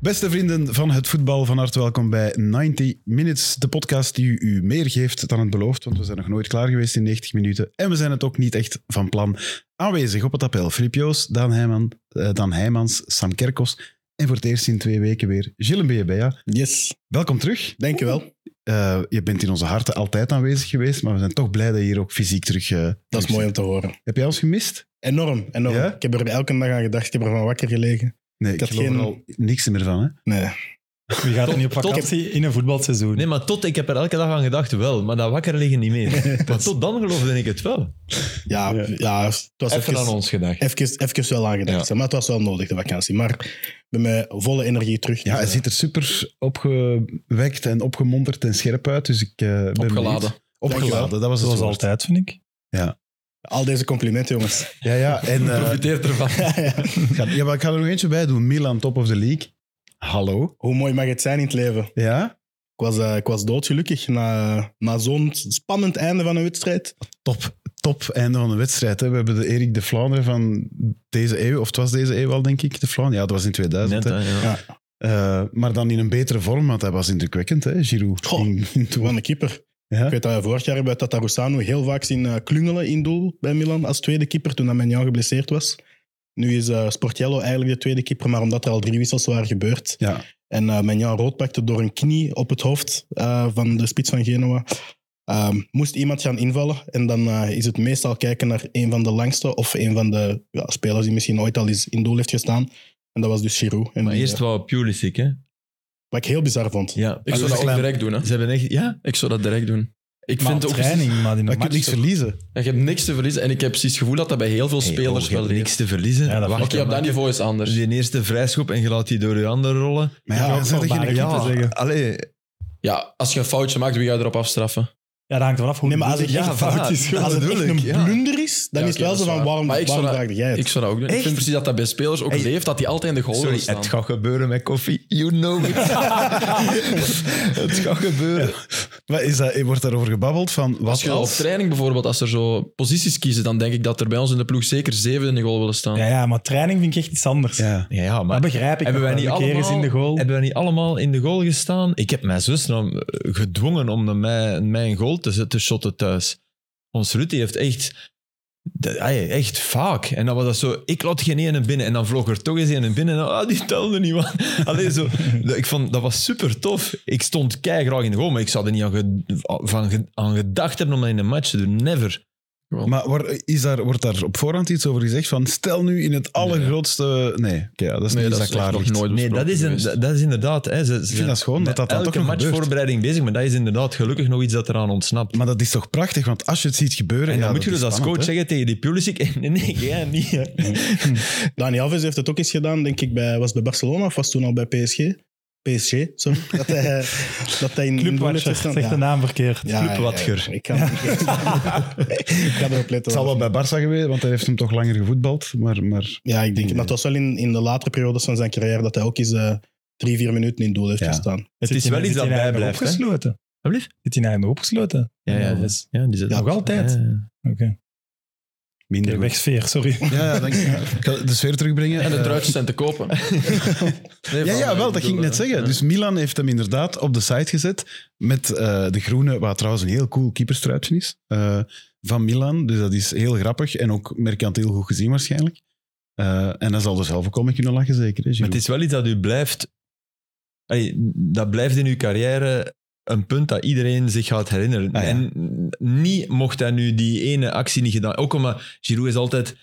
Beste vrienden van het voetbal, van harte welkom bij 90 Minutes, de podcast die u meer geeft dan het belooft, want we zijn nog nooit klaar geweest in 90 minuten en we zijn het ook niet echt van plan. Aanwezig op het appel, Filip Joos, Daan, Heijman, eh, Daan Heijmans, Sam Kerkos en voor het eerst in twee weken weer Gilles Mbea. Yes, Welkom terug. dankjewel. Eh, je bent in onze harten altijd aanwezig geweest, maar we zijn toch blij dat je hier ook fysiek terug... eh, Dat terug is mooi zit. om te horen. Heb jij ons gemist? Enorm, enorm. Ja? Ik heb er elke dag aan gedacht. Ik heb ervan wakker gelegen. Nee, ik, had geloof geen- er al niks meer van, hè? Nee. Wie gaat er niet op Tot- tot- vakantie in een voetbalseizoen? Nee, maar tot, ik heb er elke dag aan gedacht wel, maar dat wakker liggen niet meer. Maar tot dan geloofde ik het wel. Ja, ja. Ja. het was Even aan ons gedacht. Even, even wel aan gedacht. Ja. zeg, Maar het was wel nodig, de vakantie. Maar ik ben met volle energie terug. Ja, hij Dus, eh, ziet er super opgewekt en opgemonterd en scherp uit. Dus ik eh, ben Opgeladen. benieuwd. Opgeladen, dat was het Zoals woord. altijd, vind ik. Al deze complimenten, jongens. Ja, ja. En, eh, Profiteer ervan. ik ga- ja, maar ik ga er nog eentje bij doen. Milan, top of the league. Hallo. Hoe mooi mag het zijn in het leven? Ja, Ik was, eh, ik was doodgelukkig na, na zo'n spannend einde van een wedstrijd. top. Top einde van de wedstrijd. Hè. We hebben de Erik de Vlaanderen van deze eeuw, of het was deze eeuw al, denk ik, de Vlaanderen. Ja, dat was in 2000. Net, hè. hè, ja. Ja. Eh, maar dan in een betere vorm, want hij was indrukwekkend, hè, Giroud. Goh. In- in- toen- Van de keeper. ja. Ik weet dat we vorig jaar bij Tatarusano heel vaak zien eh, klungelen in doel bij Milan als tweede keeper toen dat Menjan geblesseerd was. Nu is eh Sportiello eigenlijk de tweede keeper, maar omdat er al drie wissels waren gebeurd Ja. en eh Menjan rood pakte door een knie op het hoofd eh, van de spits van Genoa, ehm, moest iemand gaan invallen. En dan eh, is het meestal kijken naar een van de langste of een van de ja, spelers die misschien ooit al eens in doel heeft gestaan. En dat was dus Giroud. En Maar die, eerst eh, wou Pulisic, hè? wat ik heel bizar vond. Ja. Ik zou dat ook klein- direct doen, hè. Ze hebben echt... Ja? Ik zou dat direct doen. Ik Maar vind ook... training, maar in Maar een je kunt match... niks toch? verliezen. Je hebt niks te verliezen. En ik heb precies het gevoel dat dat bij heel veel spelers wel leeft. oh, niks te verliezen. Ja, dat Wacht, Oké, op dat niveau is het anders. Die eerste vrijschop en je laat die door je handen rollen. Maar ja, Ja, dan zijn er maar geen ik- ja, te zeggen. Allee, Ja, als je een foutje maakt, wie ga je erop afstraffen? Ja, dat hangt ervan af hoe Nee, maar als het ik echt ja, Oh, fout is. Als het echt bedoel een ik, ja. blunder is, dan Ja, is het wel oké, dat zo is van waar. waarom, Maar ik zou waarom dat- vraagde jij het? Ik zou dat ook doen. Echt? Ik vind precies dat dat bij spelers ook Hey. leeft, dat die altijd in de goal willen sorry, staan. het gaat gebeuren met koffie. You know it. het gaat gebeuren. Maar is dat, wordt daarover gebabbeld van wat Als je op als? training bijvoorbeeld, als er zo posities kiezen, dan denk ik dat er bij ons in de ploeg zeker zeven in de goal willen staan. Ja, ja, maar training vind ik echt iets anders. Ja. Ja, ja, maar dat begrijp ik. hebben nog wij niet wel. Een keer allemaal, is in de goal. hebben wij niet allemaal in de goal gestaan? Ik heb mijn zus nou eh, gedwongen om naar mij, mijn goal te, zet- te shotten thuis. Ons Rutte heeft echt, de- ay, echt vaak. En dan was dat zo, ik laat geen ene binnen. En dan vloog er toch eens een binnen. En dan, ah, die telde niet, man. Allee, zo, dat- ik vond, dat was super tof. Ik stond graag in de goal, maar ik zou er niet aan, ge- van, ge- aan gedacht hebben om dat in een match te doen. Never. Maar waar- is daar, wordt daar op voorhand iets over gezegd? Van stel nu in het allergrootste. Nee, oké, ja, dat is Nee, niet dat dat, is klaar nog ligt. nooit Nee, dat is, een, geweest. dat dat is inderdaad... Hè, ze, Ik vind dat schoon dat dat dan toch nog gebeurt. matchvoorbereiding bezig, maar dat is inderdaad gelukkig nog iets dat eraan ontsnapt. Maar dat is toch prachtig, want als je het ziet gebeuren. en ja, dan moet dat je dus is als coach spannend, zeggen tegen die Pulisic, nee, nee, jij niet. hè. Dani Alves heeft het ook eens gedaan, denk ik, bij, was het bij Barcelona of was het toen al bij PSG? PSG, sorry. Dat hij, dat hij in in doel heeft Clubwatcher, gestaan. zegt nou. de naam verkeerd. Ja, ja, Clubwatcher. ja, ik, ga, ik ga erop letten. hè. Het zal wel bij Barça geweest, want hij heeft hem toch langer gevoetbald. Maar, maar Ja, ik denk, maar het was wel in, in de latere periodes van zijn carrière dat hij ook eens eh, drie, vier minuten in doel heeft Ja. gestaan. Het Zit is in- wel iets zit dat in eigen bijblijft. hè. Opgesloten. Zit in eigen opgesloten. Ja, ja, ja. Alves. ja, die zit Ja, nog altijd. Ja, ja. Oké. minder. Oké, goed. Wegsfeer, sorry. Ja, ja, dank je. Ik ga de sfeer terugbrengen. En de Eh, druitjes zijn te kopen. Nee, Ja, van, eh, ja, wel, dat ik ging ik bedoel, net zeggen. ja. Dus Milan heeft hem inderdaad op de site gezet met eh, de groene, wat trouwens een heel cool keeperstruitje is, eh, van Milan. Dus dat is heel grappig en ook merkanteel goed gezien waarschijnlijk. Eh, en dan zal er zelf ook al mee kunnen lachen, zeker. Hè, Maar Giro? het is wel iets dat u blijft... Allee, dat blijft in uw carrière een punt dat iedereen zich gaat herinneren. Ah, ja. En niet mocht hij nu die ene actie niet gedaan... Ook omdat Giroud is altijd...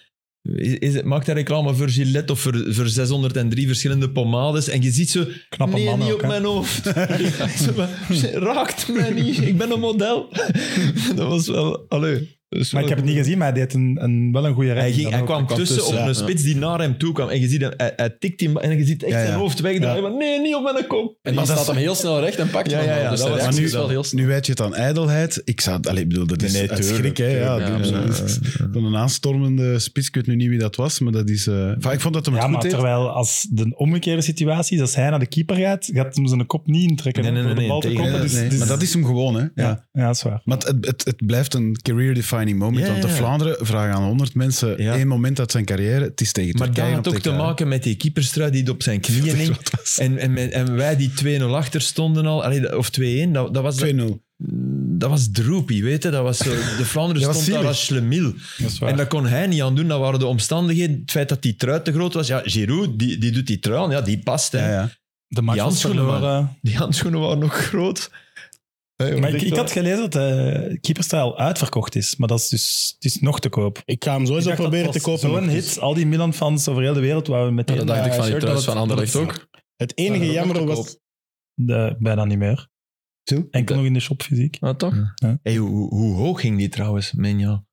Is, is het, maakt hij reclame voor Gillette of voor, voor 603 verschillende pomades? En je ziet zo... Knappe nee, man niet ook. op hè. mijn hoofd. Zo van, Raakt mij niet. Ik ben een model. dat was wel... Allee. dat is Maar ik wel- heb het niet gezien, maar hij deed een, een, wel een goede hij, redding. ging, dan hij ook. kwam tussen, tussen, op ja, een ja. spits die naar hem toe kwam. En je ziet hem, hij, hij tikt die, en je ziet echt Ja, ja. zijn hoofd wegdraaien. van, Nee, niet op mijn kop. En dan Maar dat staat hem heel snel recht en pakt Ja, hem ja, wel. ja, Dus dat de was- maar reactie nu, is wel heel snel. nu weet je het aan ijdelheid. Ik zou, allee, ik bedoel, dat is Nee, nee, het tuurlijk, schrik, hè. Ja, tuurlijk. ik bedoel, Ja, dat is- Van een aanstormende spits, ik weet nu niet wie dat was, maar dat is... eh, enfin, ik vond dat hem het Ja, maar goed deed. terwijl als de omgekeerde situatie is, als hij naar de keeper gaat, gaat hem zijn kop niet intrekken. Nee, nee, om nee, de nee, bal te tegen- koppen. Nee, Dus, nee, dus- maar dat is hem gewoon, hè. Ja. ja, ja, dat is waar. Maar het, het, het blijft een career-defining defining moment. Ja, want de ja. Vlaanderen vragen aan 100 mensen Ja. één moment uit zijn carrière. Het is tegen Maar dat Turkije. eh, had ook te maken met die keeperstrui die het op zijn knieën hing. En, en, met- en wij die 2-0 achter stonden al, allee, dat- of 2-1, dat, dat, was, dat, 2-0. was droopy, weet je. Dat was zo, de Vlaanderen Dat was stond daar zielig. als schlemiel. Dat is waar. En daar kon hij niet aan doen, dat waren de omstandigheden. Het feit dat die trui te groot was, ja, Giroud, die, die doet die trui aan, ja, die past. Ja, Hè. ja. de match die was handschoenen, verloren. Die handschoenen waren nog groot. Hey, Maar ik, ik had gelezen dat de keeperstijl uitverkocht is. Maar dat is dus het is nog te koop. Ik ga hem Ik sowieso dacht dat proberen te was kopen. Zo'n hit, al die Milan-fans over heel de wereld wouden meteen... Maar dat dacht eh, ik van die shirt, truis dat van het- Anderlecht dat het- ook. Het enige eh, Ja, jammer dat was... klopt. De, bijna niet meer. Zo? Enkel nog in de shop fysiek. Ah, toch? Hey, hoe, hoe hoog ging die trouwens, Menja?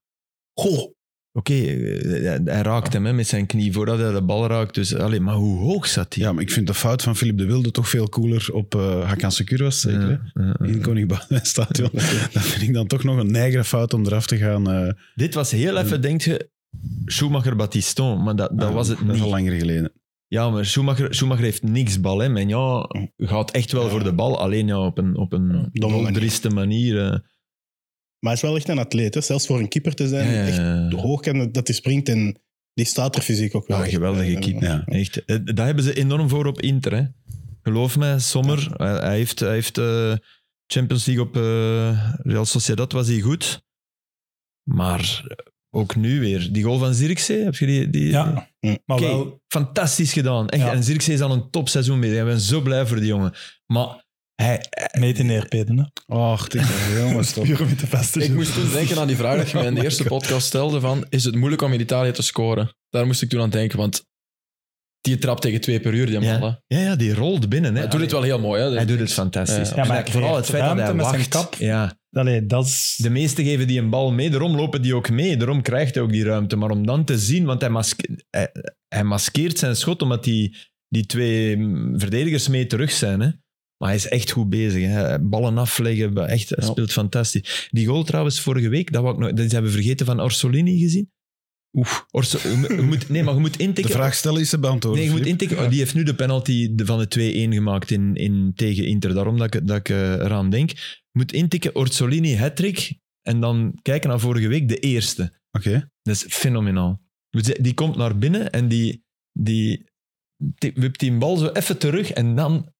Goh. Oké, eh, hij- hij raakte hem hè, met zijn knie voordat hij de bal raakt. Dus, allee, maar hoe hoog zat hij? ja, maar ik vind de fout van Filip de Wilde toch veel cooler op eh Hakan Secure was, zeker. hè? In Koning Boudewijn Stadion. Dat vind ik dan toch nog een neigere fout om eraf te gaan. eh, Dit was heel even, denk je, Schumacher-Batiston, maar dat, dat ah, was het Dat is al niet. langer geleden. Ja, maar Schumacher, Schumacher heeft niks bal, hè. Menja gaat echt wel voor de bal, alleen ja, op een, op een domme manier. drieste manier. eh. Maar hij is wel echt een atleet. Hè. Zelfs voor een keeper te zijn. Ja, ja, Echt ja. hoog en dat hij springt. En die staat er fysiek ook wel. Ja, echt, geweldige eh, keeper. Ja. Echt, eh, daar hebben ze enorm voor op Inter. Hè. Geloof mij, Sommer, hij, hij heeft, hij heeft eh, Champions League op eh, Real Sociedad was hij goed. Maar ook nu weer. Die goal van Zirkzee, heb je die... die Ja, Hm. maar Oké, wel... fantastisch gedaan. Echt. Ja. En Zirkzee is al een topseizoen mee. Ik ben zo blij voor die jongen. Maar hij... Meten neerpeden, hè. Och, dit is helemaal stop. Puur om je te vestigen. Ik moest toen denken aan die vraag dat je mij in de eerste podcast stelde van is het moeilijk om in Italië te scoren? Daar moest ik toen aan denken, want die trap tegen twee per uur, die Ja. man. hè. Ja, ja, die rolt binnen. Hè. Hij doet het wel heel mooi. Hè? Hij doet het fantastisch. Ja, maar En hij vooral het creëert feit dat hij ruimte met zijn wacht. kap. Ja. Allee, dat is... De meesten geven die een bal mee, daarom lopen die ook mee, daarom krijgt hij ook die ruimte. Maar om dan te zien, want hij, maske- hij, hij maskeert zijn schot omdat die, die twee mm, verdedigers mee terug zijn. Hè? Maar hij is echt goed bezig. Hè? Ballen afleggen, ba- echt, hij Ja. speelt fantastisch. Die goal trouwens vorige week, dat, wou ik nog, dat hebben we vergeten van Orsolini gezien. Oef, Orso, je moet- je moet, nee, maar je moet De intikken. vraag stellen is ze beantwoorden. Nee, je moet Filip. intikken. Oh, die heeft nu de penalty de- van de 2-1 gemaakt in, in, tegen Inter. Daarom dat ik, dat ik eh, eraan denk. Je moet intikken Orsolini, hat-trick. En dan kijken naar vorige week, de eerste. Oké. Dat is fenomenaal. Dus Die die komt naar binnen en die, die ti- wipt die bal zo even terug. En dan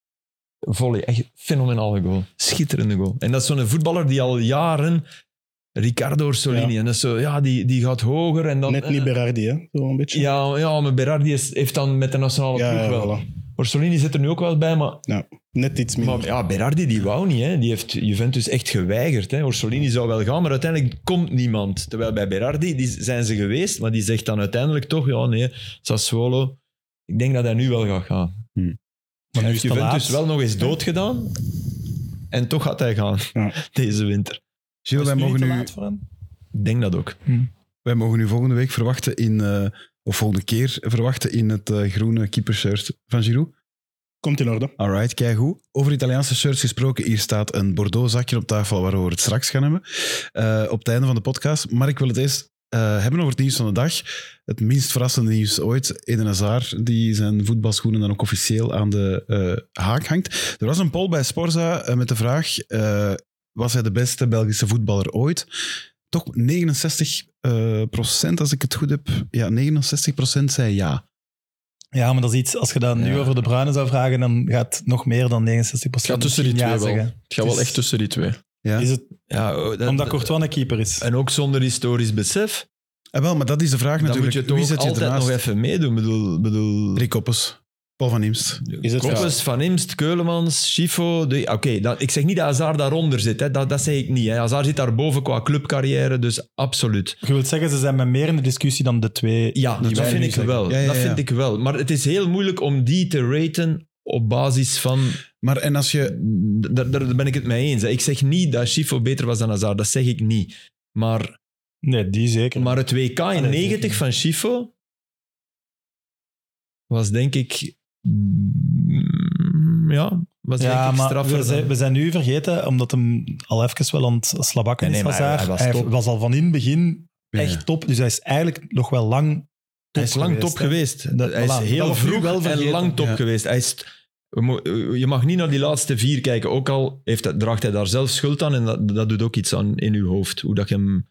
volley. Echt fenomenale goal. Schitterende goal. En dat is zo'n voetballer die al jaren... Ricardo Orsolini. En dat is zo, ja, die, die gaat hoger en dan... eh, Net niet Berardi, hè? Zo een beetje. ja, ja, maar Berardi is- heeft dan met de nationale Ja, ploeg ja, wel. voilà. Orsolini zit er nu ook wel bij, maar, Net iets minder. maar ja, Berardi die wou niet. Hè. Die heeft Juventus echt geweigerd. Hè. Orsolini zou wel gaan, maar uiteindelijk komt niemand. Terwijl bij Berardi die zijn ze geweest, maar die zegt dan uiteindelijk toch, ja nee, Sassuolo, ik denk dat hij nu wel gaat gaan. Maar nu Hmm. Hij is heeft het te laat. Juventus wel nog eens doodgedaan en toch gaat hij gaan Ja. deze winter. Gilles, wij mogen, nu, Ik denk dat ook. wij mogen u volgende week verwachten in... eh, of volgende keer verwachten in het eh, groene keepershirt van Giroud. Komt in orde. Alright, kijk hoe. Over Italiaanse shirts gesproken, hier staat een Bordeaux zakje op tafel waar we het straks gaan hebben. eh, op het einde van de podcast. Maar ik wil het eerst eh, hebben over het nieuws van de dag. Het minst verrassende nieuws ooit. Eden Hazard, die zijn voetbalschoenen dan ook officieel aan de eh, haak hangt. Er was een poll bij Sporza eh, met de vraag, eh, was hij de beste Belgische voetballer ooit? Toch 69 eh, procent, als ik het goed heb. Ja, 69 procent zei ja. Ja, maar dat is iets... Als je dat nu Ja. over de Bruinen zou vragen, dan gaat nog meer dan 69% Het gaat tussen die ja twee wel. zeggen. Het gaat wel echt tussen die twee. Ja. Is het Ja, oh, dat- Omdat Courtois een keeper is. en ook zonder historisch besef, Eh, wel, maar dat is de vraag dan moet natuurlijk. je toch Wie ook zet je altijd nog ernaast? even meedoen. Ik bedoel, bedoel, Rick Koppes, Paul van Imst. Is het Koppes, Van Imst, Keulemans, Schifo. de- ah, Oké, dat- ik zeg niet dat Hazard daaronder zit. Hè. Dat, dat zeg ik niet. Hè. Hazard zit daarboven qua clubcarrière, dus absoluut. Je wilt zeggen, ze zijn met meer in de discussie dan de twee. Ja, die dat wij vind nu ik zeggen. wel. Ja, ja, Dat ja. vind ik wel. Maar het is heel moeilijk om die te raten op basis van... Maar en als je... d- Daar, daar ben ik het mee eens. hè. Ik zeg niet dat Schifo beter was dan Hazard. Dat zeg ik niet. Maar, Nee, die zeker. maar het WK in zeker 90 niet. van Schifo was denk ik... mm, Ja, was denk ja, ik maar straffer we dan- zijn, we zijn nu vergeten, omdat hem al even wel aan het slabakken Nee, is, nee, maar hij- Hazard. hij was Hij, top. was al van in het begin Ja. echt top. Dus hij is eigenlijk nog wel lang Hij is top lang geweest, top hè. geweest. Dat- hij is voilà, dat heel wordt nu vroeg wel en vergeten. lang top Ja. geweest. Hij is, we mo- je mag niet naar die laatste vier kijken, ook al heeft, hij- draagt hij daar zelf schuld aan en dat, dat doet ook iets aan in uw hoofd, hoe dat je hem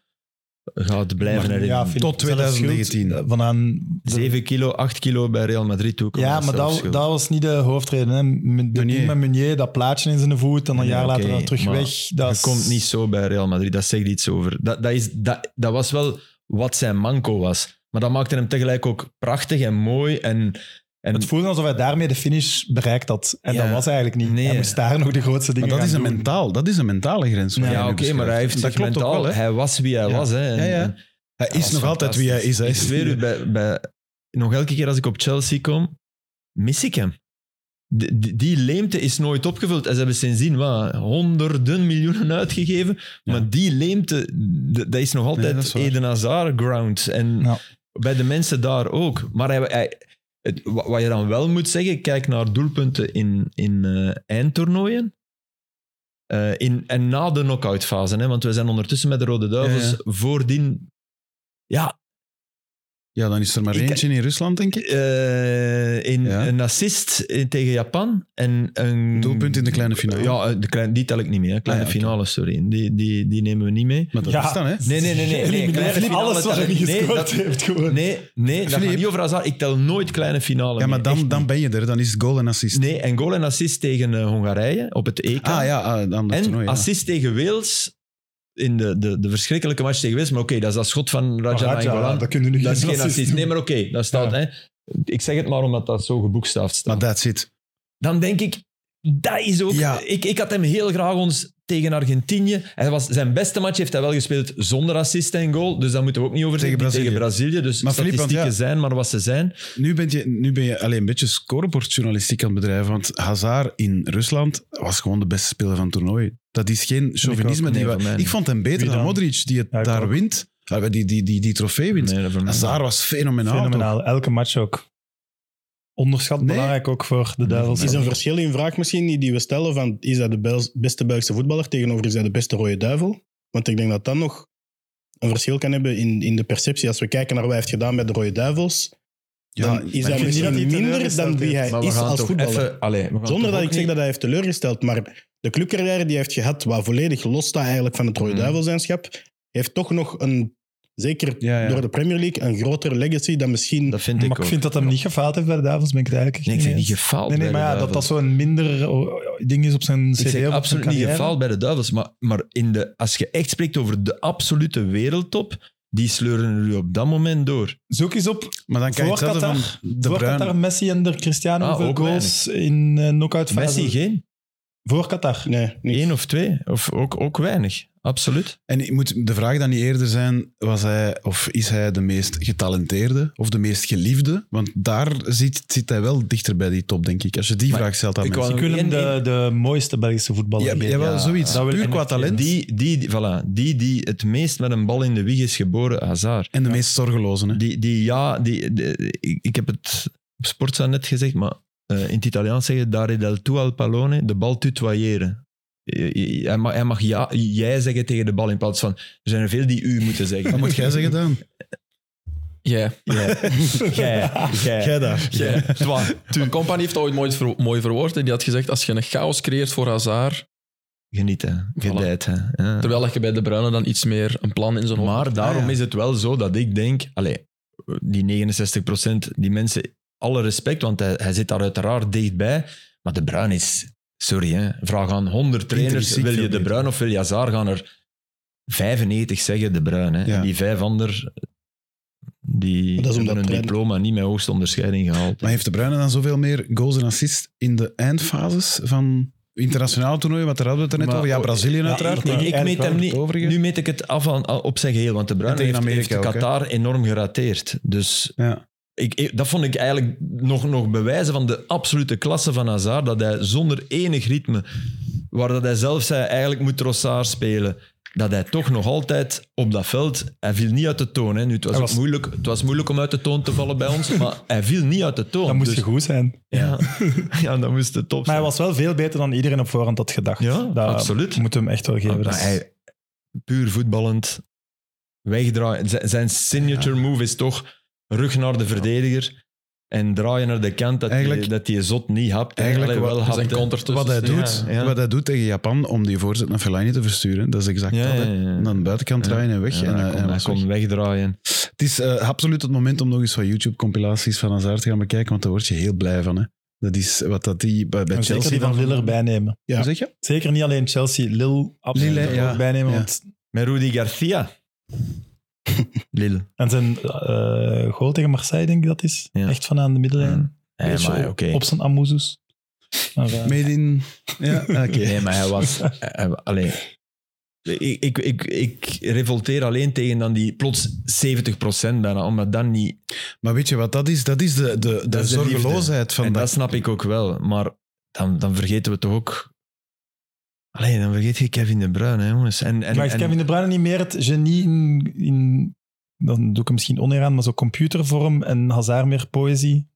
gaat blijven Maar- erin. ja, vind- Tot is dat een schuld? 2019. Eh, Vanaan de- 7 kilo, 8 kilo bij Real Madrid toe. komen, Ja, maar zelfs dat, schuld. dat was niet de hoofdreden. Hè. Met- De Meunier. ding met Meunier, dat plaatje in zijn voet en een Nee, jaar later oké, dan terug maar weg. Dat Je is- komt niet zo bij Real Madrid, dat zegt iets over. Dat, dat, is, dat, dat was wel wat zijn manco was. Maar dat maakte hem tegelijk ook prachtig en mooi. En, en Het voelde alsof hij daarmee de finish bereikt had. En Ja. dat was eigenlijk niet. Nee. Hij moest daar nog de grootste dingen Maar dat is, een gaan doen. mentaal, dat is een mentale grens. wat Ja, jij ja, nu oké, maar beschrijft. hij heeft dus Dat zich klopt ook mentaal... wel, hè. hij was wie hij Ja. was. Hè, en- Ja, ja. en- Hij is was nog altijd wie hij is. Hij Ik is zweer u, bij, bij, nog elke keer als ik op Chelsea kom, mis ik hem. Die, die, die leemte is nooit opgevuld. En ze hebben sindsdien wat, honderden miljoenen uitgegeven. Maar die leemte, d- dat is nog altijd dat is waar. Eden Hazard ground. En Ja. bij de mensen daar ook. Maar hij, hij- het, wa- wat je dan wel moet zeggen, kijk naar doelpunten in, in eh, eindtoernooien. Eh, in, en na de knock-outfase, hè, want we zijn ondertussen met de Rode Duivels. Ja, Voordien, ja, Ja, dan is er maar Ik- eentje in Rusland, denk ik. eh, in, Ja. een assist in- tegen Japan en een Doelpunt in de kleine finale. Ja, eh, de klein, die tel ik niet mee. Hè. Kleine Ah, ja, oké. finale, sorry. Die, die, die nemen we niet mee. Maar dat Ja. is dan, hè? Nee, nee, nee, nee. nee, Elimineert kleine niet finale alles wat tel hij ik- niet nee, gescoord dat- heeft. Gewoon. Nee, nee, dat gaat Philippe. niet over Hazard. Ik tel nooit kleine finale. Ja, maar mee. Echt dan, dan niet. ben je er. Dan is het goal en assist. Nee, en goal en assist tegen eh, Hongarije op het EK. Ah ja, ah, dan dat en toernooi. ja. assist tegen Wales in de, de, de verschrikkelijke match tegen Wales. Maar oké, dat is dat schot van Raja Raja, Nainggolan. dat kun je nu Dat is geen geen assist. Nee, maar oké, dat staat. Ja. Hè. Ik zeg het maar omdat dat zo geboekstaafd staat. Maar dat zit. dan denk ik, dat is ook... Ja. Ik, ik had hem heel graag ons tegen Argentinië... Hij was, zijn beste match heeft hij wel gespeeld zonder assist en goal, dus daar moeten we ook niet over Tegen zeggen. Brazilië. Tegen Brazilië, dus Maar Philippe, statistieken want zijn maar wat ze zijn. Nu, bent je, nu ben je alleen een beetje scorebordjournalistiek aan het bedrijven. Want Hazard in Rusland was gewoon de beste speler van het toernooi. Dat is geen chauvinisme. ook. die Nee, we- voor mij ik niet. vond hem beter Wie dan? dan? Modric, die het Ja, ik daar ook. wint. Ah, Die, die, die, die, trofee wint. Nee, dat voor mij Hazard was fenomenaal. toch? Fenomenaal. Elke match ook. Onderschat Nee. belangrijk ook voor de Duivels. Is een verschil in vraag misschien die- die we stellen van is hij de bel- beste Belgische voetballer tegenover is hij de beste rode duivel? Want ik denk dat dat nog een verschil kan hebben in, in de perceptie. Als we kijken naar wat hij heeft gedaan bij de rode duivels, Ja, dan maar is hij ik vind misschien niet dat hij minder teleurgesteld dan wie hij heeft. Maar we is gaan als toch voetballer. even- allee, we gaan Zonder toch dat ook ik zeg niet- dat hij heeft teleurgesteld, maar de clubcarrière die hij heeft gehad, wat volledig los staat eigenlijk van het Rode Mhm. Duivelzijnschap, heeft toch nog een, zeker Ja, ja. door de Premier League, een grotere legacy dan misschien... Dat vind ik maar ik ook. vind dat hem niet gefaald heeft bij de Duivels, ben ik het eigenlijk Nee, ik echt zeg niet eens. gefaald Nee, nee, bij de maar ja, dat Duivels. dat zo'n minder oh, oh, ding is op zijn cv. Ik of zeg op zijn absoluut niet carrière. gefaald bij de Duivels, maar, maar in de, als je echt spreekt over de absolute wereldtop, die sleuren jullie op dat moment door. Zoek eens op Maar dan krijg je Voor hetzelfde van Qatar- De voor Bruyne. Qatar Messi en de Cristiano Ah, hoeveel ook goals in eh knock-out fase. Messi geen. Voor Qatar. Nee, niet. Eén of twee. Of ook, ook weinig. Absoluut. En ik moet de vraag dan niet eerder zijn, was hij of is hij de meest getalenteerde of de meest geliefde? Want daar zit, zit hij wel dichter bij die top, denk ik. Als je die Maar vraag stelt aan ik mensen. wou- Ik wil hem Eén- de, één- de mooiste Belgische voetballer Ja, geven. jawel, Ja, zoiets. Oh, dat wil Puur ik qua echt talent Die, die, die- voilà, die die het meest met een bal in de wieg is geboren, Hazard. en de meest zorgeloze. Hè? Die, die ja, die, de- ik, ik heb het op Sportza net gezegd, maar eh, in het Italiaans zeggen dare del tuo al pallone, de bal tutoyeren. Eh, eh, Hij mag, hij mag ja, jij zeggen tegen de bal in plaats van er zijn er veel die u moeten zeggen. Wat moet jij zeggen, Daan? Ja. Jij, jij, Jij daar. Ja. Toi. Company heeft dat ooit mooi, ver- mooi verwoord. En die had gezegd, als je een chaos creëert voor Hazard, Genieten, gedijten. Ja. terwijl dat je bij De Bruyne dan iets meer een plan in zijn hoofd Maar daarom Ah, ja. is het wel zo dat ik denk, allee, die 69%, die mensen, alle respect, want hij, hij zit daar uiteraard dichtbij. Maar De Bruin is, sorry, hè, vraag aan 100 trainers: Intrinsiek wil je veel De beter. Bruin of wil je Hazard? Gaan er 95 zeggen De Bruin. Hè. Ja. En die vijf ander, die Dat is hebben omdat een trainen- diploma niet met hoogste onderscheiding gehaald. Maar heeft De Bruyne dan zoveel meer goals en assists in de eindfases van internationale toernooien? Want daar hadden we het er net Maar- over. Ja, Brazilië Ja, uiteraard. ik- maar ik meet hem niet. overige. Nu meet ik het af aan, op zijn geheel, want De Bruin En tegen heeft, heeft Amerika ook, hè. Qatar enorm gerateerd. Dus Ja. Ik, ik- dat vond ik eigenlijk nog, nog bewijzen van de absolute klasse van Hazard. Dat hij zonder enig ritme, waar dat hij zelf zei, eigenlijk moet Trossard spelen. Dat hij toch nog altijd op dat veld... Hij viel niet uit de toon. Hè. Nu, het, was Hij ook was- Moeilijk, het was moeilijk om uit de toon te vallen bij ons, maar hij viel niet uit de toon. Dat moest Dus- je goed zijn. Ja, ja, dat moest de top Maar zijn. hij was wel veel beter dan iedereen op voorhand had gedacht. Ja, dat absoluut. Moet hem echt wel geven. Maar Dat is- hij, puur voetballend, wegdraaien. Z- zijn signature move is toch rug naar de verdediger. en draaien naar de kant dat, die, Eigenlijk- dat die zot niet hapt. Eigenlijk Allee, wat- wel dat is hapt. een counter tussen. Wat hij Ja, doet. Ja, Wat hij doet tegen Japan om die voorzet naar Fellaini te versturen, dat is exact Ja, dat. hè. ja, ja. En aan de buitenkant Ja. draaien en weg. Ja, en, hij eh, kon- en hij was weg. kon wegdraaien. Het is eh, absoluut het moment om nog eens wat YouTube-compilaties van Hazard te gaan bekijken, want daar word je heel blij van. Hè. Dat is wat dat die bij, bij En Chelsea... zeker die van Lille erbij nemen. Ja. Hoe zeg je? Zeker niet alleen Chelsea, Lille absoluut Lille, er ook ja. bij nemen. Ja. Want, Met Rudy Garcia. Lille. en zijn eh, goal tegen Marseille, denk ik dat is. Ja. Echt van aan de middenlijn. Nee, Beetje maar op- oké. Op zijn amuzus. Maar, eh, Made in... Ja, oké. Nee, maar hij was... hij- hij- Allee. Ik, ik, ik, ik revolteer alleen tegen dan die plots 70% bijna, omdat dan niet... Maar weet je wat dat is? Dat is de, de, de, Dat is de zorgeloosheid van en dat. dat snap ik ook wel, maar dan, dan vergeten we toch ook... Allee, dan vergeet je Kevin De Bruyne, hè, jongens. En, en, maar is en- Kevin De Bruyne niet meer het genie in, in dan doe ik hem misschien oneer aan, maar zo computervorm en Hazard meer poëzie?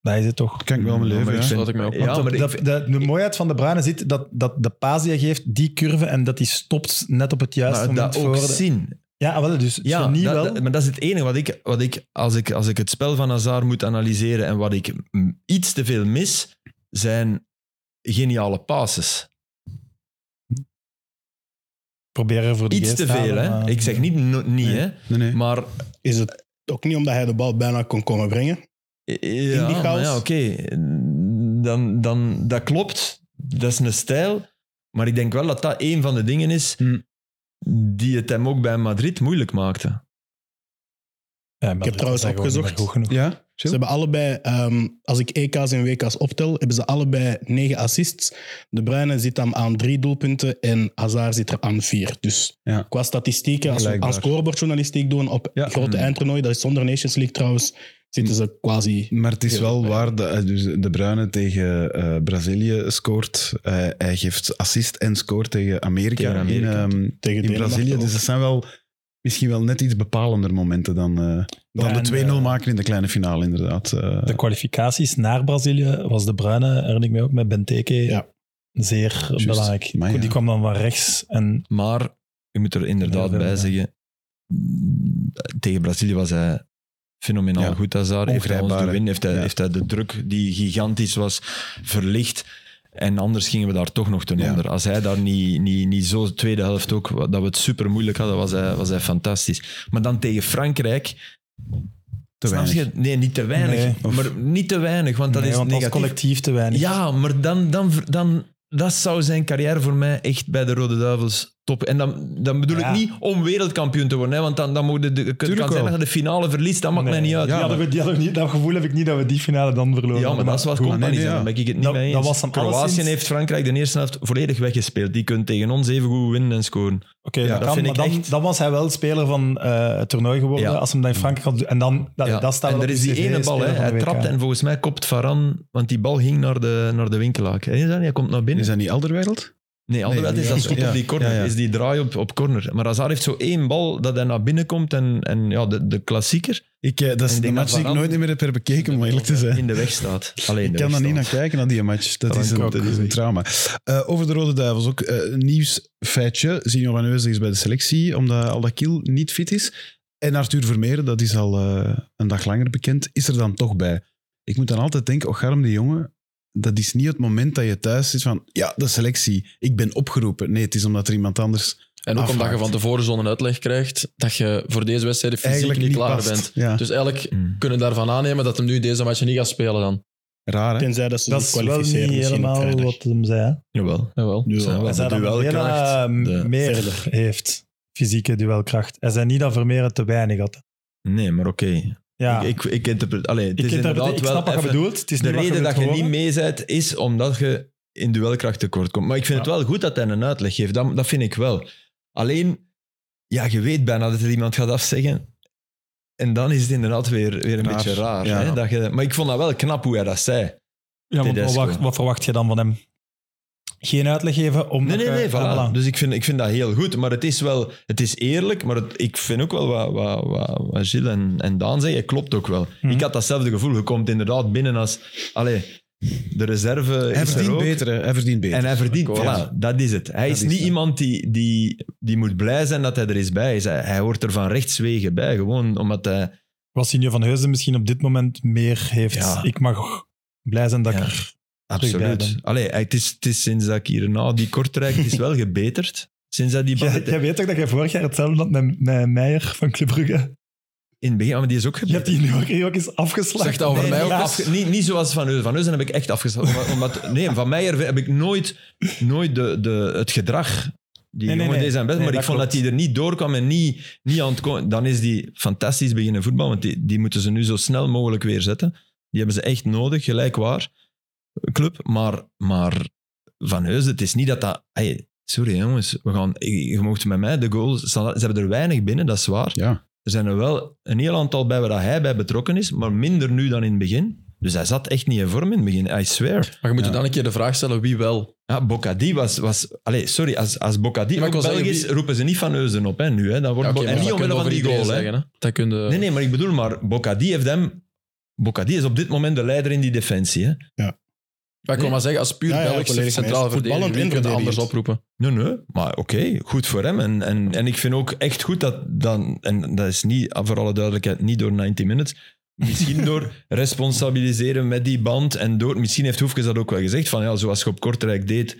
Dat is het toch. Dat kan ik wel mijn Ja, leven, Mm, maar ik ja. vind- Sluit ik mij ook. Ja, Want dat- maar ik- dat, dat- de mooiheid van De Bruyne zit dat, dat de paas die hij geeft, die curve, en dat die stopt net op het juiste maar moment dat ook voor de- zien. Ja, wel, dus Ja, genie dat- wel. dat- maar dat is het enige wat ik, wat ik, als ik, als ik het spel van Hazard moet analyseren en wat ik mm, iets te veel mis, zijn geniale passes. proberen voor de Iets te geest veel, halen, hè. maar- Ik zeg niet, no- niet Nee. hè. Nee, nee. Maar, Is het ook niet omdat hij de bal bijna kon komen brengen? eh, ja, die maar chaos. ja oké. Dan, dan, dat klopt. Dat is een stijl. Maar ik denk wel dat dat een van de dingen is Hmm. die het hem ook bij Madrid moeilijk maakte. Ja, maar Ik dat heb trouwens is gewoon niet opgezocht. meer Goed genoeg. Ja, Ze hebben allebei, ehm, als ik EK's en WK's optel, hebben ze allebei negen assists. De Bruyne zit dan aan drie doelpunten en Hazard zit er aan vier. Dus Ja. qua statistieken, als we Blijkbaar. aan scorebordjournalistiek doen op Ja. grote Mm. eindtoernooi, dat is zonder Nations League trouwens, zitten ze quasi... Maar het is Heel wel goed. waar, de, eh, dus de Bruyne tegen eh, Brazilië scoort. Eh, hij geeft assist en scoort tegen Amerika. Tegen Amerika. In, ehm, Tegen in Denemarken Brazilië. ook. Dus dat zijn wel misschien wel net iets bepalender momenten dan, eh, dan Ja, en, de 2-0 eh, maken in de kleine finale, inderdaad. Eh, De kwalificaties naar Brazilië was De Bruyne, herinner ik mij ook, met Benteke. Ja. Zeer belangrijk. maar ja. Die kwam dan van rechts en Maar ik moet er inderdaad Ja, wel, bij ja. zeggen, mm, tegen Brazilië was hij fenomenaal Ja. goed Hazard. Heeft hij ons Ongrijpbaar, doen hè? winnen, heeft hij, Ja. heeft hij de druk die gigantisch was verlicht. En anders gingen we daar toch nog ten Ja. onder. Als hij daar niet, niet, niet zo de tweede helft ook, wa- dat we het super moeilijk hadden, was hij, was hij fantastisch. Maar dan tegen Frankrijk... te snap je? weinig. Nee, niet te weinig. Nee. Of- Maar niet te weinig, want dat Nee, is want als negatief. collectief te weinig. Ja, maar dan, dan, dan, dat zou zijn carrière voor mij echt bij de Rode Duivels top. En dan, dan bedoel Ja. ik niet om wereldkampioen te worden, hè, want dan, dan moet je de, het kan Tuurlijk zijn wel. dat je de finale verliest, dat maakt Nee. mij niet uit. Die Ja, hadden we- die hadden we niet, dat gevoel heb ik niet dat we die finale dan verloren. Ja, maar hadden, dat is wat Goed, Company nee, nee, zei, ja. daar ben ik het niet Dat- mee eens. dat was hem Kroatië alleszins- heeft Frankrijk de eerste helft volledig weggespeeld. Die kunt tegen ons even goed winnen en scoren. Oké, Ja, dat dat kan, vind maar ik dan, echt- dan was hij wel speler van eh, het toernooi geworden. Ja. Als hem dan in Frankrijk had... En dan, dat, Ja. dat staat en wel er op is die CV, ene bal, hè. speler van de hij WK. trapt en volgens mij kopt Varan, want die bal ging naar de, naar de winkelaak. Herinner je dat? Hij komt naar binnen. Is dat niet Alderwereld? Nee, Alderweireld Nee, is ja. dat schot Ja. op die corner. Ja, ja. Is die draai op, op corner. Maar Hazard heeft zo één bal dat hij naar binnen komt en, en ja, de, de klassieker Ik, eh, dat is Ik denk de dat match die ik Varane- nooit meer heb herbekeken, om eerlijk te zijn. in de weg staat. Alleen Ik kan daar niet naar kijken, naar die match. Dat Dat is een, kan ik dat ook is een niet. trauma. Eh, over de Rode Duivels ook eh, een nieuwsfeitje. Signor Van Heusden is bij de selectie, omdat Aldakiel niet fit is. En Arthur Vermeer, dat is al eh, een dag langer bekend, is er dan toch bij. Ik moet dan altijd denken, Ocharm de jongen, dat is niet het moment dat je thuis zit van, ja, de selectie, ik ben opgeroepen. Nee, het is omdat er iemand anders En ook omdat je Afhaakt. van tevoren zo'n uitleg krijgt dat je voor deze wedstrijd fysiek eigenlijk niet, niet klaar past. bent. Ja, Dus eigenlijk Hmm. kunnen we daarvan aannemen dat hem nu deze match niet gaat spelen dan. raar hè? Tenzij dat ze Dat zich is wel niet kwalificeren misschien op helemaal vrijdag. Dus wat hem zei. hè. Jawel. Jawel. Ze Ja. zijn wel Hij zei de dat Vermeer, duelkracht. eh, De- meer Verder. heeft. Fysieke duelkracht. Hij zei niet dat Vermeer het te weinig had. Nee, maar oké. Ja, Ik, ik, ik interpre- Allee, het Ik is interpreteer- inderdaad ik wel snap wat je even- bedoelt. Het is De niet wat reden wilt dat je niet horen. mee bent, is omdat je in duelkracht tekort komt. Maar ik vind Ja. het wel goed dat hij een uitleg geeft. Dat, dat vind ik wel. Alleen, ja, je weet bijna dat er iemand gaat afzeggen. En dan is het inderdaad weer, weer een Raar. beetje raar. Ja. Hè? Dat je, maar ik vond dat wel knap hoe hij dat zei. Ja, maar wat, Tedesco. verwacht- wat verwacht je dan van hem? Geen uitleg geven om... Nee, nee, nee, voilà. Dus ik vind, ik vind dat heel goed. Maar het is wel, het is eerlijk, maar het- ik vind ook wel wat, wat, wat, wat Gilles en, en Daan zeggen, klopt ook wel. Mhm. Ik had datzelfde gevoel. Je komt inderdaad binnen als, allee, de reserve Hij is er verdient ook. beter, hè. hij verdient beter. En hij verdient, Akkoord. voilà, dat is het. Hij Dat is is niet het. iemand die, die, die moet blij zijn dat hij er is bij is. Hij, hij hoort er van rechtswegen bij, gewoon omdat hij Wat Sinjo van Heusden misschien op dit moment meer heeft. Ja. Ik mag blij zijn dat Ja. ik er... Absoluut. Blijven. Allee, het is, het is sinds dat ik hier na die Kortrijk het is wel gebeterd. Sinds dat die Jij, bal- jij weet toch dat jij vorig jaar hetzelfde had met, met Meijer van Club Brugge? in het begin, ah, maar die is ook Je gebeterd. hebt die nu ook, hier ook eens afgeslagen. Zeg dat over Nee, mij niet, ook eens. afge- niet, niet zoals Van Eusen. Van Eusen heb ik echt afgeslagen. Omdat, omdat- nee, Van Meijer heb ik nooit, nooit de, de, het gedrag... Die Nee, nee, jongen nee. deed zijn best, Nee, maar ik dat vond klopt. dat hij er niet doorkwam en niet, niet aan het komen. Dan is die fantastisch beginnen voetbal, want die, die moeten ze nu zo snel mogelijk weer zetten. Die hebben ze echt nodig, gelijk waar. Club, maar, maar Van Heusden, het is niet dat dat... Hey, sorry jongens, we gaan, je mocht met mij de goals... Ze hebben er weinig binnen, dat is waar. Ja. Er zijn er wel een heel aantal bij waar hij bij betrokken is, maar minder nu dan in het begin. Dus hij zat echt niet in vorm in het begin, I swear. Maar je moet Ja. je dan een keer de vraag stellen wie wel. Ja, Bocadi Ah, was... was allez, sorry, als, als Bocadi Ja, maar ook ik wil Belg zeggen, is, roepen ze niet van Eusen op hè, nu. Hè. Dan wordt Ja, oké, Bo- maar en niet dat kunnen omwille we van die over iedereen goal. Hè. zeggen, hè. Dat kun je... Nee, nee, maar ik bedoel, maar Bocadi heeft hem... Bocadi is op dit moment de leider in die defensie. Hè. Maar ik wil Nee. maar zeggen, als puur Ja, ja, Belgisch volledig centrale mee eens. verdediger, Voetballend wie en kun je anders verdedigend. oproepen? Nee, nee, maar oké, goed voor hem. En, en, en ik vind ook echt goed dat dan, en dat is niet, voor alle duidelijkheid, niet door 90 Minutes, misschien door responsabiliseren met die band en door, misschien heeft Hoefkes dat ook wel gezegd, van ja, zoals je op Kortrijk deed,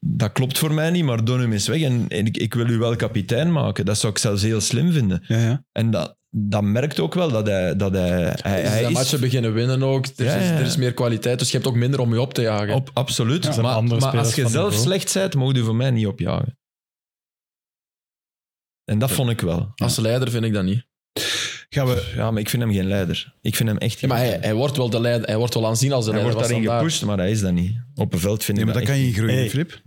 dat klopt voor mij niet, maar Donum is weg en, en ik, ik wil u wel kapitein maken. Dat zou ik zelfs heel slim vinden. Ja, ja. En dat, dat merkt ook wel dat hij... Dat hij, hij, Hij, hij is matchen beginnen winnen ook. Er, Ja, is, ja. er is meer kwaliteit, dus je hebt ook minder om je op te jagen. op, absoluut, Ja, zijn maar, andere maar als spelers je van zelf niveau. slecht bent, mogen je voor mij niet opjagen. En dat vond ik wel. Als leider vind ik dat niet. Gaan we Ja, maar ik vind hem geen leider. Ik vind hem echt Ja, geen maar hij, leider. hij wordt wel de leider. Hij wordt wel aanzien als de Hij leider. wordt was daarin dan daar. gepusht, maar hij is dat niet. Op een veld vind Nee, ik maar dat dat kan je in groeien, Hey. Filip.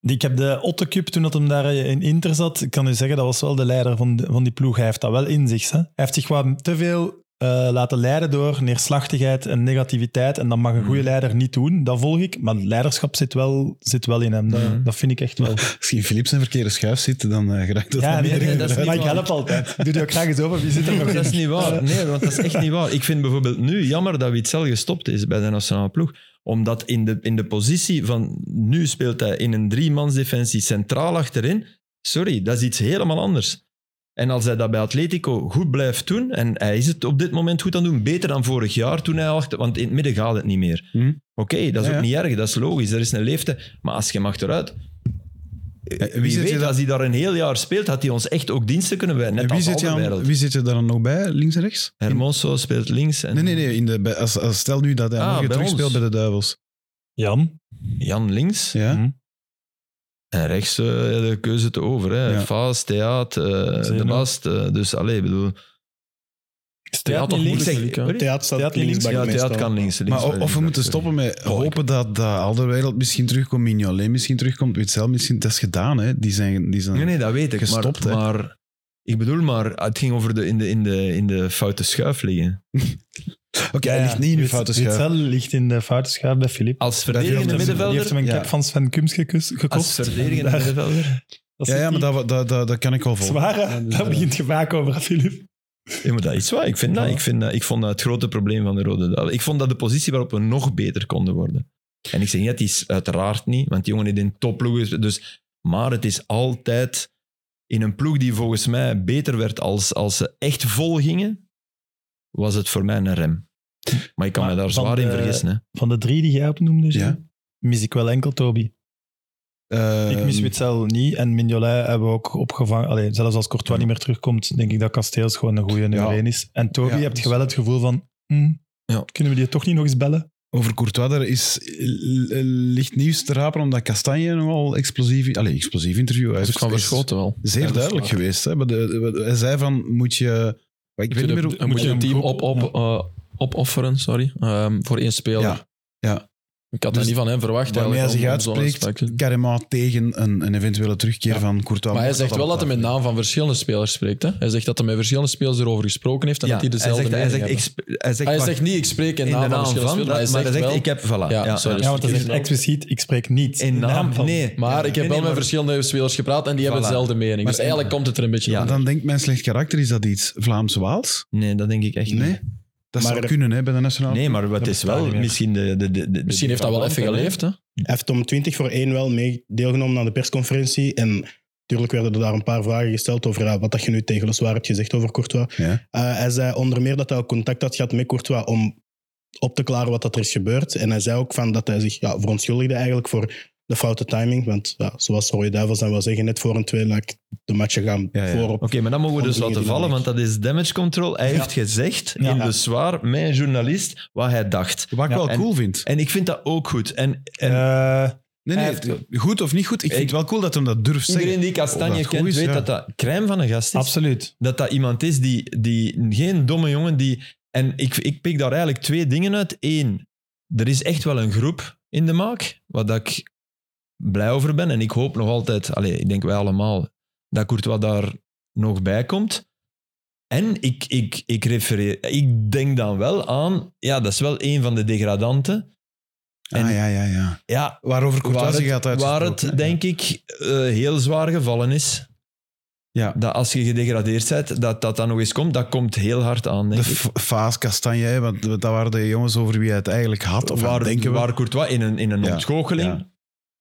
Die- Ik heb de Otto Cup toen dat hem daar eh, in Inter zat. Ik kan u zeggen, dat was wel de leider van, de- van die ploeg. Hij heeft dat wel in zich. Hè? Hij heeft zich wat te veel eh, laten leiden door neerslachtigheid en negativiteit. En dat mag een Mm. goede leider niet doen. Dat volg ik. Maar leiderschap zit wel, zit wel in hem. Dat, Mm. Mhm. dat vind ik echt wel. Als je in Filip zijn verkeerde schuif zit, dan eh geraakt dat ja, dan nee, iedereen nee, dat is eruit. niet maar ik waar. help altijd. Doe die ook graag eens over. Wie zit er nog niet. Dat is in? niet waar. Nee, want dat is echt niet waar. Ik vind bijvoorbeeld nu jammer dat Witzel gestopt is bij de nationale ploeg. Omdat in de, in de positie van... Nu speelt hij in een driemansdefensie centraal achterin. Sorry, dat is iets helemaal anders. En als hij dat bij Atletico goed blijft doen, en hij is het op dit moment goed aan het doen, beter dan vorig jaar toen hij achter... Want in het midden gaat het niet meer. Hm? Oké, dat is Ja, ja. ook niet erg, dat is logisch. Er is een leeftijd, maar als je hem achteruit... Wie, wie zit je weet, dan- als hij daar een heel jaar speelt, had hij ons echt ook diensten kunnen bij. Net En wie als zit, je Alderweireld. aan, wie zit je daar dan nog bij, links en rechts? Hermoso speelt links en Nee, nee, nee. In de, bij- als, als, stel nu dat hij Ah, morgen bij terug ons. speelt bij de Duivels. Jan? Jan links. Ja? Hm. En rechts eh, de keuze te over. Hè. Ja. Faas, Theaat, eh, De Zeno. Bast. eh, dus allee, ik bedoel... Theaat toch niet moeilijk, links? zeg- Luc, hè? sorry? Theater staat Theater links? linksback Ja, Theaat meestal. kan links. links Maar o- wel, of we links, moeten sorry. stoppen met Oh, ik- hopen dat, dat Alderweireld misschien terugkomt, Mignolet misschien terugkomt, Witzel misschien. Dat is gedaan, hè. Die zijn... Die zijn Nee, nee, dat weet ik. Gestopt, hè. maar, maar ik bedoel, maar het ging over de, in, de, in, de, in de foute schuif liggen. Oké, hij ligt niet in uw foute schuif. Witzel ligt in de foute schuif bij Filip. Als heeft verdedigende hem- Die heeft hem middenvelder... een Ja. cap van Sven Kums gekus- Als gekost. verdedigende Daar- middenvelder... dat Ja, zit ja, maar die- dat, dat, dat, dat eh, kan ik al volgen. Zwaar, hè? daar begint je vaak over, hè, Filip. Ja, maar dat is waar. Ik, vind dat, ik, vind dat, ik vond dat het grote probleem van de Rode Duivel. Ik vond dat de positie waarop we nog beter konden worden. En ik zeg niet, dat is uiteraard niet, want die jongen is in topploeg. is- Dus, maar het is altijd in een ploeg die volgens mij beter werd als, als ze echt vol gingen, was het voor mij een rem. Maar ik kan Maar me daar van zwaar in de- vergissen. Hè. Van de drie die jij opnoemde, Ja. Jean, mis ik wel enkel Toby. Eh, ik mis Witzel niet en Mignolet hebben we ook opgevangen. Allee, zelfs als Courtois niet meer terugkomt, denk ik dat Kasteels gewoon een goede nummer Ja. 1 is. En Toby, Ja, heb dus- je wel het gevoel van, hm, Ja. kunnen we die toch niet nog eens bellen? Over Courtois, daar is l- l- licht nieuws te rapen, omdat Castagne nogal explosief... Allee, explosief interview. Hij Dat is is gewoon is verschoten wel. Zeer Ja, dat is duidelijk waar. geweest. Hè? Maar de- de- hij zei van, moet je... maar Ik weet niet meer hoe... Dan moet je een moet je team hem op, op, eh, opofferen, sorry, ehm, voor één speler. Ja, ja. Ik had Dus dat niet van hem verwacht. Waarmee hij zich eigenlijk, om- om zo'n uitspreekt, uitspraak. Carrément tegen een, een eventuele terugkeer van Courtois. Maar hij Moet zegt wel dat hij dan- met naam van verschillende spelers spreekt. Hè? Hij zegt dat hij met verschillende spelers erover gesproken heeft en Ja, dat die hij dezelfde zegt, hij mening zegt, ik, hebben. sp- hij zegt, Hij wacht, zegt niet, ik spreek in in de naam van naam verschillende van, spelers, maar hij maar hij zegt zegt, wel... ik heb... Voilà, ja, Ja, ja, sorry. Ja, want dat Dus is ik- echt expliciet, ik spreek niet. In naam, van. nee. Maar Ja, ik nee, heb wel nee, met maar- verschillende spelers gepraat en die hebben Voilà. dezelfde mening. Maar- dus eigenlijk komt het er een beetje Ja. van. Want dan denkt mijn slecht karakter, is dat iets Vlaams-Waals? Nee, dat denk ik echt niet. Nee. Dat Maar zou de- kunnen hè, bij de nationale... Nee, maar wat Dat is bestaat wel niet meer. misschien de... de, de, de- Misschien heeft dat wel even geleefd. Hè? Hij heeft om 20 voor 1 wel mee deelgenomen aan de persconferentie. En het Tuurlijk werden er daar een paar vragen gesteld over ja, wat dat je nu tegen Le Soir hebt gezegd over Courtois. Ja. Eh, hij zei onder meer dat hij ook contact had gehad met Courtois om op te klaren wat dat er is gebeurd. En hij zei ook van dat hij zich ja, verontschuldigde eigenlijk voor de foute timing. Want ja, zoals Roy Duivels dan wel zeggen, net voor een twee like, de matchen gaan Ja, ja. voorop. Oké, maar dat mogen we Van dus dingen laten die vallen, dan want dat is damage control. Hij Ja. heeft gezegd Ja. in de zwaar, mijn journalist, wat hij dacht. Wat ik Ja, wel en- cool vind. En ik vind dat ook goed. En, en Eh, Nee, nee, hij heeft- goed of niet goed, ik vind Ik- het wel cool dat hem dat durft iedereen zeggen. die Of Kastanje dat goed kent, is, weet ja. dat dat crème van een gast is. absoluut. Dat dat iemand is die, die geen domme jongen die. En ik, ik pik daar eigenlijk twee dingen uit. Eén, er is echt wel een groep in de maak, wat dat ik blij over ben. En ik hoop nog altijd, allez, ik denk wij allemaal, dat Courtois daar nog bij komt. En ik, ik, ik, refereer, ik denk dan wel aan, ja, dat is wel een van de degradanten. En Ah, ja, ja, ja. ja, Waarover waar Courtois zich had het, waar uitgesproken. het denk ik eh, heel zwaar gevallen is. Ja. Dat als je gedegradeerd bent, dat dat dan nog eens komt, dat komt heel hard aan, denk De ik. F- Faas, Kastanje, hè, want dat waren de jongens over wie hij het eigenlijk had. Of waar, denken we. waar Courtois in een, in een Ja, ontgoocheling. ja.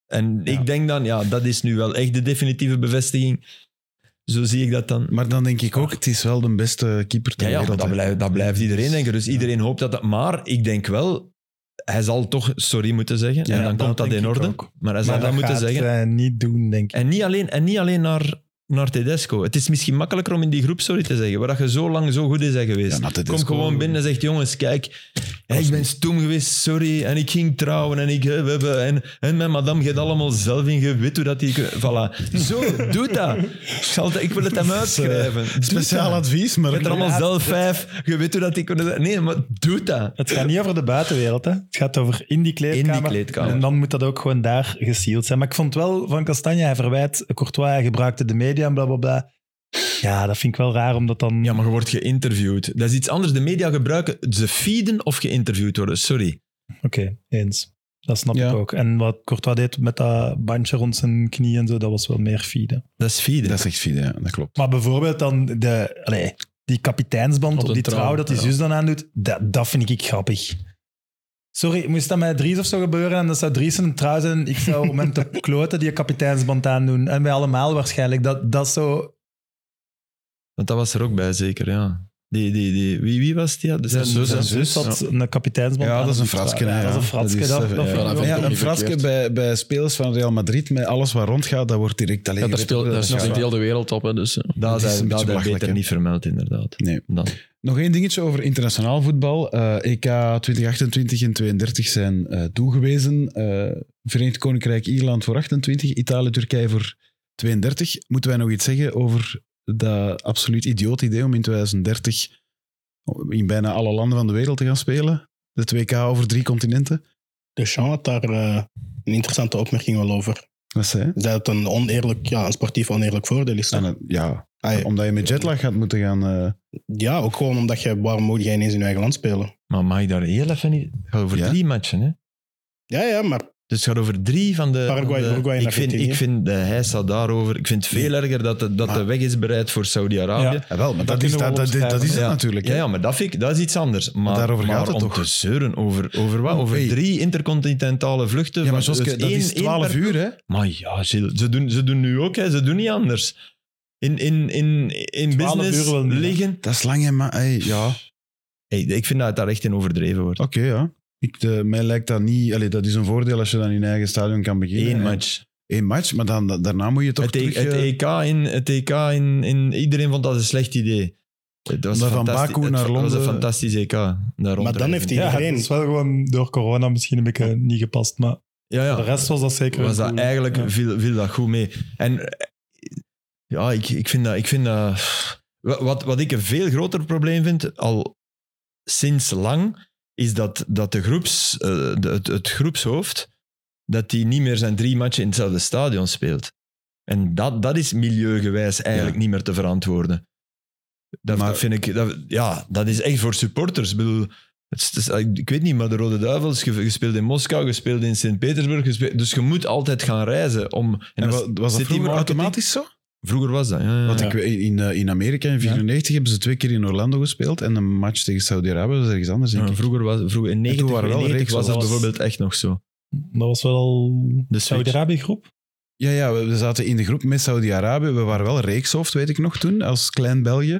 En Ja. ik denk dan, ja, dat is nu wel echt de definitieve bevestiging. Zo zie ik dat dan. Maar dan denk ik ook, het is wel de beste keeper ter Ja, ja maar wereld. dat, hè. blijft, dat blijft iedereen denken. Dus Ja. iedereen hoopt dat dat... Maar ik denk wel, hij zal toch sorry moeten zeggen. Ja, en dan dat komt dat denk in ik orde. ook. Maar hij zal Maar dat moeten gaat eh, zeggen. hij niet doen, denk ik. En niet alleen, en niet alleen naar, naar Tedesco. Het is misschien makkelijker om in die groep sorry te zeggen, waar dat je zo lang zo goed is bent geweest. Ja, naar Tedesco. eh, Kom gewoon binnen en zegt, jongens, kijk, hè, ik ben stom geweest, sorry, en ik ging trouwen, en ik... hè, we hebben- En, en mijn madame gaat allemaal zelf in, je weet hoe dat die... Voilà. Zo, doe dat. Ik, zal het- ik wil het hem uitschrijven. Doe eh, Speciaal dat. advies, maar Je bent er allemaal zelf vijf, je weet hoe dat die kunnen... Nee, maar doe dat. Het gaat niet over de buitenwereld, hè. het gaat over in die kleedkamer. In die kleedkamer. En dan moet dat ook gewoon daar gesield zijn. Maar ik vond wel van Castanje, hij verwijt Courtois, hij gebruikte de media en bla bla bla. Ja, dat vind ik wel raar, omdat dan... Ja, maar je wordt geïnterviewd. Dat is iets anders. De media gebruiken ze feeden of geïnterviewd worden. Sorry. Oké, eens. Dat snap Ja. ik ook. En wat Courtois deed met dat bandje rond zijn knie en zo, dat was wel meer feeden. Dat is feeden. Dat is echt fide, ja, dat klopt. Maar bijvoorbeeld dan de, allee, die kapiteinsband Op op de die trouw, trouw dat die ja. zus dan aandoet, dat, dat vind ik grappig. Sorry, moest dat met Dries of zo gebeuren en dat zou Dries een trouw zijn, ik zou om hem te kloten die kapiteinsband aandoen. En wij allemaal waarschijnlijk. Dat, dat is zo... Want dat was er ook bij, zeker, ja. Die, die, die, wie, wie was die? Ja, de zijn zus. zus, hè. hè? Zijn zus had een kapiteinsband Ja, aan dat is op een die fraske. trouw. hè, Ja, Dat is een fraske. is, dat, eh, dat ja, vind ik dat wel- vind Ja, ik een niet fraske verkeerd. bij, bij spelers van Real Madrid, met alles wat rondgaat, dat wordt direct alleen. Ja, daar speelt, daar springt heel de wereld op. Hè, dus, eh. Dat is een is beetje dat had hij belachelijk, beter hè. niet vermeld, inderdaad. Nee. Dan. Nog één dingetje over internationaal voetbal. Eh, EK 2028 en 32 zijn eh toegewezen. Eh, Verenigd Koninkrijk, Ierland voor 28, Italië, Turkije voor 32. Moeten wij nog iets zeggen over dat absoluut idioot idee om in 2030 in bijna alle landen van de wereld te gaan spelen? De 2K over drie continenten? Deschamps had daar eh, een interessante opmerking wel over. Wat zei Hij zei dat het een, oneerlijk, ja, een sportief oneerlijk voordeel is. hij? Ja, Ah, ja. omdat je met jetlag gaat moeten gaan... eh, Ja, ook gewoon omdat je, waarom moet jij ineens in je eigen land spelen? Maar mag ik daar heel even niet... Het gaat over Ja. drie matchen, hè? Ja, ja, maar Dus het gaat over drie van de... Paraguay, van de- Uruguay en ik vind, Argentinië. ik vind de heisa daarover... Ik vind het veel erger dat de, dat Maar- de weg is bereid voor Saudi-Arabië. Ja. ja, wel, maar Dat dat, is, kunnen we dat, dat, wel dat is het Ja. natuurlijk. Ja, hè. ja, maar dat, vind ik, dat is iets anders. Maar, daarover maar gaat het om toch? te zeuren over, over wat? Oh, Over hey. drie intercontinentale vluchten. Ja, maar van- Joske, dus dat één- is één 12 per- uur, hè? Maar ja, Gilles, ze doen, ze doen nu ook, hè. ze doen niet anders. In, in, in, in 12 business uur wel niet, hè. liggen. Dat is lang, hè, maar... hey, ja... Hey, ik vind dat het daar echt in overdreven wordt. Oké, ja. Ik, eh, mij lijkt dat niet... Allee, dat is een voordeel als je dan in eigen stadion kan beginnen. Eén En- match. Eén match, maar dan, da- daarna moet je toch Het, E- terug... het eh, EK, in, het EK in, in... Iedereen vond dat een slecht idee. Het was Omdat van fantastisch- Baku het naar was Londen- een fantastisch EK. daar dan rondrijden. heeft hij- Ja, het Iedereen. is wel gewoon door corona misschien een beetje niet gepast, maar Ja, ja. de rest was dat zeker was een dat goeie. eigenlijk Ja. viel, viel dat goed mee. En eh, ja, ik, ik vind dat. Ik vind dat wa- wat, wat ik een veel groter probleem vind, al sinds lang, is dat, dat de groeps, eh, de- het, het groepshoofd dat die niet meer zijn drie matchen in hetzelfde stadion speelt. En dat, dat is milieugewijs eigenlijk niet meer te verantwoorden. Dat, Maar- dat vind ik, dat, ja, dat is echt voor supporters. Ik bedoel, het is- het is- ik weet niet, maar de Rode Duivels, je, je speelt in Moskou, je speelt in Sint-Petersburg. je speelt- Dus je moet altijd gaan reizen. Om, en en als- wa- was dat City vroeger marketing- automatisch zo? Vroeger was dat, ja. ja, Want ja. ik, weet- in, eh, in Amerika in 1994 hebben ze twee keer in Orlando gespeeld en een match tegen Saudi-Arabië was ergens anders, denk Ja, ik. vroeger was, vroeger, in toen 90, waren in wel 90 reeks was dat als- bijvoorbeeld echt nog zo. Dat was wel al De switch. Saudi-Arabië groep. Ja, ja, we we zaten in de groep met Saudi-Arabië. We waren wel reekshoofd, weet ik nog, toen, als klein België.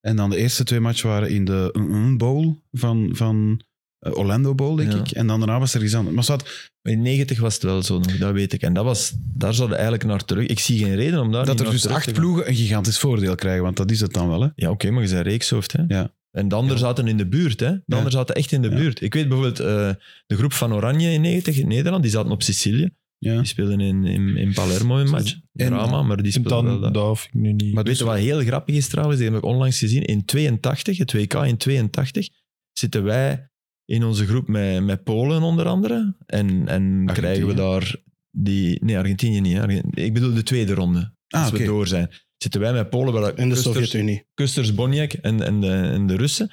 En dan de eerste twee matchen waren in de NN Bowl van, van eh, Orlando Bowl, denk Ja. Ah, ik. En dan daarna was er iets anders. Maar staat In 90 was het wel zo nog, dat weet ik. En dat was, daar zouden we eigenlijk naar terug. Ik zie geen reden om daar dat niet er naar dus terug acht te gaan. ploegen een gigantisch voordeel krijgen, want dat is het dan wel, hè? Ja, oké, maar je bent reekshoofd, hè. Ja. En de anderen zaten in de buurt, hè. De anderen zaten echt in de Ja. buurt. Ik weet bijvoorbeeld, eh, de groep van Oranje in 90 in Nederland, die zaten op Sicilië. Ja. Die speelden in, in, in Palermo een match. En- Drama, maar die En speelden wel dan, dat. dat hoef ik nu niet. Maar weet je wat heel grappig is trouwens? Die heb ik onlangs gezien. In 82, het WK in 82, zitten wij in onze groep met, met Polen onder andere. En, en krijgen we daar die... Nee, Argentinië niet. hè. Argen- Ik bedoel de tweede ronde. Ah, Als oké. we door zijn. Zitten wij met Polen, waar In de Kusters, Sovjet-Unie. Kusters Boniek en, en, de, en de Russen.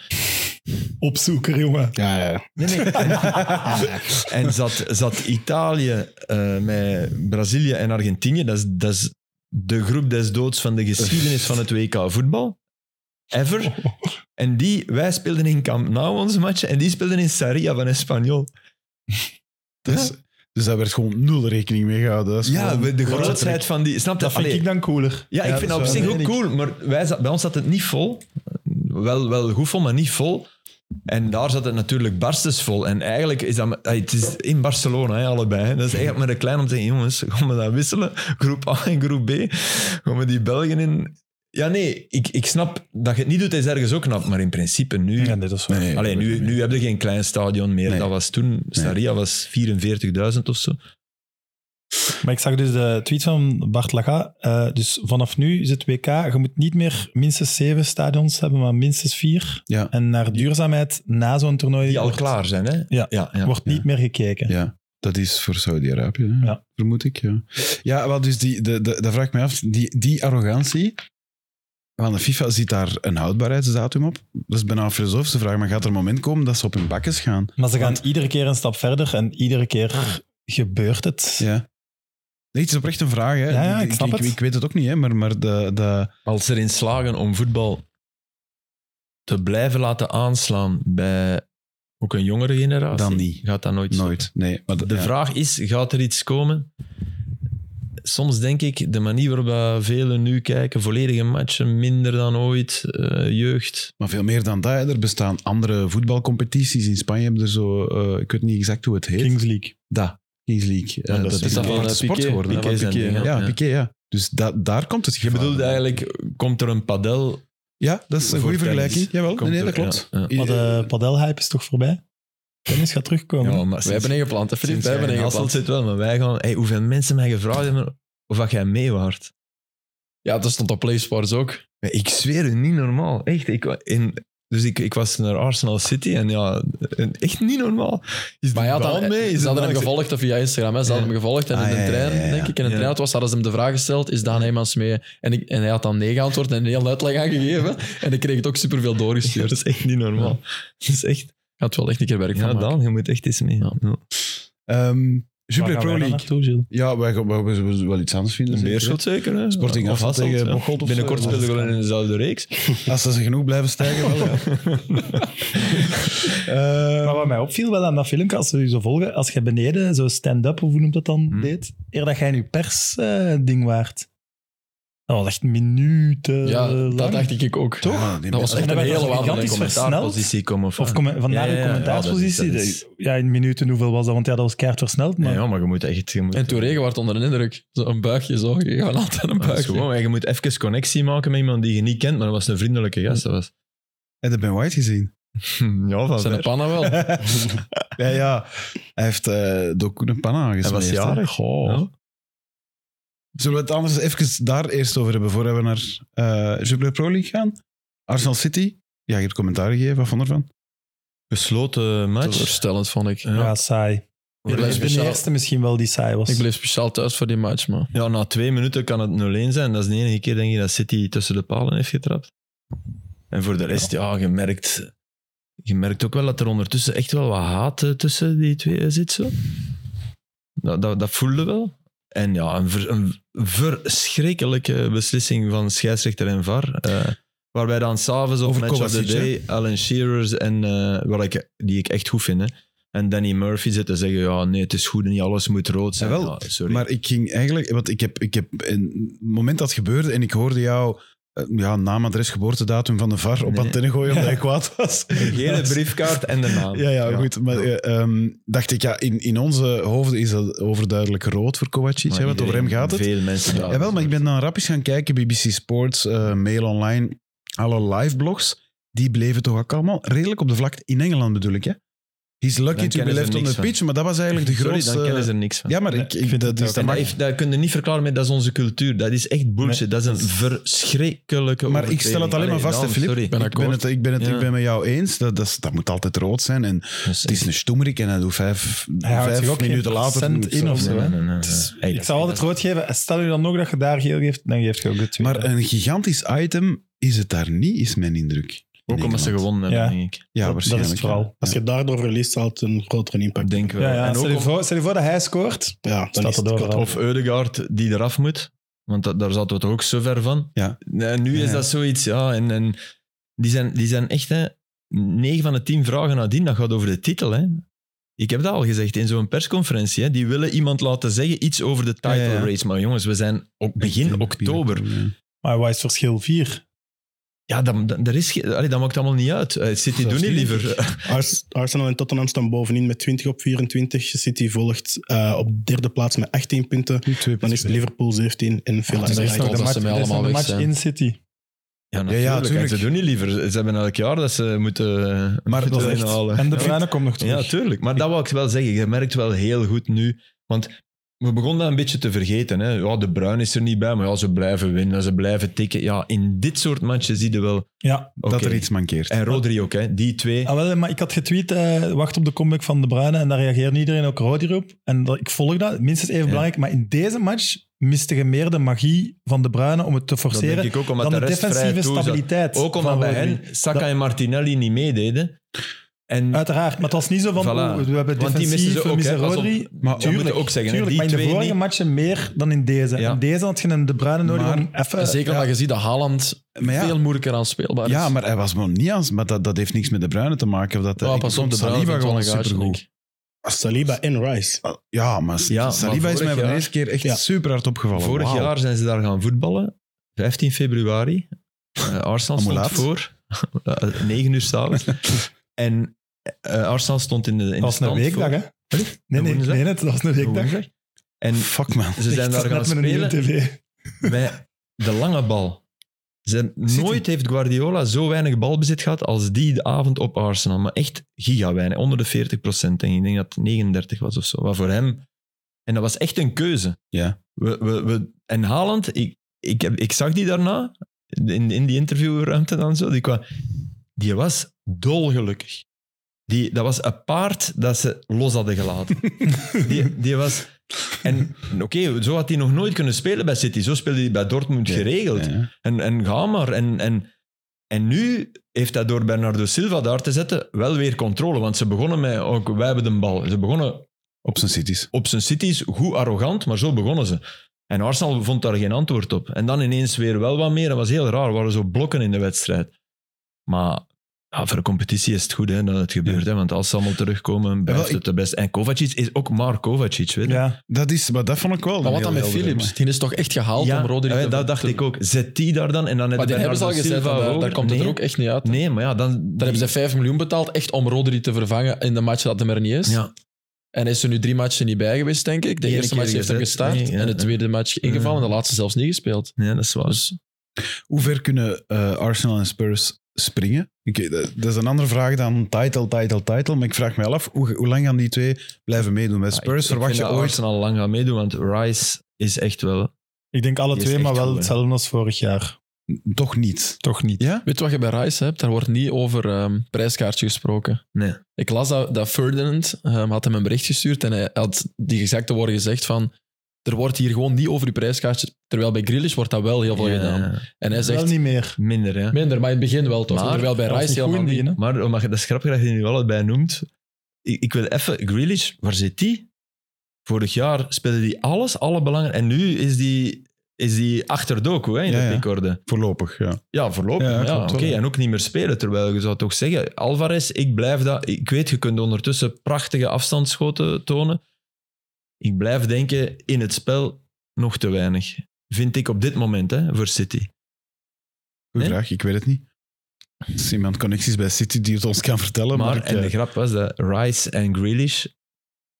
Opzoeken, jongen. Ja, ja, ja. Nee, nee. en zat, zat Italië eh, met Brazilië en Argentinië. Dat is, dat is de groep des doods van de geschiedenis van het WK voetbal. Ever. En die, wij speelden in Camp Nou onze matchen en die speelden in Sarria van Espanyol. Dus, dus daar werd gewoon nul rekening mee gehouden. Dat is Ja, gewoon- de dat is grootheid van die... Snap je? Dat vind Allee, ik dan cooler. Ja, ik vind dat op is zich waar. ook cool, maar wij zat, bij ons zat het niet vol. Wel, wel goed vol, maar niet vol. En daar zat het natuurlijk barstens vol. En eigenlijk is dat... maar- ey, Het is in Barcelona, hè, allebei. hè. Dat is eigenlijk maar een klein om te zeggen, jongens, gaan we dat wisselen? Groep A en groep B? Gaan we die Belgen in... Ja, nee, ik, ik snap dat je het niet doet, is ergens ook knap. Maar in principe nu... Ja, dit is waar. Nee. Alleen nu, nu heb je geen klein stadion meer. Nee. Dat was toen, Staria was 44.000 of zo. Maar ik zag dus de tweet van Bart Laga. eh, dus vanaf nu is het WK. Je moet niet meer minstens zeven stadions hebben, maar minstens vier. Ja. En naar duurzaamheid na zo'n toernooi Die al wordt, klaar zijn, hè? Ja. ja, ja. wordt Ja. niet meer gekeken. Ja, dat is voor Saudi-Arabië, hè? Ja. vermoed ik. Ja, ja wel, dus die, de, de, dat vraag ik mij af. Die, die arrogantie van de FIFA zit daar een houdbaarheidsdatum op. Dat is bijna een filosofische vraag, maar gaat er een moment komen dat ze op hun bakkes gaan? Maar ze gaan Want- iedere keer een stap verder en iedere keer gebeurt het. Ja. Nee, het is oprecht een vraag. Hè. Ja, ja, ik snap ik, het. ik weet het ook niet, hè, maar, maar de, de, Als ze erin slagen om voetbal te blijven laten aanslaan bij ook een jongere generatie, Dan niet. gaat dat nooit. nooit. Nee, maar de, stoppen. De ja. vraag is, gaat er iets komen? Soms denk ik, de manier waarop velen nu kijken, volledige matchen, minder dan ooit, eh, jeugd. Maar veel meer dan dat, hè. er bestaan andere voetbalcompetities. In Spanje hebben er zo, eh, ik weet niet exact hoe het heet. Kings League. Dat. Kings League. Eh, Ja, dat, is dat een van, aparte eh, sport Piqué? geworden. Ja, Piqué zijn Piqué, dingen, Ja, ja. Piqué, ja. Dus da- daar komt het Je gevaar. bedoelt vandaan. eigenlijk, komt er een padel? Ja, dat is een voor goede tennis? vergelijking. Jawel, Komt nee, nee, er- dat klopt. Eh, ja, ja. I- Maar de padelhype is toch voorbij? Tennis gaat terugkomen. Ja, maar Wij hebben ingeplant, hè, Filip? sinds Wij jij hebben in Hasselt ingeplant. zit wel, maar wij gaan... Hey, hoeveel mensen mij gevraagd hebben of dat jij mee waart? Ja, dat stond op PlaySports ook. Ja, Ik zweer het, niet normaal. Echt. Ik, wa- in, dus ik, ik was naar Arsenal City en ja, en echt niet normaal. Is Maar ja, de bal dan, mee? Is ze het nou- hadden hem langs- gevolgd of via Instagram. Hè. Ze hadden Ja. hem gevolgd en Ah, in ja, de ja, trein, ja, ja. denk ik. En in de Ja. trein was, hadden ze hem de vraag gesteld, is Daan Heijmans mee? En, ik, en hij had dan nee geantwoord en een heel uitleg aangegeven. En ik kreeg het ook superveel Ja, doorgestuurd. dat is echt niet normaal. Dat is echt... Ik had wel echt een keer werk Ja, van maken. dan, je moet echt eens mee. Ja. Ja. Ehm Jubilee Waar gaan Pro wij League. dan naartoe, Gilles? Ja, wij gaan, wij gaan we- we- wel iets anders vinden. Een zeker, beerschot zeker, hè? Sporting Of Hasselt tegen ja. Bocholt of zo. eh, Binnenkort Ja, spelen we dat wel in dezelfde reeks. hè. Als ze genoeg blijven stijgen, wel. ja. Eh, Ehm, Maar wat mij opviel wel aan dat filmpje, als we je zo volgen, als je beneden zo stand-up, of hoe noemt dat dan, Hmm. deed, eer dat jij nu persding waart. Dat was echt minuten Ja, lang. dat dacht ik ook. Eh, Toch? Ja, die Dat was mensen- echt En een dat werd hele toch wandeling. gigantisch commentaar. Commentaarpositie komen of... Of commen- vandaar Ja, ja, de ja, commentaarspositie. ja, Ja, dat is- dat in minuten hoeveel was dat? Want ja, dat was keihard versneld. Maar Nee, ja, maar je moet echt... Je moet, En toen regen werd onder een indruk. Zo een buigje zo. Je gaat altijd een Maar dat is buigje. gewoon, je moet even connectie maken met iemand die je niet kent, maar dat was een vriendelijke gast. Dat was... Heb je Ben White gezien? Ja, van Zijn ver. de pannen wel. ja, ja. Hij heeft eh ook een panna Hij aangesmeerd. was hè. jarig. Ja. Zullen we het anders even daar eerst over hebben, voordat we naar eh Jubilee Pro League gaan? Arsenal City. Ja, je hebt commentaar gegeven. Wat vond je ervan? Gesloten match. Teleurstellend, vond ik. ja, saai. Ik Ik bleef ben de speciaal- eerste misschien wel die saai was. Ik bleef speciaal thuis voor die match, man. Ja, na twee minuten kan het 0-1 zijn. Dat is de enige keer denk ik dat City tussen de palen heeft getrapt. En voor de rest, ja, je merkt, je merkt ook wel dat er ondertussen echt wel wat haat eh, tussen die twee zit. Zo. Dat, dat, dat voelde wel. En ja, een, ver- een verschrikkelijke beslissing van scheidsrechter en VAR. eh, waarbij dan s'avonds op Over Match of the Kovacic, hè? Day Alan Shearers en eh, wat ik, die ik echt goed vind, hè, En Danny Murphy zit te zeggen, ja, nee, het is goed, niet alles moet rood zijn. Jawel, Ja, sorry. Maar ik ging eigenlijk, want ik heb, ik heb een moment dat gebeurde en ik hoorde jou eh, ja, naam, adres, geboortedatum van de VAR op Nee. antenne gooien omdat ik kwaad was. Geen briefkaart en de naam. Ja, ja, goed. Maar eh, ehm, dacht ik, ja, in, in onze hoofden is dat overduidelijk rood voor Kovacic. Maar hè, Want over hem iedereen- gaat het. Veel mensen daar. Jawel, maar ik ben dan rap eens gaan kijken. BBC Sports, eh, Mail Online, alle live blogs. Die bleven toch ook allemaal redelijk op de vlakte. In Engeland bedoel ik, hè? He's lucky Dan to be kennen ze left er on the niks van. pitch. Maar dat was eigenlijk de Sorry, grootste... dan kennen ze er niks van. Ja, maar Nee, ik, ik ik vind dat, het dus ook- dat En mag dat, heeft, dat kun je niet verklaren met dat is onze cultuur. Dat is echt bullshit. dat is een verschrikkelijke Maar ik stel het alleen maar vast, hè, Filip. Ik ben, ben het, akkoord. ik, ben het, Ja. ik ben met jou eens. Dat, dat, is- dat moet altijd rood zijn. En het is een stoemerik en hij doet vijf, Hij houdt zich vijf ook geen minuten later... procent moet ik in zo- of zo. Nee, nee. Het is- Ik zou altijd rood geven. Stel je dan nog dat je daar geel geeft, dan geef je ook de twee. Maar eh, een gigantisch item is het daar niet, is mijn indruk. In Ook omdat ze Engeland. gewonnen hebben, Ja. denk ik. Ja, Dat- dat is het waarschijnlijk. ja. verhaal. Ja. Als je daardoor verliest, zal het een grotere impact Denk wel. ja, ja, En stel, ook je om- voor, stel je voor dat hij scoort. Ja, dan Staat is het het overal. Of Eudegaard die eraf moet. Want dat, daar zaten we toch ook zo ver van. Ja. En nu is Ja. dat zoiets, ja. En, en die, zijn, die zijn echt, hè, 9 van de 10 vragen nadien, dat gaat over de titel, hè. Ik heb dat al gezegd in zo'n persconferentie. Hè. Die willen iemand laten zeggen iets over de title Ja, ja, ja. race. Maar jongens, we zijn op begin oktober. Maar wat is het verschil? Vier. Ja, dat, dat, er is, ge- allee, dat maakt allemaal niet uit. Eh, City Dat doen is niet niet liever. Ars- Arsenal en Tottenham staan bovenin met 20 op 24. City volgt eh, op derde plaats met 18 punten. Nu twee Dan is punten. Liverpool 17 en Villa. het is echt bereikt. nog de dat match, ze mij dat dus is nog allemaal de weg match zijn. in City. Ja, natuurlijk. natuurlijk. tuurlijk. ze doen niet liever. Ze hebben elk jaar dat ze moeten, eh, Maar moeten dat is echt- inhalen. En de Ja. Bruyne komt nog terug. Ja, tuurlijk. Maar dat wou ik wel zeggen. Je merkt wel heel goed nu. Want we begonnen dat een beetje te vergeten. Hè. Ja, de Bruin is er niet bij, maar ja, ze blijven winnen. Ze blijven tikken. Ja, in dit soort matchen zie je wel... Ja. Dat oké. er iets mankeert. En Rodri ook, hè. Die twee. Ah, wel, maar ik had getweet, eh, wacht op de comeback van De Bruyne. En daar reageerde iedereen ook rood op. En dat, ik volg dat, minstens even belangrijk. Maar in deze match miste je meer de magie van De Bruyne om het te dat forceren denk ik ook, omdat dan de de rest vrij defensieve toe zat. stabiliteit. Ook omdat van bij Rodri. hen Saka Dat- en Martinelli niet meededen. En, Uiteraard, maar het was niet zo van, Voilà. oh, we hebben want die defensief, missen ze we ook. missen hè. Pas op. Rodri. Maar we Tuurlijk, moeten ook zeggen, hè, Tuurlijk, maar in die de twee vorige niet. matchen meer dan in deze. Ja. In deze had je een De Bruyne nodig Maar- om even... Zeker omdat je ziet dat Haaland Maar Eh, ja. veel moeilijker aanspeelbaar is. Ja, maar hij was nog niet aan. Maar dat, dat heeft niks met de bruine te maken. Of dat, eh, Ja, ik Oh, pas op, vond de Bruyne Saliba vond wel gewoon een gaatje, supergoed. Ah, denk ik. Saliba en Rice. Ja, maar Ja, maar Saliba is vorig mij voor de jaar- eerste keer echt Ja. super hard opgevallen. Vorig Wauw. jaar zijn ze daar gaan voetballen. 15 februari. Eh, Arsenal stond Allemaal voor. 9 uur s'avonds. en eh, Arsenal stond in de, in de Dat was een stand weekdag, voor- hè? Nee, nee, Woensdag? nee, dat was een weekdag. Woensdag. En Fuck man. ze zijn Ik daar zat gaan net met een nieuwe spelen tv. met de lange bal. Ze, nooit heeft Guardiola zo weinig balbezit gehad als die de avond op Arsenal. Maar echt gigaweinig, onder de 40 procent. Ik denk dat het 39 was of zo. Wat voor hem... En dat was echt een keuze. Ja. We, we, we, en Haaland, ik, ik, heb, ik zag die daarna, in, in die interviewruimte dan zo, die, kwam, die was dolgelukkig. Die, dat was een paard dat ze los hadden gelaten. die, die was... En oké, zo had hij nog nooit kunnen spelen bij City. Zo speelde hij bij Dortmund Nee, geregeld. Ja. En, en ga maar. En, en, en nu heeft hij door Bernardo Silva daar te zetten wel weer controle. Want ze begonnen met, ook, wij hebben de bal. Ze begonnen Op zijn cities. op zijn cities, goed arrogant, maar zo begonnen ze. En Arsenal vond daar geen antwoord op. En dan ineens weer wel wat meer. Dat was heel raar. Er waren zo blokken in de wedstrijd. Maar ja, voor de competitie is het goed hè, dat het gebeurt. Hè, want als ze allemaal terugkomen, blijft wel, ik- het de beste. En Kovacic is ook maar Kovacic. Weet je. Ja. Dat is, maar dat vond ik wel. Maar wat een dan heel met helder, Philips? maar- Die is toch echt gehaald Ja, om Rodri eh, te dat dacht ik ook. Zet die daar dan en dan Maar net die Bernardo hebben ze al gezegd, Silva van, daar, daar hoger. komt het nee, er ook echt niet uit. Daar Nee, maar ja, dan... hebben ze 5 miljoen betaald, echt om Rodri te vervangen in de match dat hem er niet is. ja, En hij is er nu drie matchen niet bij geweest, denk ik. De Eén eerste keer match heeft hij gezet, gestart nee, ja, en de ja. tweede match ingevallen en de laatste zelfs niet gespeeld. nee, dat is waar. Dus Hoe ver kunnen eh, Arsenal en Spurs springen? Oké, dat, dat is een andere vraag dan title, title, title. Maar ik vraag me wel af, hoe, hoe lang gaan die twee blijven meedoen? Ah, Bij Ja, ik- Spurs ik verwacht vind je dat ooit... Arsenal lang gaan meedoen, want Rice is echt wel... Ik denk alle Die is twee, maar echt wel goed, hè. hetzelfde als vorig jaar. Toch niet. Toch niet. Ja? Weet je wat je bij Rice hebt? Daar wordt niet over ehm, prijskaartje gesproken. Nee. Ik las dat, dat Ferdinand ehm, had hem een bericht gestuurd en hij had die exacte woorden gezegd van er wordt hier gewoon niet over die prijskaartje, terwijl bij Grealish wordt dat wel heel veel Ja, gedaan. En hij Wel zegt, niet meer. Minder, ja. minder, maar in het begin wel toch. Maar- terwijl bij Dat was Rice niet goed helemaal in het niet. begin, hè? Maar oh, maar dat is grappig dat je die nu allebei noemt. Ik, ik wil even... Grealish, waar zit die? Vorig jaar speelde die alles, alle belangen. En nu is die is die achter Doku hè, in Ja, de ja. recorden. Voorlopig, ja. Ja, voorlopig. Ja, Ja, klopt Oké, wel, ja. en ook niet meer spelen. Terwijl je zou toch zeggen, Alvarez, ik blijf dat... Ik weet, je kunt ondertussen prachtige afstandsschoten tonen. Ik blijf denken, in het spel nog te weinig. Vind ik op dit moment, hè, voor City. Goeie Nee? vraag, ik weet het niet. Er is iemand connecties bij City die het ons kan vertellen, maar, Maar, ik, en eh, de grap was dat Rice en Grealish,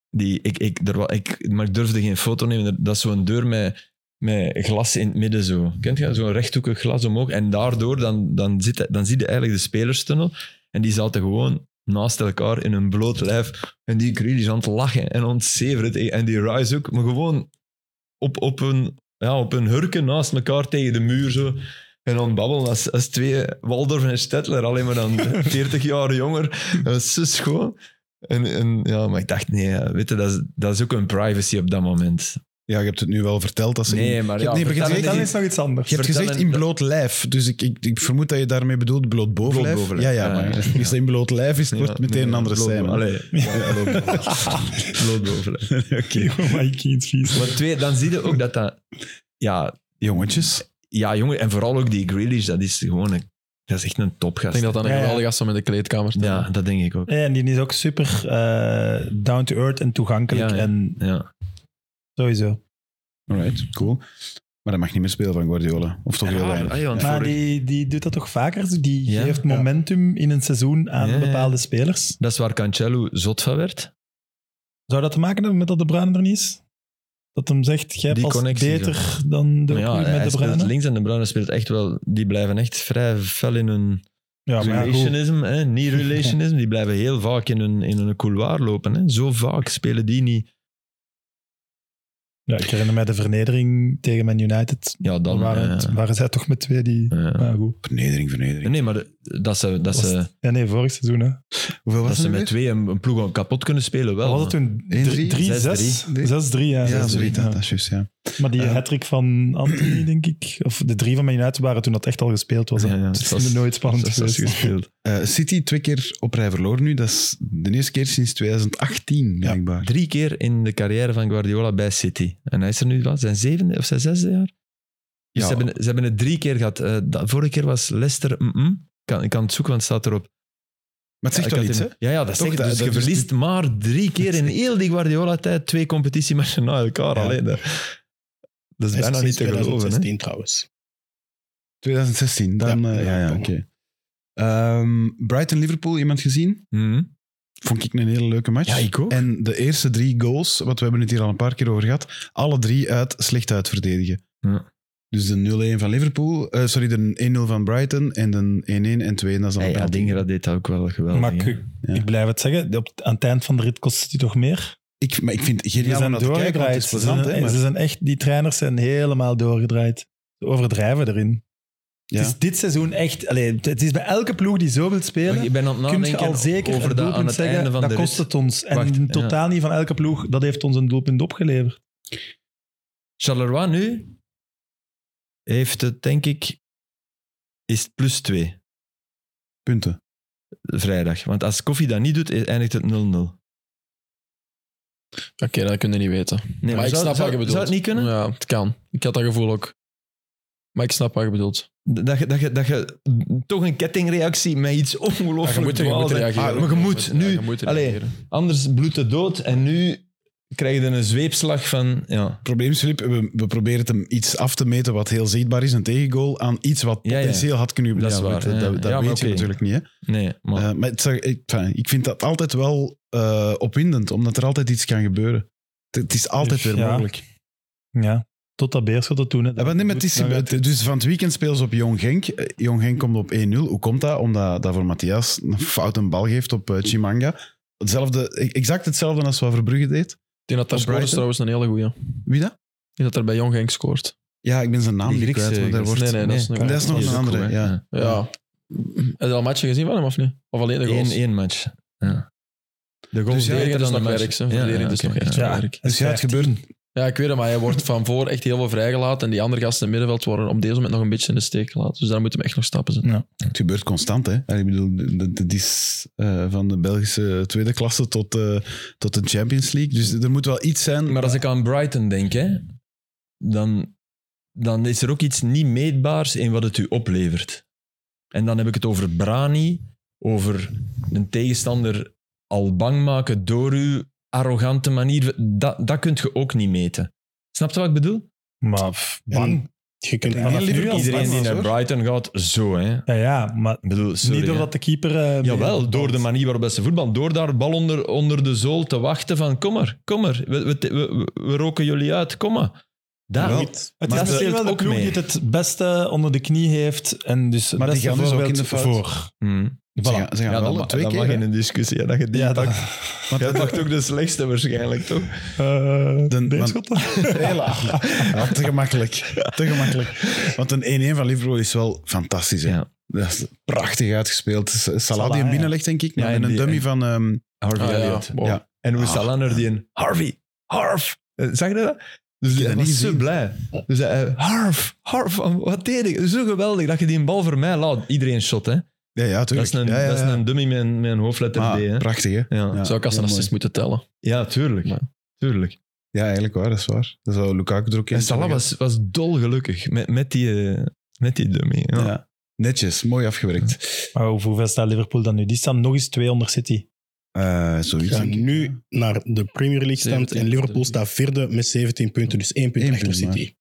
die, ik, ik, er, wa- ik, maar ik durfde geen foto nemen, dat is zo'n deur met, met glas in het midden zo. Kent je dat? Zo'n rechthoekig glas omhoog. En daardoor dan, dan, zit, dan zie je eigenlijk de spelerstunnel. En die zaten gewoon naast elkaar in een bloot lijf. En die Grealish aan het lachen en ontzeveren. En die Rice ook, maar gewoon op, op, een, ja, op een hurken naast elkaar tegen de muur zo. En dan babbelen als, als twee Waldorf en Stettler, alleen maar dan 40 jaar jonger. Dat dus was zo schoon. En, en, ja, maar ik dacht, nee, ja, weet je, dat is, dat is ook een privacy op dat moment. ja, je hebt het nu wel verteld. Dat ze Nee, maar je ja, hebt, nee, maar je vertel hebt het gezegd- Dat is nog iets anders. je hebt gezegd vertel in een- bloot lijf, dus ik, ik, ik vermoed dat je daarmee bedoelt bloot bovenlijf. Bloot bovenlijf, Ja, ja, ja, maar ja. als het in bloot lijf is, het Nee, wordt ja, meteen een nee, andere bloot- scène. Allee, ja, bloot boven. Bloot boven. Oké. my kind vies. Maar twee, dan zie je ook dat dat... Ja, Jongetjes, ja, jongen, en vooral ook die Grealish, dat is gewoon een... Dat is echt een topgast. denk dat dat een Ja, ja. geweldige gast is om in de kleedkamer te ja, dat denk ik ook. Ja, en die is ook super eh, down to earth en toegankelijk. Ja, ja. En Ja. sowieso. alright, cool. Maar dat mag niet meer spelen van Guardiola, of toch heel weinig. Ah, ja, want Maar vorig- die, die doet dat toch vaker? Die Ja. geeft momentum in een seizoen aan Ja, ja. bepaalde spelers. Dat is waar Cancelo zot van werd. Zou dat te maken hebben met dat De Bruyne er niet is? Dat hem zegt, jij Die past connectie, beter dan de Maar ja, ploeg hij met De speelt Bruyne? links en de Bruinen speelt echt wel... Die blijven echt vrij fel in hun Ja, maar ja, goed. relationism, hè, niet relationism. Die blijven heel vaak in hun, in hun couloir lopen. Hè. Zo vaak spelen die niet. Ja, ik herinner mij de vernedering tegen Man United. Ja, Dan dan... waren, het- eh, waren zij toch met twee die... eh. Ja, Ah, goed. Vernedering, vernedering. Nee, maar de- dat ze, dat Was ze, het- ja, nee, vorig seizoen. Hè. Hoeveel dat was ze het met met twee een, een ploeg kapot kunnen spelen, wel. Wat was het 1-3? toen? 3-6? 6-3. 6-3, ja. Ja, 6-3, zoiets, ja. dat is juist, ja. Maar die Eh. hattrick van Anthony, denk ik. Of de drie van Man United waren toen dat echt al gespeeld was. hè. Dus Ja, ja, het het is was- nooit spannend Zes- zes geweest. gespeeld. Eh, City twee keer op rij verloren nu, dat is de eerste keer sinds 2018, blijkbaar. Drie keer in de carrière van Guardiola bij City. En hij is er nu wat, zijn zevende of zijn zesde jaar? Dus Ja. ze, hebben, ze hebben het drie keer gehad. Eh, dat, vorige keer was Leicester... mm-mm. Ik kan, ik kan het zoeken, want het staat erop. Maar het zegt Ja, wel ik had iets, hè? in- Ja, ja, dat Toch, zegt dat- dus dat Je is- verliest maar drie keer in heel die Guardiola-tijd twee competitiematchen na elkaar. Ja. Alleen, dat, dat is bijna niet te geloven. Hè? 2016 trouwens. 2016, dan... Ja, eh, ja, ja, ja, oké. Ehm, Brighton-Liverpool, iemand gezien? Mhm. Vond ik een hele leuke match. Ja, ik ook. En de eerste drie goals, want we hebben het hier al een paar keer over gehad, alle drie uit slecht uitverdedigen. Ja. Dus de 0-1 van Liverpool, eh, sorry, de 1-0 van Brighton en de 1-1 en 2 en dat is dan Hey, een ja, penalty. Dingra deed dat ook wel geweldig. Maar hè. ik, Ja. ik blijf het zeggen, op, aan het eind van de rit kost het die toch meer. ik, maar ik vind het Die geniaal om zijn naar te kijken, want het doorgedraaid. is Ze plezant. hè, zijn, maar- ze zijn echt, die trainers zijn helemaal doorgedraaid. Ze overdrijven erin. Ja. Het is dit seizoen echt... Allee, het- het is bij elke ploeg die zo wil Oh, Maar ik spelen... ben aan het Kun je nadenken al zeker over een dat aan doelpunt het zeggen, einde van dat de kost rit. het ons. En Wacht, in ja. totaal niet van elke ploeg, dat heeft ons een doelpunt opgeleverd. Charleroi nu heeft het, denk ik, is het plus 2 punten. vrijdag. Want als Koffie dat niet doet, eindigt het 0-0. Nee, Oké, dat kun je niet weten. maar, maar ik zou, snap zou- wat je bedoelt. Zou het niet kunnen? Ja, het kan. Ik had dat gevoel ook. Maar ik snap wat je bedoelt. Dat, je, dat, je, dat je toch een kettingreactie met iets Ja, je ongelooflijk moet, je moet dwaals- reageren. Ah, maar je moet Ja, nu, je moet Allee, reageren. anders bloedt het dood. En nu krijg je een zweepslag van... Ja, Het probleem is, Filip, we, we proberen het hem iets af te meten wat heel zichtbaar is, een tegengoal, aan iets wat Ja, ja. potentieel had kunnen Dat is Ja, waar, want ja, ja. Dat, dat Ja, maar weet je oké. natuurlijk niet. Hè? nee. Maar, Eh, maar het is- ik, enfin, ik vind dat altijd wel eh, opwindend, omdat er altijd iets kan gebeuren. Het, het is altijd weer Dus Ja. mogelijk. Ja, tot dat beerschot dat toen. hè. Ja, maar nee, maar het is, Dan gaat- het- dus van het weekend spelen ze op Jong Genk. Eh, Jong Genk komt op 1-0. Hoe komt dat? Omdat dat voor Matthias een fout een bal geeft op eh, Chimanga. Hetzelfde, exact hetzelfde als wat Verbrugge deed. Ik denk dat daar Op scoort is Brighton? trouwens een hele goeie. Ik Wie dat? denk dat er bij Jong Genk scoort. Ja, ik ben zijn naam Die niet Griekse kwijt. Maar daar gast. wordt, Nee, nee, dat is nog- dat is nog Die een ook andere. goed, hè. ja. Ja. Heb je al matchen gezien van hem of niet? Of alleen de goals? Eén, één match. Ja. De goal Dus ja, beter dat is dan de nog match. werk. hè. Verdediging is nog oké, echt ja. veel werk. Dus ja, het gebeurt. Ja, ik weet het, maar hij wordt van voor echt heel veel vrijgelaten. En die andere gasten in het middenveld worden op deze moment nog een beetje in de steek gelaten. Dus daar moeten we echt nog stappen zetten. Het gebeurt constant, hè? Allee, Ik bedoel, dat is eh, van de Belgische tweede klasse tot, eh, tot de Champions League. Dus er moet wel iets zijn. Maar als ik aan Brighton denk, hè, dan dan is er ook iets niet meetbaars in wat het u oplevert. En dan heb ik het over brani, over een tegenstander al bang maken door uw arrogante manier. Dat, dat kunt je ook niet meten. Snap je wat ik bedoel? Maar pff, bang. Je kunt Ja, vanaf nu Liverpool- al Iedereen die bang was, naar hoor. Brighton gaat, zo hè. Ik Ja, ja maar bedoel, sorry, niet hè. doordat de keeper... eh, Jawel, mee- door de manier waarop ze voetbal, door daar bal onder, onder de zool te wachten van kom maar, kom maar, we, we, we, we roken jullie uit, kom maar. Daar, Wel, Het Maar is dat misschien wel speelt de ook ploeg die mee. het het beste onder de knie heeft. En dus het Maar die beste gaan dus ook voorbeeld in de fout. voor. Hmm. Ze gaan, ze gaan wel Ja, dat, ma- op twee dat keer. mag hè. in een discussie. Ja, dat je die Ja, dat, pakt. Want- Jij pakt ook de slechtste waarschijnlijk, toch? De- Beerschot? Hela. Ja, te gemakkelijk. Te gemakkelijk. Want een 1-1 van Liverpool is wel fantastisch. Hè? Ja. Dat is prachtig uitgespeeld. S- Salah Salah, die hem ja. binnenlegt, denk ik. Ja, en en een die- dummy en- van... ehm, Harvey Ah, ja. Elliott. Wow. Ja. En hoe Ah. Salah naar die een Harvey, Harf. Eh, Zag je dat? Dus heb hij dat was niet zo gezien. blij. Dus hij, eh, Harf, Harf, wat deed ik? Zo geweldig dat je die een bal voor mij laat. Iedereen shot, hè? Ja, ja, Dat tuurlijk. is een, ja, ja, Dat is ja. een dummy met een, met een hoofdletter Ah, D, hè? prachtig, hè? Ja. Ja. Ja. Zou ik als een heel assist moeten tellen. tuurlijk. Ja. tuurlijk. Ja, eigenlijk waar, dat is waar. Dat zou Lukaku er ook in En Salah hebben was, was dolgelukkig met, met, die, eh, met die dummy. gehad. Ja. Ja. Netjes, mooi afgewerkt. Maar hoe hoeveel staat Liverpool dan nu? Die staan nog eens 200 City. Eh zoiets. gaan denk ik. nu naar de Premier League stand 17 en Liverpool punten. staat vierde met 17 punten, dus één punt Eén achter punt maar. City.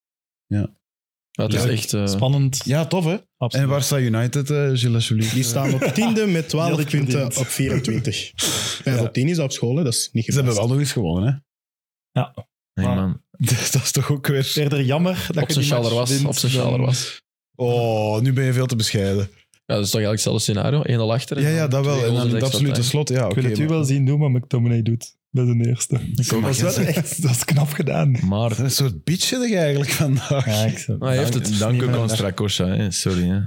Dat is Ja. echt... eh, Spannend. Ja, tof hè? En absoluut. waar staat United, eh Gilles alsjeblieft? Die staan op tiende met 12 Heel punten verdiend. op 24. Vijf op 10 is dat op school, hè? dat is niet Ze hebben gepast. wel nog eens gewonnen, hè? Nee, Maar- man. Dus dat is toch ook weer... Verder jammer dat op zijn je die match sjaller was. wint Op zijn dan- sjaller was. Oh, nu ben je veel te bescheiden. Ja, dat is toch eigenlijk hetzelfde scenario. Eén al achter. en Ja, ja, dan dat wel. twee En goals dan in het de extra absolute time. slot. Ja, Ik wil het u wel zien doen, maar McTominay doet. Dat is de eerste. Dat is, wel echt, dat is knap gedaan. Maar Een soort bitchig eigenlijk vandaag. Ja, ik, Maar hij heeft het. dank dank niet ook meer aan Strakosha, hè. sorry. Hè.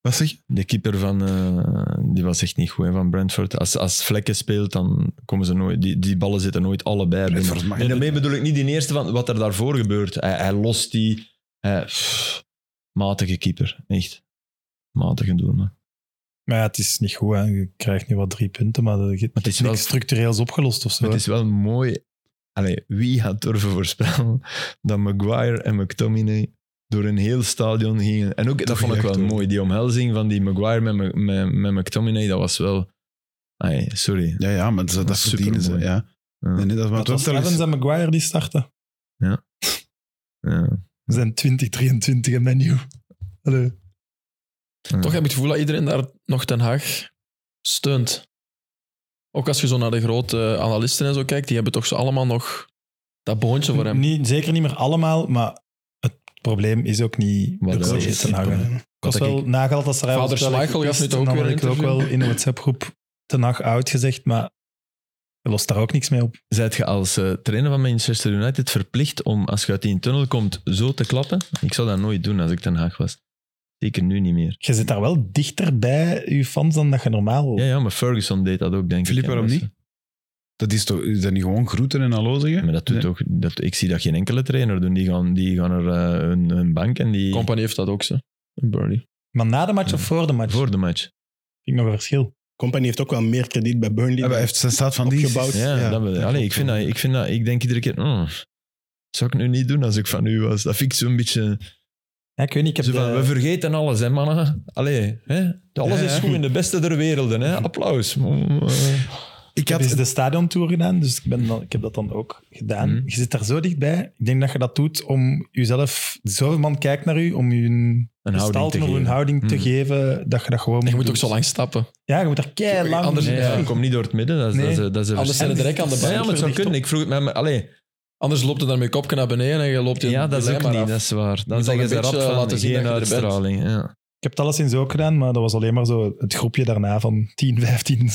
Wat zeg je? De keeper van, eh, die was echt niet goed hè, van Brentford. Als, als Vlekken speelt, dan komen ze nooit, die, die ballen zitten nooit allebei binnen. Brentford mag Nee, daarmee bedoel ik niet die eerste van wat er daarvoor gebeurt. Hij, hij lost die hij- pff, matige keeper, echt. Matige doelman. maar ja, het is niet goed. Hè. Je krijgt nu wat drie punten, maar er is het is niks wel- structureels opgelost of zo. Het is wel mooi. Allee, wie had durven voorspellen dat Maguire en McTominay door een heel stadion gingen. En ook, dat vond ik echt, wel hoor. mooi. Die omhelzing van die Maguire met, Mc- met, met McTominay, dat was wel... Allee, sorry. Ja, ja, maar dat, dat is verdienen ze. supermooi. Ja. Ja. Nee, nee, dat maar maar het toch was wel Evans eens- en Maguire die starten. Ja. We zijn 2023 en menu. Hallo. Toch heb ik het gevoel dat iedereen daar nog Den Haag steunt. Ook als je zo naar de grote eh, analisten en zo kijkt, die hebben toch zo allemaal nog dat boontje voor hem. Niet, zeker niet meer allemaal, maar het probleem is ook niet Wat de dat coach is, te hangen. Ik was Wat wel ik- na Galatasaray... Vader was het wel Schmeichel gepist gaf nu toch ook en dan weer had een ik wel interview? in de WhatsApp-groep ten Hag oud gezegd, maar je lost daar ook niks mee op. Zijt je als eh, trainer van Manchester United verplicht om, als je uit die tunnel komt, zo te klappen? Ik zou dat nooit doen als ik Den Haag was. Zeker nu niet meer. Je zit daar wel dichter bij je fans dan dat je normaal... Ja, ja maar Ferguson deed dat ook, denk ik. Filip, hè. waarom Dat is- niet? Dat is toch is dat niet gewoon groeten en hallo zeggen? eh, Maar dat doet Nee. toch, dat, ik zie dat geen enkele trainer doen. Die gaan, die gaan er eh, hun, hun bank en die... Company heeft dat ook, ze. In Burnley. Maar na de match of voor de match? Voor de match. Vind ik nog een verschil. Company heeft ook wel meer krediet bij Burnley. Ja, Ah, maar Hij heeft zijn staat van dienst. Opgebouwd. Ja, dat bedoel- Allee, ik, vind dat, ik vind dat... Ik denk iedere keer... "Mm, zou ik nu niet doen als ik van u was. Dat vind ik zo'n beetje... Ja, ik weet niet, ik zo heb van, de- we vergeten alles, hè, mannen. Allee, hè? Alles Ja, is ja. goed in de beste der werelden, hè. Applaus. Mm, eh. Ik Ik had heb eens Dus de stadiontour gedaan, dus ik, ben dan, ik heb dat dan ook gedaan. Mhm. Je zit daar zo dichtbij. Ik denk dat je dat doet om jezelf... Zoveel man kijkt naar u om je een Een houding te gestalte of een geven. houding te Mhm. geven, dat je dat gewoon En je moet doen. ook zo lang stappen. Ja, je moet daar kei lang... Anders- Nee, ja, Ja. ik kom niet door het midden. Dat is, Nee. dat is, dat is een Anders zijn verschil. er direct aan Ja, de baan. ja, maar het zou kunnen. Ik vroeg het mij... Maar, allee, Anders loopt het dan met je kopje naar beneden en je loopt in ja, dat is de ook lijn maar niet. af. Dat is waar. Dan al zeggen een ze rap beetje, van, eh, laten zien geen dat je er bent. uitstraling. Ja. Ik heb het alleszins ook gedaan, maar dat was alleen maar zo het groepje daarna van 10, 15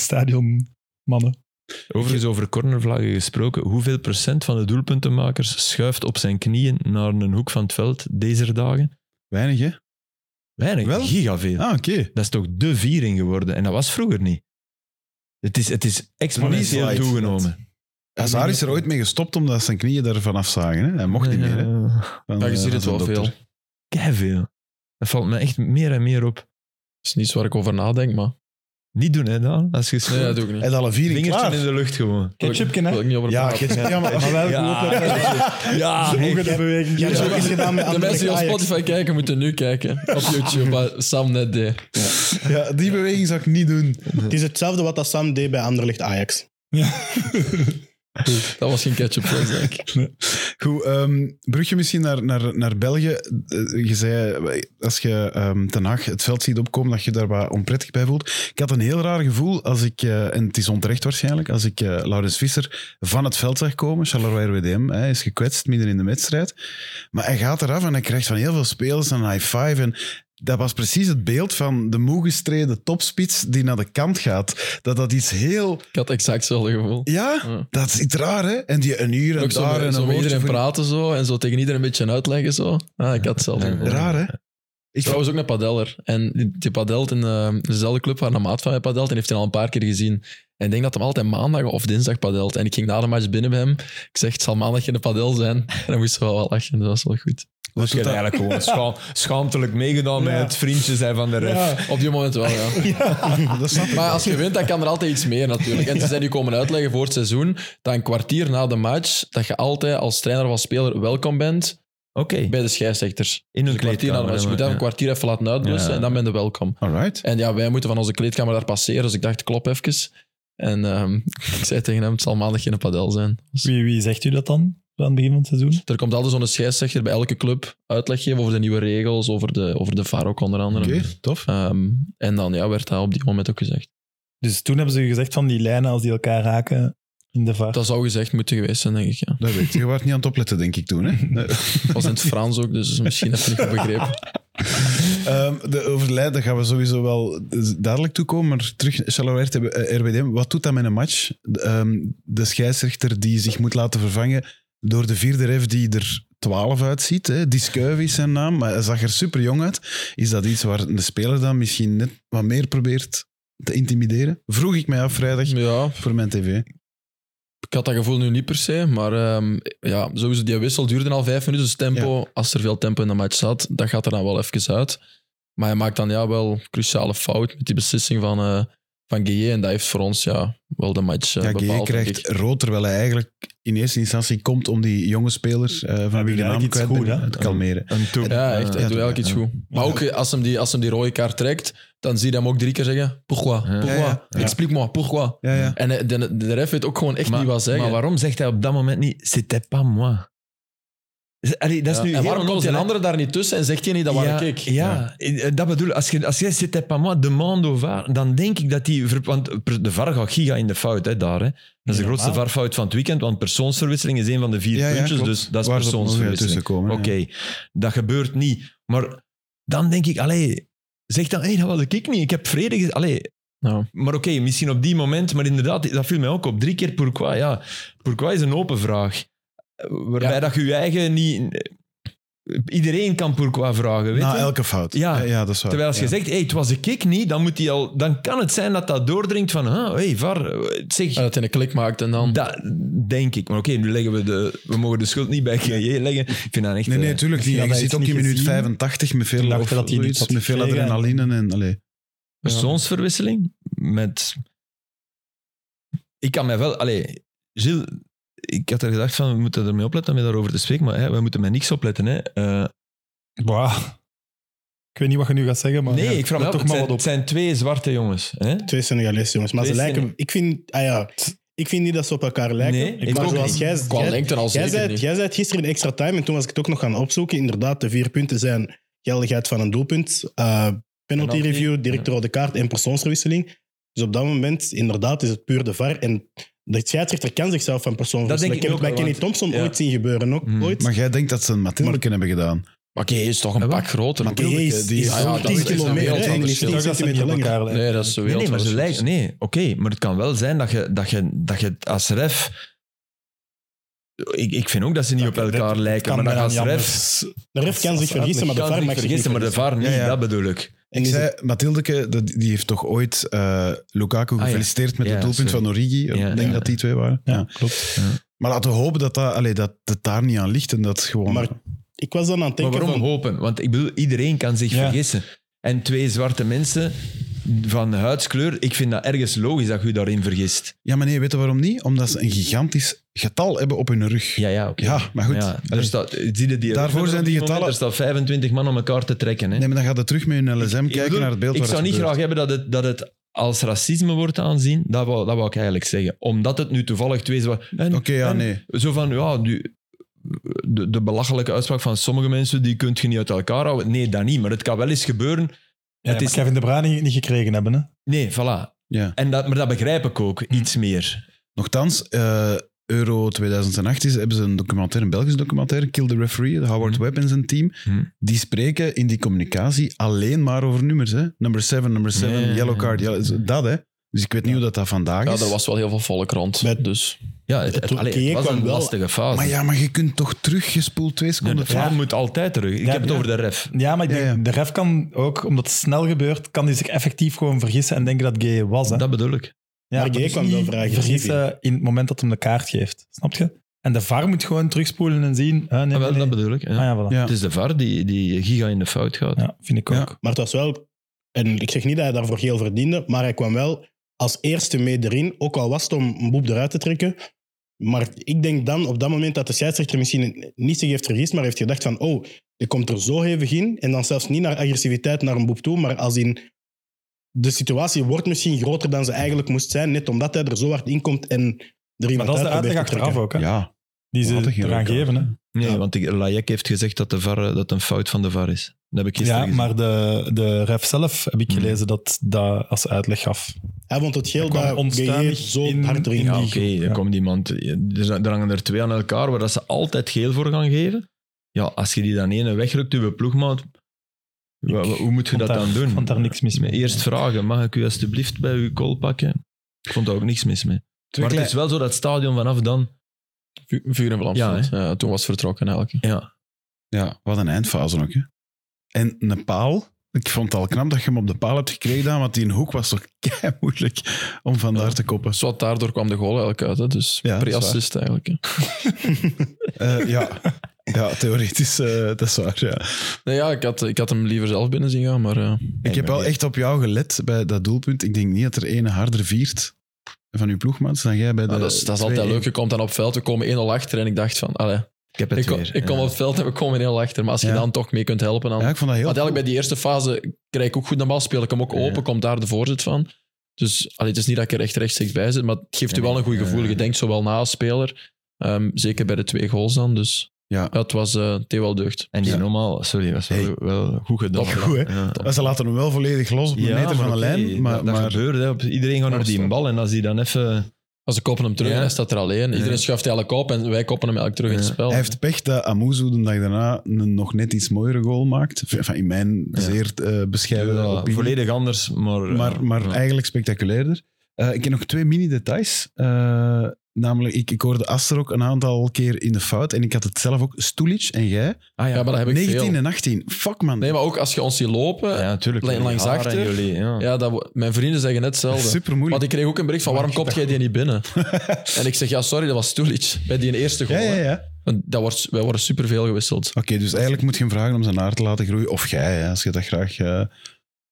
stadionmannen. Overigens, over cornervlaggen gesproken. Hoeveel procent van de doelpuntenmakers schuift op zijn knieën naar een hoek van het veld deze dagen? weinig, hè? Weinig. Wel? Gigaveel. Ah, oké. Dat is toch de viering geworden. En dat was vroeger niet. Het is, het is exponentieel Moneyslide. toegenomen. Hazard is er ooit mee gestopt omdat zijn knieën ervan afzagen. Hè? Hij mocht niet meer. Hè? Van, Ja, je eh, ziet van het zijn wel dokter. veel. Keiveel. Dat valt me echt meer en meer op. Dat is niets waar ik over nadenk, maar Niet doen, hè, Dan? Als je Nee, sneeuwt. dat doe ik niet. En alle vier in Vingertje klaar. in de lucht gewoon. Ketchupken, Wil hè? ik niet over Ja, praten. gids- ja, maar- Maar wel Ja. goed opletten. Ja, Hoge de beweging. Je hebt zo iets gedaan met de andere mensen die op Ajax. Spotify kijken, moeten nu kijken. Op YouTube, wat Sam net deed. ja, die beweging zou ik niet doen. Het is hetzelfde wat dat Sam deed bij Anderlecht Ajax. Dat was geen ketchup, denk ik. Goed, ehm brugje misschien naar, naar, naar België. Eh, Je zei, eh, als je ehm Ten Haag het veld ziet opkomen, dat je daar wat onprettig bij voelt. Ik had een heel raar gevoel als ik, eh, en het is onterecht waarschijnlijk, als ik eh, Laurens Visser van het veld zag komen. Charleroi RWDM hij is gekwetst midden in de wedstrijd. Maar hij gaat eraf en hij krijgt van heel veel spelers een high five. En dat was precies het beeld van de moe gestreden topspits die naar de kant gaat. Dat dat iets heel... Ik had exact hetzelfde gevoel. Ja, Ja. dat is iets raar, hè? En die een uur en Ook zo, daar met- en zo een woordje met iedereen voor- praten zo, en zo tegen iedereen een beetje uitleggen. Zo. Ah, ik had hetzelfde gevoel. Raar, hè? Ik Trouwens ook een padeller. En die- die padelt in eh, dezelfde club waar een maat van mij padelt. En heeft hij al een paar keer gezien. En ik denk dat hem altijd maandag of dinsdag padelt. En ik ging na de match binnen bij hem. Ik zeg, het zal maandag geen padel zijn. En dan moest ze wel wat lachen. Dat was wel goed. Dus je doet hebt dat- eigenlijk gewoon schaam- schaamtelijk meegedaan Ja. met het vriendje zijn van de ref. Op die moment wel, ja. dat snap ik. Maar als je wint, dan kan er altijd iets meer natuurlijk. En ze zijn nu komen uitleggen voor het seizoen dat een kwartier na de match dat je altijd als trainer of als speler welkom bent Oké, bij de scheidsrechters. in hun Een kwartier na de kleedkamer. match. Je moet dan even maar, een kwartier even laten uitblussen Ja. en dan ben je welkom. Alright. En ja, wij moeten van onze kleedkamer daar passeren, dus ik dacht, klop even. En ehm, ik zei tegen hem, het zal maandag geen padel zijn. Dus Wie, wie zegt u dat dan? Aan het begin van het seizoen? er komt altijd zo'n scheidsrechter bij elke club uitleg geven over de nieuwe regels, over de, over de VAR ook onder andere. Oké, tof. Ehm, en dan ja, werd dat op die moment ook gezegd. Dus toen hebben ze gezegd van die lijnen als die elkaar raken in de vaart. Dat zou gezegd moeten geweest zijn, denk ik. Ja. Dat weet je. Je was niet aan het opletten, denk ik, toen. Hè? Nee. Het was in het Frans ook, dus misschien heb ik niet goed begrepen. Ehm, de overlijden gaan we sowieso wel dadelijk toekomen. Maar terug, Charleroi RTB eh, RWDM. Wat doet dat met een match? De, ehm, de scheidsrechter die zich moet laten vervangen door de vierde ref die er 12 uitziet. Hè? Discuiv is zijn naam, maar hij zag er super jong uit. Is dat iets waar de speler dan misschien net wat meer probeert te intimideren? Vroeg ik mij af vrijdag Ja, voor mijn tv. ik had dat gevoel nu niet per se, maar ehm, ja, sowieso die wissel duurde al vijf minuten. Dus tempo, als er veel tempo in de match zat, dat gaat er dan wel even uit. Maar hij maakt dan ja, wel een cruciale fout met die beslissing van, eh van Guillet. En dat heeft voor ons ja, wel de match eh, Ja, bepaald. Gueye denk krijgt ik. rood, terwijl hij eigenlijk in eerste instantie komt om die jonge speler eh, van wie de eigenlijk naam iets kwijt goed, ben, hè? te kalmeren. Een toe- Ja, echt. Ja, Eh, hij ja, doet eigenlijk ja. iets goed. Maar ook eh, als hem, die, als hem die rode kaart trekt, dan zie je hem ook drie keer zeggen... Pourquoi? Pourquoi? Ja, ja, ja. Explique-moi, pourquoi? Ja, ja. En eh, de, de ref weet ook gewoon echt niet wat zeggen. maar waarom zegt hij op dat moment niet, c'était pas moi? Z- Allee, dat is Ja. nu en heel waarom komt die constant, andere daar niet tussen en zegt hij niet dat waar ja, ik? Ja, eh, dat bedoel ik. Als, je, als jij c'était pas moi, demande au VAR, dan denk ik dat die... ver- Want per- de VAR gaat giga in de fout, hè, daar. Hè. Dat is de Ja, grootste normaal. VAR-fout van het weekend, want persoonsverwisseling is een van de vier Ja, ja, puntjes, klopt. dus dat is Waar ze op nog uit persoonsverwisseling. tussen komen. Oké, ja. dat gebeurt niet. Maar dan denk ik, allee, zeg dan, hey, dat was ik niet. Ik heb vrede ge- Allee, Ja. maar oké, misschien op die moment, maar inderdaad, dat viel mij ook op. Drie keer pourquoi, ja. Pourquoi is een open vraag. Eh, Waarbij Ja. dat je je eigen niet... Iedereen kan pourquoi vragen, weet Na je? elke fout. Ja. ja dat is waar. Terwijl als je Ja. zegt, hey, het was een kick niet, dan, moet die al, dan kan het zijn dat dat doordringt van, huh, hey, var, eh, zeg... Ehm. En dat hij een klik maakt en dan... Dat denk ik. Maar oké, nu leggen we de... We mogen de schuld niet bij KJ leggen. Ik vind dat echt... Nee, nee, eh, natuurlijk Misschien niet. had Je hij zit iets ook in niet minuut gezien. 85 met veel, Toen dacht of hij dat hij zoiets, niets had met veel gekregen. adrenaline. En, allee. persoonsverwisseling met... Ik kan mij wel... Allee, Gilles, ik had er gedacht van, we moeten ermee opletten met daarover te spreken, maar hè, we moeten met niks opletten. Hè. Eh, Bah. Ik weet niet wat je nu gaat zeggen, maar... nee, ja, ik vraag me let af, toch het maar zijn, wat op. het zijn twee zwarte jongens. Hè? Twee Senegalese jongens. Maar ze Twee lijken... Sene- Ik vind... Ah ja, ik vind niet dat ze op elkaar lijken. Nee, ik maar ook zoals niet. jij... Qua jij- lengte al Jij zeker zei, niet. jij zei het gisteren in extra time en toen was ik het ook nog gaan opzoeken. Inderdaad, de vier punten zijn geldigheid van een doelpunt, eh, penalty Penalty, review, direct rode kaart en persoonsverwisseling. Dus op dat moment, inderdaad, is het puur de VAR. En de scheidsrechter kan zichzelf van persoon Dat denk verwisselen. ik Ik heb het ook bij wel, Kenny Thompson ja. ooit zien gebeuren. Ook, Mhm. Mm. ooit. Maar jij denkt dat ze een Mathilde hebben gedaan. Maar oké, hij is Ah, toch een pak groter. Maar Die tuurlijk, is, die die is is- Ah ja, ook dat 10 is- dat is een kilometer wereld van en is verschil. 10 Ik dacht dat ze niet centimeter op langer. elkaar lijken. Nee, dat is zo Nee, wereld nee, maar van ze verschil. lijken... Nee, oké, maar het kan wel zijn dat je, dat je, dat je, als ref... Ik, ik vind ook dat ze niet Dat- op elkaar dat- lijken, maar dat je als bijna niet ref... anders. De ref kan zich vergissen, maar de kan VAR zich mag zich niet vergissen, maar de vergissen. VAR niet, Ja, ja. dat bedoel ik. Ik zei, Mathildeke, dat- die heeft toch ooit eh, Lukaku Ah, ja. gefeliciteerd met Ja, het doelpunt sorry. van Origi? Ja, ik denk ja. dat die twee waren. Ja. Ja, klopt. Maar laten we hopen dat, dat, allee, dat het daar niet aan ligt. En dat is gewoon... Maar ik was dan aan het Maar denken waarom van... hopen? Want ik bedoel, iedereen kan zich Ja. vergissen. En twee zwarte mensen, van huidskleur, ik vind dat ergens logisch dat je je daarin vergist. Ja, maar nee, weet je waarom niet? Omdat ze een gigantisch getal hebben op hun rug. Ja, Ja, ja, oké. maar goed. Dus Ja, dus er Allee. staat, zie je die Daarvoor er zijn die op dit moment, getallen- Er staat 25 man om elkaar te trekken. Hè? Nee, maar dan gaat het terug met hun LSM Ik kijken bedoel, naar het beeld Ik waar zou het niet graag gebeurt. hebben dat het, dat het als racisme wordt aanzien. Dat wou, dat wou ik eigenlijk zeggen. Omdat het nu toevallig twee... zwa- En, Oké, ja, en nee. Zo van, ja, die- de, de belachelijke uitspraak van sommige mensen, die kun je niet uit elkaar houden. Nee, dat niet. Maar het kan wel eens gebeuren. Ja, het het is- is Kevin De Bruyne niet- niet gekregen hebben. Hè? Nee, voilà. Ja. Hm. En dat, maar dat begrijp ik ook, iets meer. Nochtans, eh, Euro 2008 is, hebben ze een documentaire, een Belgisch documentaire, Kill the Referee, de Howard Hm. Webb en zijn team. Hm. Die spreken in die communicatie alleen maar over nummers. Hè? Number 7, number 7, Ja, ja, ja. yellow card. ja, dat, hè. Dus ik weet niet hoe dat, dat vandaag Ja, is. er was wel heel veel volk rond. Bij- dus Ja, het, het, Het allee, het hockey was kwam een wel- lastige fase. Maar ja, maar je kunt toch terug, je spoelt twee Nee, seconden de terug. vrouw moet altijd terug. Ik Ja, heb het ja. over de ref. Ja, maar ik Ja, denk, ja. de ref kan ook, omdat het snel gebeurt, kan hij zich effectief gewoon vergissen en denken dat Gay was. Hè? Dat bedoel ik. ja, maar Gay dus kwam wel niet vrij agressief vergissen in het moment dat hem de kaart geeft. Snap je? En de VAR moet gewoon terugspoelen en zien. Ah, nee, Ah, wel, nee, nee. Dat bedoel ik. ja. Ah, ja, voilà. Ja. Het is de VAR die, die giga in de fout gaat. Ja, vind ik ook. Ja. Maar het was wel... En ik zeg niet dat hij daarvoor geel verdiende, maar hij kwam wel als eerste mee erin. Ook al was het om een boep eruit te trekken. Maar ik denk dan op dat moment dat de scheidsrechter misschien niet zich heeft vergist, maar heeft gedacht van, oh, die komt er zo hevig in. En dan zelfs niet naar agressiviteit, naar een boep toe, maar als in... De situatie wordt misschien groter dan ze eigenlijk moest zijn, net omdat hij er zo hard in komt en er iemand Maar dat is de uit probeert uitleg te achteraf trekken. ook, hè? Ja, die ze we hadden geen eraan rode kaart. geven. Hè? Nee, Ja. want ik- Lajek heeft gezegd dat, de VAR, eh, dat een fout van de VAR is. Dat heb ik gisteren Ja, gezien. maar de, de ref zelf heb ik Hmm. gelezen dat dat als uitleg gaf. Hij vond het geel Hij kwam dat Gueye onstuimig zo in- hard erin in ging. Ja, die oké, groep, dan ja. komt iemand... Er zijn- er hangen er twee aan elkaar waar dat ze altijd geel voor gaan geven. Ja, als je die dan ene wegrukt, uw ploegmaat... wa- wa- Hoe moet je vond dat daar- dan doen? vond daar niks mis mee. Eerst vragen, mag ik u alstublieft bij uw call pakken? Ik vond daar ook niks mis mee. Twee maar het klei- is wel zo dat het stadion vanaf dan... vu- vuur en vlam. Ja, stond. Ja, toen was het vertrokken eigenlijk. Ja, ja, wat een eindfase ook. Hè. En een paal. Ik vond het al knap dat je hem op de paal hebt gekregen, Daan, want die in hoek was toch kei moeilijk om van daar te koppen. Zwart daardoor kwam de goal eigenlijk uit. Hè. Dus Ja, dat is pre-assist eigenlijk. Hè. Eh, ja. ja, theoretisch, eh, dat is waar. Ja. Nee, ja, ik had, ik had hem liever zelf binnen zien gaan, maar eh, Ik heb maar wel nee. echt op jou gelet bij dat doelpunt. Ik denk niet dat er ene harder viert van uw ploegmaats dan jij bij de. ja, Ah, dat, is, dat is altijd 2-1. leuk. Je komt dan op het veld, we komen 1-0 achter en ik dacht van, allee, ik heb het ik, kom, weer. ik kom ja. op het veld en we komen 1-0 achter. Maar als je Ja. dan toch mee kunt helpen, dan... Ja, ik vond dat heel. Want eigenlijk bij die eerste fase krijg ik ook goed naar bal, speel ik hem ook Ja. open, komt daar de voorzet van. Dus allee, het is niet dat ik er echt rechtstreeks bij zit, maar het geeft u Nee, wel een goed nee. gevoel. Ja. Je denkt zowel na als speler, ehm, zeker bij de twee goals dan. Dus Ja. het was eh het deed wel deugd. En die Ja. normaal, sorry, was wel, Hey. wel goed gedaan. Top, goed, hè? Ja. Maar Ze laten hem wel volledig los op een meter van de maar oké, lijn. Maar, dat, dat maar gebeurt, hè. Op- Iedereen gaat naar die bal en als die dan even... Als ze koppen hem terug Ja. en hij staat er alleen. Iedereen Ja. schuift eigenlijk op en wij koppen hem eigenlijk terug in Ja. het spel. hij heeft pech dat Amuzu de dag daarna een nog net iets mooiere goal maakt. Enfin, in mijn Ja. zeer eh, bescheiden Ja, opinie. volledig anders, maar... maar, maar ja. eigenlijk spectaculairder. Eh, ik heb nog twee mini-details. Eh, namelijk, ik, ik hoorde Aster ook een aantal keer in de fout. En ik had het zelf ook. Stulic en jij. Ah, ja, maar dat heb ik 19 veel. en 18. Fuck, man. Nee, maar ook als je ons ziet lopen, ja, natuurlijk. Lang- Jullie langs haar achter. en Jullie, ja. Ja, dat, wo- mijn vrienden zeggen net hetzelfde. Super moeilijk. Want ik kreeg ook een bericht van waarom kopt jij die niet binnen? en ik zeg, ja, sorry, dat was Stulic. Bij die eerste goal. Ja, ja, hè. ja. En Dat wordt, wij worden superveel gewisseld. Oké, dus eigenlijk moet je hem vragen om zijn haar te laten groeien. Of jij, hè, als je dat graag... eh, een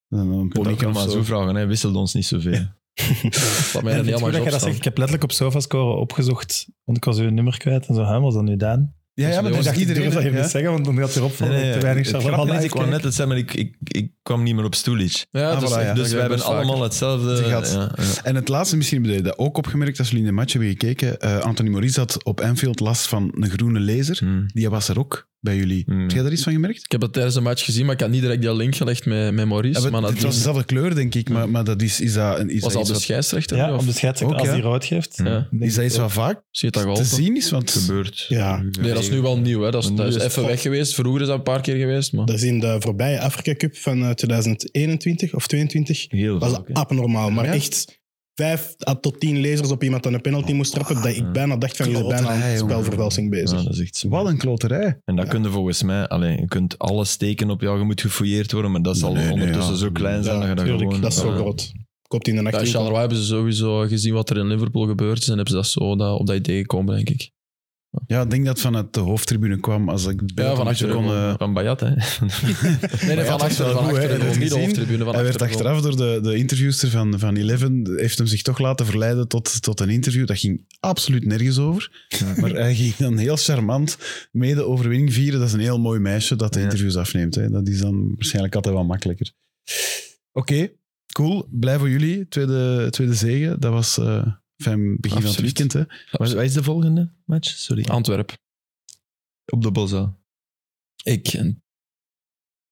een Ik kan pony ook nog kan maar of zo zo. vragen, hè. wisselt ons niet zoveel. Wat mij En dan vind je helemaal goed niet dat jij dat zegt. opstaat. Ik heb letterlijk op Sofascore opgezocht, want ik was uw nummer kwijt. En zo, hè, was dat nu Daan? Ja, ja, maar Ik dat is dacht, iedereen... durf dat je hè? niet zeggen, want dan gaat het erop vallen. dat ik te weinig het Charleroi grappige is, ik live kwam kijk. net het zeggen, maar ik, ik, ik kwam niet meer op Stulic. Ja, Ah, dus, voilà, ja. Dus wij hebben allemaal hetzelfde... Ze gaat- ja, ja. En het laatste misschien hebben jullie dat ook opgemerkt als jullie in de match hebben gekeken. Eh, Anthony Maurice had op Anfield last van een groene laser. Hmm. Die was er ook bij jullie. Hmm. Heb jij daar iets van gemerkt? Ik heb dat tijdens een match gezien, maar ik had niet direct die link gelegd met, met Maurice. Ja, maar maar dat het was dezelfde kleur, denk ik. Maar, maar dat is, is dat, een- is was dat iets al dus de wat, scheidsrechter. Ja, of, op de scheidsrechter, Ook, als ja. die rood geeft. Ja. Ja. denk is dat ik iets wat vaak zie je dat te geholpen? zien is? Want Gebeurt. Ja. Nee, dat is nu wel nieuw. Hè. Dat is, Maar nu dat is is het even weg geweest. Vroeger is dat een paar keer geweest. Maar... Dat is in de voorbije Afrika Cup van eh, 2021 of 22. Heel Dat vaak, hè. was abnormaal, maar Ja. echt vijf à tot tien lasers op iemand aan een penalty moest trappen, dat ik bijna dacht van, je bent bijna Kloterij, aan Ah. jongen. spelvervalsing Ja, bezig. dat is echt zo. wat een kloterij. En dat kun je volgens mij, alleen, je kunt alles steken op jou, je moet gefouilleerd worden, maar dat zal Nee, nee, ondertussen ja. zo klein zijn Ja, dat je dat tuurlijk. gewoon... Dat is zo Ja. groot. Kopt in de nacht. Bij in. Charleroi hebben ze sowieso gezien wat er in Liverpool gebeurd is en hebben ze dat zo dat, op dat idee gekomen, denk ik. Ja, ik denk dat het vanuit de hoofdtribune kwam. Als ik Ja, achter van achter kon... eh, Van Bayat, hè. nee, nee, van was achter, wel van goed, hè. Heb achter. je het Gewoon niet de gezien? hoofdtribune, van Hij werd achter. gewoon. achteraf door de, de interviewster van, van Eleven, heeft hem zich toch laten verleiden tot, tot een interview. Dat ging absoluut nergens over. Maar hij ging dan heel charmant mee de overwinning vieren. Dat is een heel mooi meisje dat de Ja. interviews afneemt. Hè. Dat is dan waarschijnlijk altijd wel makkelijker. Oké, cool. Blij voor jullie. Tweede, tweede zegen. Dat was eh, fijn begin van het Absoluut. weekend. Hè. Wat wat is de volgende match? Sorry. Antwerp. Op de Boza. Ik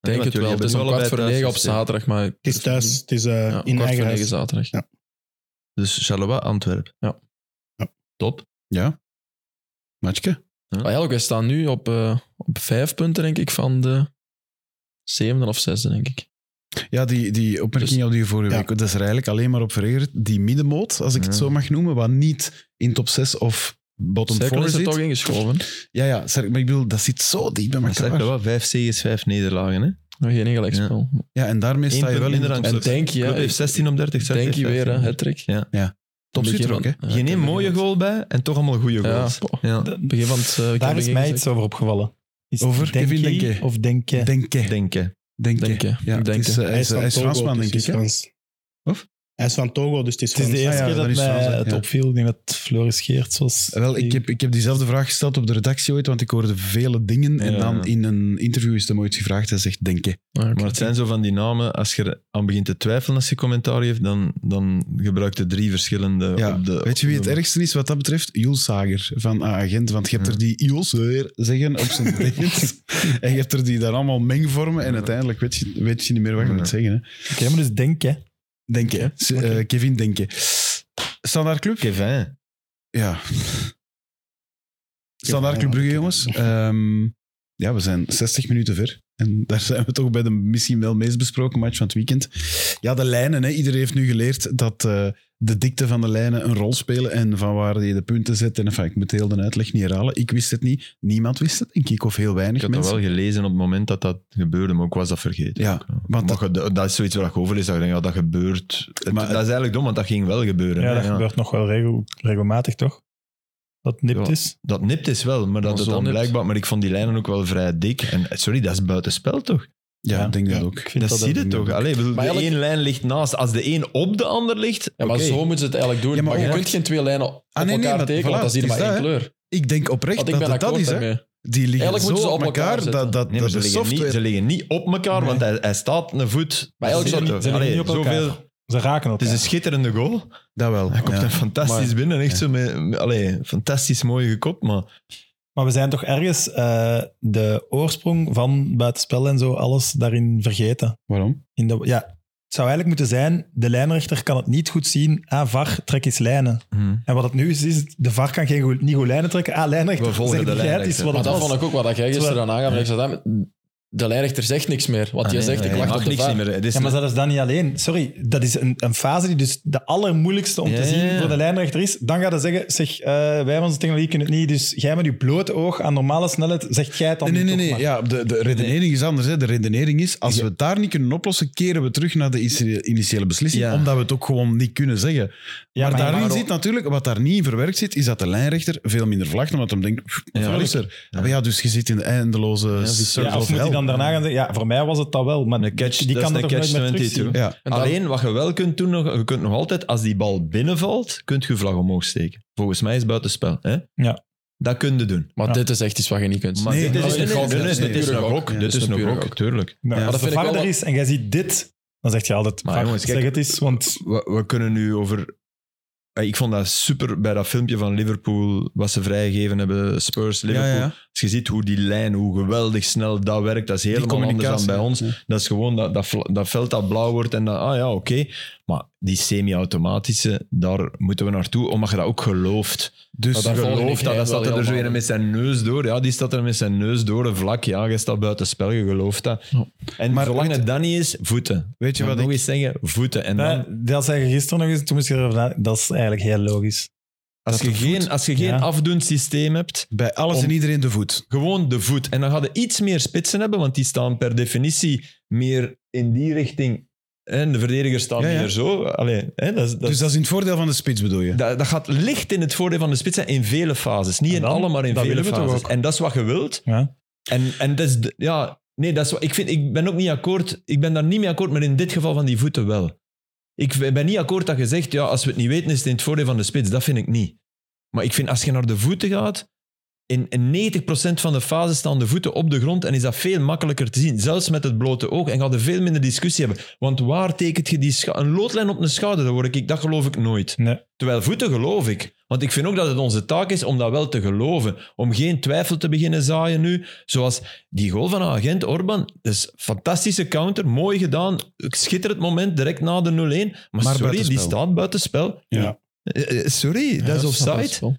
denk het wel. Het is om kwart voor negen op zaterdag, maar... Het is thuis, het is eh, Ja, om in kwart eigen voor huis. negen zaterdag. Dus Charleroi, Antwerpen. Ja. Ja. Top. Ja. Matjeke? Maar eigenlijk, wij staan nu op, eh, op vijf punten, denk ik, van de zevende of zesde, denk ik. Ja, die, die opmerking Dus- al die je vorige Ja. week. Dat is er eigenlijk alleen maar op verregerd. Die middenmoot, als ik het Ja. zo mag noemen, wat niet in top 6 of bottom Cirkel 4 is er zit. toch ingeschoven. Ja, ja, Cerkel, maar ik bedoel, dat zit zo dicht bij Maar zeg elkaar. wel, vijf zegens, vijf nederlagen. Hè? Nog geen gelijkspel. Ja, en daarmee sta Eén je punt wel in de minder top dan En zes. denk je, Club hè, heeft 16 op 30, Cercle denk je heeft weer, hè, 15. hattrick. Ja. Topschutter Begin ook, hè? van- ja, Geen één begin mooie van- goal bij en toch allemaal goede Ja, goals. poh. Ja. Begin van het... eh, Daar Kevin is mij iets over opgevallen. Is het Over Kevin Denke Denke. Of Denke. Denken. Denken. Denken. Denken. Ja, het Denken. is, eh, hij is, hij is Togo, Fransman, dus denk het ik. is hè? Frans. Of? Hij is van Togo, dus het is Het is Frans. de eerste ja, keer dat dat is mij Frans, hè. het Ja. opviel. Ik denk dat Floris Geerts was. Wel, ik die- heb, ik heb diezelfde vraag gesteld op de redactie ooit, want ik hoorde vele dingen. En Ja, dan ja. in een interview is hem ooit gevraagd. Hij zegt denken. Ah, oké. Maar het zijn zo van die namen, als je er aan begint te twijfelen als je commentaar geeft, dan, dan gebruik je drie verschillende Ja. op de... Weet je wie op het de- ergste is wat dat betreft? Jules Sager van A-agent. Want je hebt er die Jules weer zeggen op zijn date. en je hebt er die daar allemaal mengvormen. En uiteindelijk weet je, weet je niet meer wat je Ja. moet zeggen. Hè. Oké, maar dus Denke. Denken. hè. S- eh, Kevin Denken. Standaard club? Kevin. Ja. Standaard Club Brugge, jongens. Ehm, ja, we zijn 60 minuten ver. En daar zijn we toch bij de misschien wel meest besproken match van het weekend. Ja, de lijnen. Hè. Iedereen heeft nu geleerd dat eh, de dikte van de lijnen een rol spelen en van waar je de punten zet. En enfin, ik moet heel de uitleg niet herhalen. Ik wist het niet. Niemand wist het, denk ik. Of heel Ik weinig had dat mensen. wel gelezen op het moment dat dat gebeurde, maar ik was dat vergeten. Ja, want Maar dat, ge- dat, dat is zoiets waar ik over lees, dat je denkt, ja, dat gebeurt. Het- Maar- dat is eigenlijk dom, want dat ging wel gebeuren. Ja, hè, dat gebeurt nog wel regel- regelmatig, toch? Dat nipt Ja. is. Dat nipt is wel, maar dat Dat het is wel dan nipt. blijkbaar... Maar ik vond die lijnen ook wel vrij dik. En eh, sorry, dat is buitenspel toch? ja, Ja. ik denk dat Ja. ook. Ik vind Dat, dat zie je dat- toch? Allee, ik bedoel, Maar de eigenlijk- één lijn ligt naast. Als de één op de ander ligt, Ja, maar oké. zo moeten ze het eigenlijk doen. Ja, maar maar, je ook- kunt geen twee lijnen op Ah, nee, nee, elkaar maar tekenen, voilà, want dan zie je het maar is één dat, hè. kleur. Ik denk oprecht Want Oh, ik dat ben het dat akkoord is. Hè. daarmee. Die liggen Eigenlijk zo moeten ze op op elkaar elkaar, zetten. dat, dat, Nee, dat maar ze, de liggen niet, software... ze liggen niet op elkaar, want hij, hij staat een voet. Maar Dat eigenlijk zie je toch? zo- Ze liggen Allee, niet op elkaar. zoveel- Ze raken Het is elkaar. een schitterende goal. Dat wel. Hij komt ja. er fantastisch Maar- binnen. Echt Ja. zo met, met- allee, fantastisch mooi gekopt, maar Maar we zijn toch ergens eh, de oorsprong van buitenspel en zo, alles daarin vergeten. Waarom? In de, ja, het zou eigenlijk moeten zijn, de lijnrechter kan het niet goed zien. Ah, VAR, trek eens lijnen. Hm. En wat het nu is, is de VAR kan geen goed, niet goed lijnen trekken. Ah, lijnrechter, We volgen zeg de jij het lijnrechter. Is wat Maar het dat was. vond ik ook wat jij gisteren aan aangaf. en ik zei, dat, De lijnrechter zegt niks meer. Wat Ah, jij nee, zegt, nee, ik hij wacht mag op de niks VAR. niet meer. Het is Ja, maar zelfs dat niet alleen. Sorry, dat is een, een fase die dus de allermoeilijkste om Ja, te zien ja, ja. voor de lijnrechter is. Dan gaat hij zeggen, zeg, eh, wij van onze technologie kunnen het niet, dus jij met je blote oog aan normale snelheid, zegt jij het dan Nee, nee, nee. toch nee. maar. Ja, de, de redenering is anders. Hè. De redenering is, als we het daar niet kunnen oplossen, keren we terug naar de initi- initiële beslissing, Ja. omdat we het ook gewoon niet kunnen zeggen. Ja, maar, maar daarin waarom- zit natuurlijk, wat daar niet in verwerkt zit, is dat de lijnrechter veel minder vlagt, omdat hem denkt, pff, Ja, wat is er? Ja. Maar ja, dus je zit in de eindeloze dus- circle Ja, of of moet hell. hij dan daarna gaan zeggen, ja, voor mij was het dat wel, maar een catch, die dat kan is er een toch catch nooit meer 22. terugzien. Ja. En dan- Alleen wat je wel kunt doen, nog, je kunt nog altijd, als die bal binnenvalt, kunt je vlag omhoog steken. Volgens mij is buitenspel. Hè? Ja. Dat kun je doen. Maar Ja. dit is echt iets wat je niet kunt. Maar Nee, dit dat is, is een een gok, nee, dat is dit is een een gok. gok. Ja, Dit dat is is een een gok, gok. tuurlijk. Nou, Ja. Maar als de dat vind ik VAR wel er dat- is en jij ziet dit, dan zegt je altijd, Maar VAR, jongens, kijk, zeg het eens, want... We, we kunnen nu over... eh, Ik vond dat super bij dat filmpje van Liverpool, wat ze vrijgegeven hebben, Spurs, Liverpool. Als je ziet hoe die lijn, hoe geweldig snel dat werkt, dat is helemaal anders dan bij ons. ja. Dat is gewoon dat, dat, vla- dat veld dat blauw wordt en dat, ah ja, oké. Maar die semi-automatische, daar moeten we naartoe, omdat je dat ook gelooft. Dus Maar daar volg ik gelooft dat, wel dat staat er dus helemaal. weer met zijn neus door. Ja, die staat er met zijn neus door, een vlak. Ja, je staat buiten spel, je gelooft dat. Ja. En Maar zolang weet- het dat niet is, voeten. weet je Dan wat nog ik... eens zeggen, voeten. En Ja, dan, dat zei je gisteren nog eens, toen moest je erover na- Dat is eigenlijk heel logisch. als, dat je de geen, voet- als je geen Ja. afdoend systeem hebt, Bij alles Om- en iedereen de voet. Gewoon de voet. En dan ga je iets meer spitsen hebben, want die staan per definitie meer in die richting En de verdedigers staan Ja, ja. hier zo. Allee, hè, dat, is- dat, Dus dat is in het voordeel van de spits, bedoel je? dat, dat gaat licht in het voordeel van de spits zijn in vele fases. Niet En in dan? alle, maar in Dat vele willen we toch fases. ook? En dat is wat je wilt. Ja. En, en dat is... de- ja, nee, dat is wat, ik, vind, ik ben ook niet akkoord. Ik ben daar niet mee akkoord, maar in dit geval van die voeten wel. Ik ben niet akkoord dat je zegt, ja, als we het niet weten, is het in het voordeel van de spits. Dat vind ik niet. Maar ik vind, als je naar de voeten gaat, in, in 90% van de fase staan de voeten op de grond en is dat veel makkelijker te zien. Zelfs met het blote oog. En gaat er veel minder discussie hebben. Want waar tekent je die scha- Een loodlijn op een schouder, dat, word ik, dat geloof ik nooit. Nee. Terwijl voeten geloof ik. Want ik vind ook dat het onze taak is om dat wel te geloven. Om geen twijfel te beginnen zaaien nu. Zoals die goal van agent Orban. Dat is een fantastische counter. Mooi gedaan. Schitterend moment direct na de 0-1. Maar, Maar sorry, die buitenspel. staat buitenspel. Ja. Eh, eh, Sorry, dat is offside.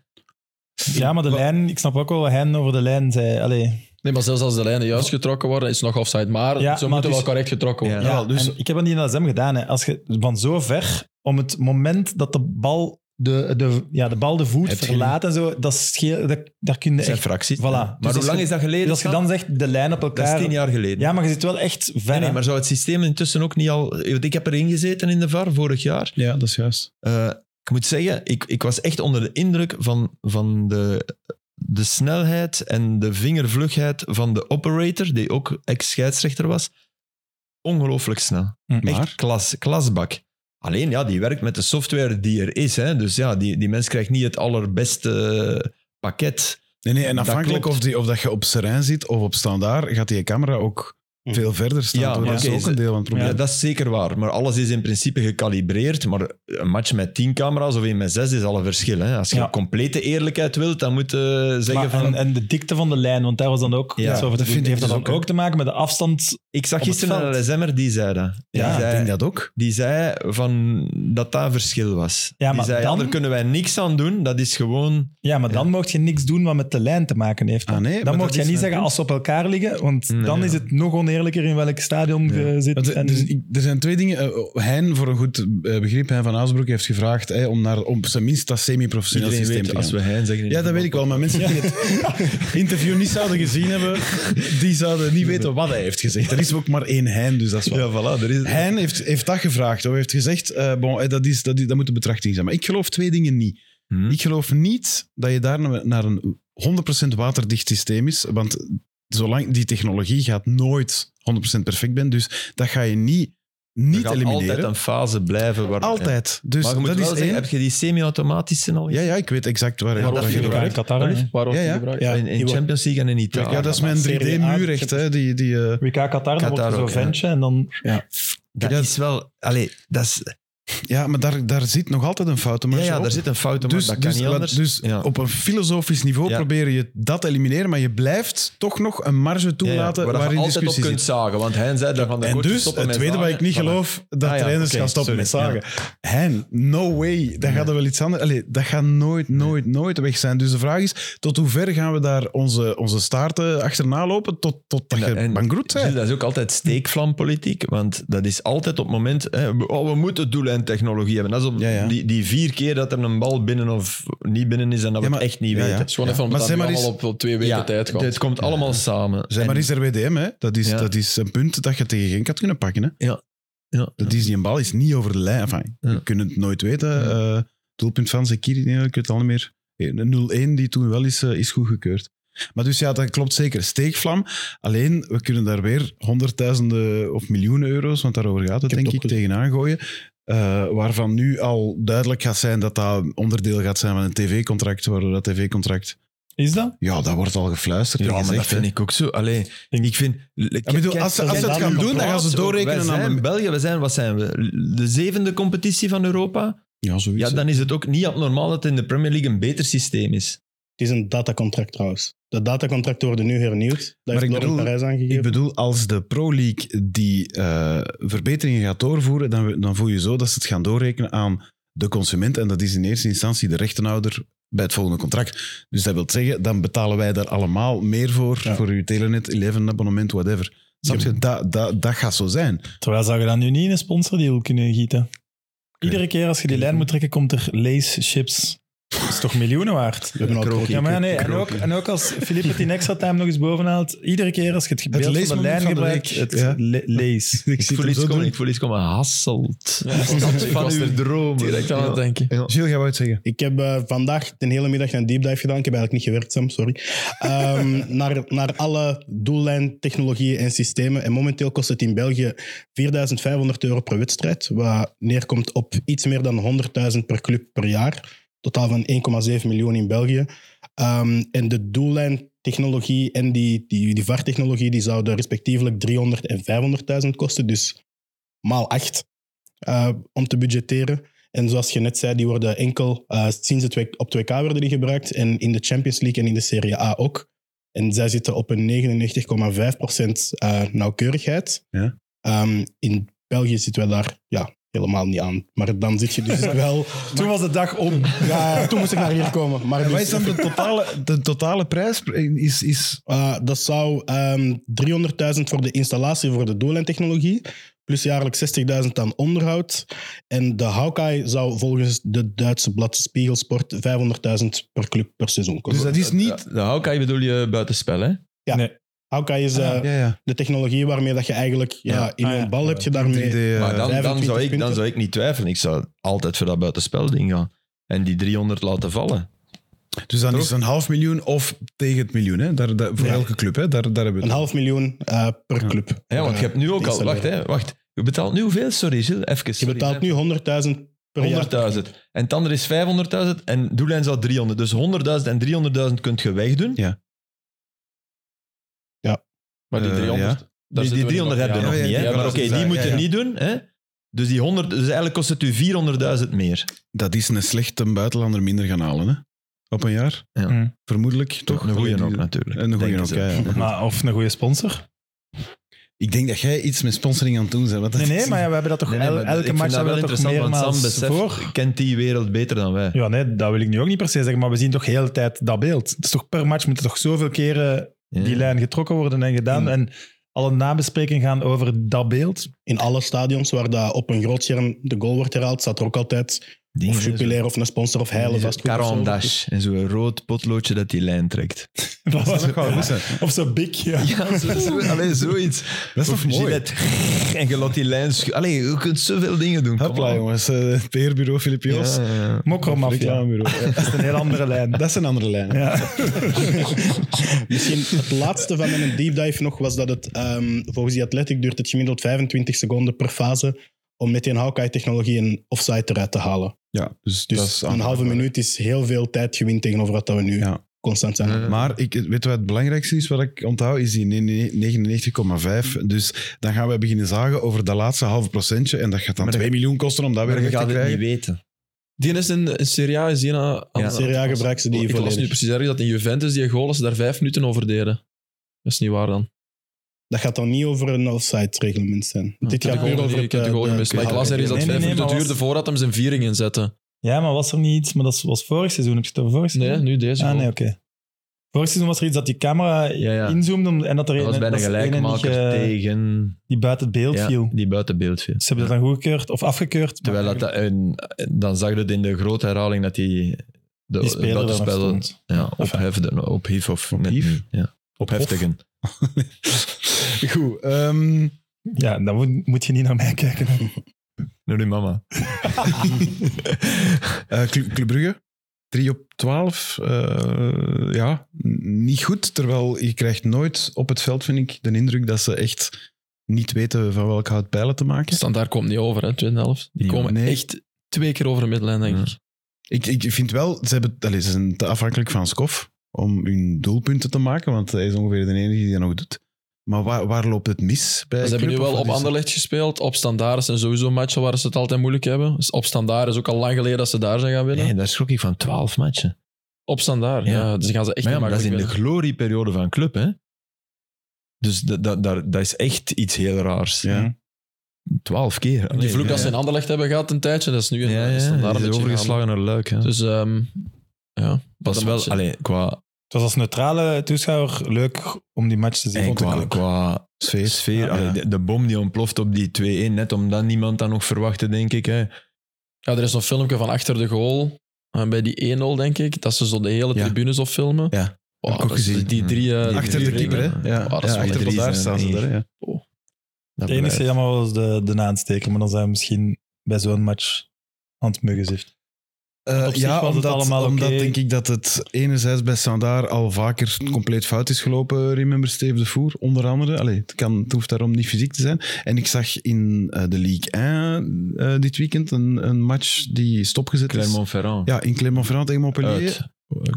Ja, maar de lijn, ik snap ook wel wat hij over de lijn zei. Allee, Nee, maar zelfs als de lijnen juist getrokken worden, is het nog offside. Maar Ja, ze maar moeten dus- wel correct getrokken worden. ja, wel, dus- en ik heb dat niet in de SM gedaan. Hè. Als je van zo ver, om het moment dat de bal de, de, ja, de, bal de voet Heb je verlaat en zo, dat scheel, dat, daar kun je Dat zijn echt... fracties. Voilà. Maar Dus hoe als lang je- is dat geleden? Dus als je dan zegt, de lijn op dat is elkaar... tien jaar geleden. Ja, maar je zit wel echt ver. Ah, nee, nee, hè. maar zou het systeem intussen ook niet al... Want ik heb erin gezeten in de VAR vorig jaar. Ja, dat is juist. Eh, ik moet zeggen, ik, ik was echt onder de indruk van, van de, de snelheid en de vingervlugheid van de operator, die ook ex-scheidsrechter was. Ongelooflijk snel. Echt Maar, klas, klasbak. Alleen ja, die werkt met de software die er is. Hè. Dus ja, die, die mens krijgt niet het allerbeste eh, pakket. nee, nee, en Dat afhankelijk klopt. of, die, of dat je op Serijn zit of op Standaard, gaat die camera ook Hm. veel verder staan. Ja, Ja, maar dat oké, is ook een deel van het probleem. Ja, dat is zeker waar. Maar alles is in principe gecalibreerd. Maar een match met tien camera's of een met zes is al een verschil. Hè. Als je Ja. complete eerlijkheid wilt, dan moet je zeggen Maar- van... en, eh, en de dikte van de lijn, want daar was dan ook Ja, iets dat over te doen. vind ik Heeft dat dus dan ook, ook te maken met de afstand? Ik zag Op het gisteren veld. een LSM'er die zei dat. Die, Ja, ik zei, denk dat ook. die zei van dat dat een verschil was. Ja, die maar zei, dan- ja, daar kunnen wij niks aan doen. Dat is gewoon... Ja, maar dan mocht je niks doen wat met de lijn te maken heeft. Ah, nee, maar dan dat mocht je is niet mijn zeggen punt. als ze op elkaar liggen, want Nee, dan ja. is het nog oneerlijker in welk stadion je zit. Want, eh, en- dus ik- er zijn twee dingen. Eh, Hein, voor een goed eh, begrip, Hein van Aasbroek heeft gevraagd hè, om naar om zijn minst dat semi-professioneel Iedereen systeem weet, te als gaan. we hein zeggen... in Ja, de dat weet ik wel. Maar mensen die het interview niet zouden gezien hebben, die zouden niet weten wat hij heeft gezegd. Er is ook maar één Hein, dus dat is wel. Ja, voilà. Er is... Hein heeft, heeft dat gevraagd. Of heeft gezegd, eh, bon, eh, dat, is, dat, is- dat moet de betrachting zijn. Maar ik geloof twee dingen niet. Hm? Ik geloof niet dat je daar naar- naar een 100% waterdicht systeem is, want zolang die technologie gaat nooit 100% perfect zijn, dus dat ga je niet, Er niet gaat elimineren. altijd een fase blijven waar... Altijd. Dus maar je moet dat wel is zeggen, één. heb je die semi-automatische al? Ja, ja, ik weet exact waar Ja, je dat dat vind ik gebruikt. waar. Qatar, hè? Waar wordt Ja, die ja. gebruikt? Ja. In, in Champions League en in Italië. Ja, dat is mijn Serie A, 3D-muurrecht, hè. Die, die, eh, WK Qatar, dan wordt er Qatar zo'n ook, ja. ventje en dan... Dat is wel... Allee, dat is... ja, maar daar, daar zit nog altijd een fout. Ja, Maar ja, daar zit een fout in, maar dus, dat kan dus, niet wat- anders. dus Ja. op een filosofisch niveau Ja. probeer je dat te elimineren, maar je blijft toch nog een marge Ja, ja, toelaten waar je waarin altijd op discussie zit. kunt zagen. Want hij zei daarvan... En dus, het tweede wat ik niet geloof, dat Ah ja, trainers oké, gaan stoppen met sorry, zagen. Hen, no way, dat gaat er wel iets anders... Allee, dat gaat nooit, nooit, nooit weg zijn. Dus de vraag is, tot hoe ver gaan we daar onze, onze staarten achterna lopen, tot, tot dat En- je en- bankroet Gilles, bent? dat is ook altijd steekvlampolitiek, want dat is altijd op het moment... Hè, we- oh, we moeten doellijntechnologie hebben. Dat is op Ja, ja. Die, die vier keer dat er een bal binnen of niet binnen is en Ja, dat we maar- het echt niet ja, ja. weten. Het is gewoon even Maar omdat zeg hij maar allemaal op, op twee weken Ja, tijd gaat. Het komt allemaal samen. Zeg maar En- is RWDM, hè. Dat is, Ja. dat is een punt dat je tegen geen kat kunnen pakken, hè. ja, Dat is, die een bal is niet over de lijn. Enfin, Ja. We kunnen het nooit weten. Ja. Eh, doelpunt van Zekiri, nee, ik weet het al niet meer. Eh, 0-1, die toen wel is, eh, is goedgekeurd. Maar dus ja, dat klopt zeker. Steekvlam. Alleen, we kunnen daar weer honderdduizenden of miljoenen euro's, want daarover gaat het, Ik heb denk ik, het opgezet. tegenaan gooien. Eh, waarvan nu al duidelijk gaat zijn dat dat onderdeel gaat zijn van een tv-contract, waardoor dat tv-contract... Is dat? Ja, dat wordt al gefluisterd en Ja, maar dat gezegd. hè. vind ik ook zo. Allee, ik vind... Ik bedoel, als ze- als ze het gaan doen, dan gaan ze doorrekenen Wij aan zijn de- België, we zijn, wat zijn we? De zevende competitie van Europa? Ja, zoiets. Ja, hè. dan is het ook niet abnormaal dat in de Premier League een beter systeem is. Het is een datacontract trouwens. De datacontracten worden nu hernieuwd. Maar Dat heeft ik Laurent bedoel, Parijs aangegeven. Ik bedoel, als de Pro League die eh, verbeteringen gaat doorvoeren, dan, we- dan voel je zo dat ze het gaan doorrekenen aan de consument. En dat is in eerste instantie de rechtenhouder bij het volgende contract. Dus dat wil zeggen, dan betalen wij daar allemaal meer voor, Ja. voor uw Telenet, 11 abonnement, whatever. Snap je? Dat, dat, dat gaat zo zijn. Terwijl zou je dan nu niet in een sponsordeal kunnen gieten. Iedere keer als je die lijn moet trekken, komt er Lace chips Dat is toch miljoenen waard? We hebben al Kroki. Ja, maar ja, nee. Kroki. En ook, en ook als Filip het in extra time nog eens bovenhaalt, iedere keer als je het beeld van de leesmoment lijn van de gebruikt, week, het ja. le- lees. Ik Ik zie voel, het iets zo komen, doen. ik voel iets komen hasselt. Ja, ik was- ik van was uw er droom. direct aan het denken. Gilles, jij wou het zeggen. Ik heb eh, vandaag de hele middag een deep dive gedaan. Ik heb eigenlijk niet gewerkt, Sam, sorry. Ehm, naar, naar alle doellijn, technologieën en systemen. En momenteel kost het in België 4500 euro per wedstrijd. Wat neerkomt op iets meer dan 100.000 per club per jaar. Totaal van 1,7 miljoen in België. Ehm, en de doellijn, technologie en die, die, die VAR-technologie die zouden respectievelijk 300 en 500.000 kosten. Dus maal 8 om te budgetteren. En zoals je net zei, die worden enkel eh, sinds het W- op 2K werden die gebruikt en in de Champions League en in de Serie A ook. En zij zitten op een 99,5% eh, nauwkeurigheid. Ja. Ehm, in België zitten wij daar ja, helemaal niet aan. Maar dan zit je dus wel... Toen was de dag om. Ja, toen moest ik naar hier komen. Maar En dus- wat is dan de totale, de totale prijs? Is, is, Eh, dat zou ehm 300.000 voor de installatie voor de doellijntechnologie. Plus jaarlijks 60.000 aan onderhoud. En de Hawkeye zou volgens de Duitse blad Spiegelsport 500.000 per club per seizoen dus kosten. dat is niet... De houkai bedoel je buitenspel, hè? Hawkeye is eh, Ah, Ja, ja. de technologie waarmee dat je eigenlijk ja, Ja. in Ah, je ja. bal heb je Die- daarmee. die, eh, Maar dan, dan, 25 zou ik, dan punten. zou ik niet twijfelen. Ik zou altijd voor dat buitenspel-ding gaan. En die 300 laten vallen. dus dan is het een half miljoen of tegen het miljoen. Hè? Daar, daar- voor Ja. elke club, hè? Daar, daar hebben we Een het. half miljoen eh, per Ja. club. Eh, Ja, want je hebt nu ook al... Wacht, installeren. hè, wacht. Je betaalt nu hoeveel? Sorry, Gilles. Even. dus Je sorry. betaalt nu 100.000 per jaar. 100.000. En het andere is 500.000 en doellijn zou 300. Dus 100.000 en 300.000 kunt je wegdoen. Dus Ja. Maar die Eh, 300. ja. daar die die zitten we 300 heb je ja. nog ja, niet. ja, Hè? ja, maar dat oké, is die waar, moet ja, je ja. niet doen. Hè? Dus, die 100, dus eigenlijk kost het u 400.000 meer. Dat is een slechte buitenlander minder gaan halen, hè? Op een jaar? Ja. Mm. Vermoedelijk, toch? Een goeie Allee, ook die- natuurlijk. Een goeie denken ook, ze. ja, ja. Maar, of een goede sponsor. Ik denk dat jij iets met sponsoring aan het doen bent. want dat Nee, nee, is- maar ja, we hebben dat toch Nee, nee, el- maar ik elke vind match dat wel hebben we dat toch interessant, want Sam meermaals beseft, voor. kent die wereld beter dan wij. Ja, nee, dat wil ik nu ook niet per se zeggen, maar we zien toch heel de tijd dat beeld. Het is toch per match moeten toch zoveel keren Ja. die lijn getrokken worden en gedaan. Ja. En alle nabesprekingen gaan over dat beeld. In alle stadions waar dat op een groot scherm de goal wordt herhaald, staat er ook altijd Dingen, of jubilair of een sponsor of heilen vastgoed. of zo. Carandash. En zo'n rood potloodje dat die lijn trekt. Dat Dat was zou ook nog wel wel goed zijn. Of zo big, ja. Ja, zo, zo, allee, zoiets. Dat is Of toch mooi? Gillette. En je laat die lijn... schu- Allee, je kunt zoveel dingen doen. kom Hopla, on. jongens. eh, Het PR-bureau Filip Joos. Ja, ja, ja. Mokromafia. Reclamebureau. Ja. Dat is een heel andere lijn. Dat is een andere lijn. Ja. Misschien het laatste van mijn deep dive nog was dat het ehm, volgens die Athletic duurt het gemiddeld 25 seconden per fase om met die Hawkeye-technologie een offside eruit te halen. Ja, dus, Dus dat is een aan- halve minuut is heel veel tijd gewin tegenover wat dat we nu Ja. constant zijn. Ja. Maar ik, weet je wat het belangrijkste is wat ik onthoud? Is die 99,5. Dus dan gaan we beginnen zagen over dat laatste halve procentje. En dat gaat dan Maar 2 miljoen kosten om dat weer Maar je weg te gaat het niet krijgen. weten. Die is in, in Serie A, is die aan- aan- Oh, In Serie A gebruiken ze die Ik las volledig. nu precies ergens dat in Juventus die goal, als ze daar vijf minuten over deden. Dat is niet waar dan. Dat gaat dan niet over een offside-reglement zijn. Dit Ik gaat heb puur de goal over niet- het... ik heb de eh, goal de- gemist. Maar ik las ergens dat Nee, nee, vijf nee, minuten maar was- duurde voordat hem zijn viering inzette. ja, maar was er niet iets, maar dat was vorig seizoen. Heb je het over vorig seizoen? Nee, nu deze Ah, goal. nee, oké. Vorig seizoen was er iets dat die camera Ja, ja. inzoomde om- en dat er Dat was een- bijna dat er een die, gelijkmaker ge- tegen... die buiten het beeld Ja, viel. die buiten beeld viel. Ze hebben dat dan goedgekeurd of afgekeurd. Terwijl dat, en dan zag je het in de grote herhaling dat die de die speler dan buitenspel stond. ja, ophefde, ophief of net Ophief? niet, ja. opheftigen. Goed. ehm, Ja, dan moet, moet je niet naar mij kijken. Naar uw mama. eh, Cl- Club Brugge, 3 op 12. eh, ja, n- niet goed. Terwijl je krijgt nooit op het veld, vind ik, de indruk dat ze echt niet weten van welk hout pijlen te maken. Standaard komt niet over, hè, tweede helft. Die Ja, komen nee. echt twee keer over de middenlijn, denk Ja. ik. Ik, ik vind wel, ze, hebben, allee, ze zijn te afhankelijk van Skof om hun doelpunten te maken, want hij is ongeveer de enige die dat nog doet. Maar waar, waar loopt het mis bij Ze hebben nu Club, wel of op wat is het? Anderlecht gespeeld. Op Standaard zijn sowieso matchen waar ze het altijd moeilijk hebben. Dus op Standaard is ook al lang geleden dat ze daar zijn gaan winnen. Nee, daar schrok ik van 12 matchen. Op Standaard, Ja. ja. Dus gaan ze echt Maar ja, niet maar dat is in de makkelijk glorieperiode van club, hè. Dus dat, dat, daar- dat is echt iets heel raars. Ja. Hm. 12 keer. winnen. Die Allee, vloek ja, dat ze ja. in Anderlecht hebben gehad een tijdje, dat is nu in Ja, eh, ja, Standaard die een is beetje overgeslagen naar Luik. hè. gaan. Dus ehm, ja, dat is wel, allee, qua, Het was als neutrale toeschouwer leuk om die match te zien. en vond ik qua, ook. qua sfeer? sfeer. Ja. allee, de, de bom die ontploft op die 2-1, net omdat niemand dat nog verwachtte, denk ik. Hè. Ja, er is een filmpje van achter de goal. En bij die 1-0, denk ik, dat ze zo de hele Ja. tribune zo filmen. Ja. Wow, ik ook dat is- gezien. Die drie... eh, die Achter drie de keeper, dingen. hè? Ja, Wow, Oh, dat is ja, wel achter echt- de drie daar staan zijn ze één. daar. Ja. Dat Het enige blijft. jammer was de, de naansteker, maar dan zijn we misschien bij zo'n match aan het muggen zitten. Eh, Op zich ja, was het omdat, allemaal omdat oké. eh, Clermont-Ferrand. is. Ja, in Clermont-Ferrand tegen Montpellier. Uit.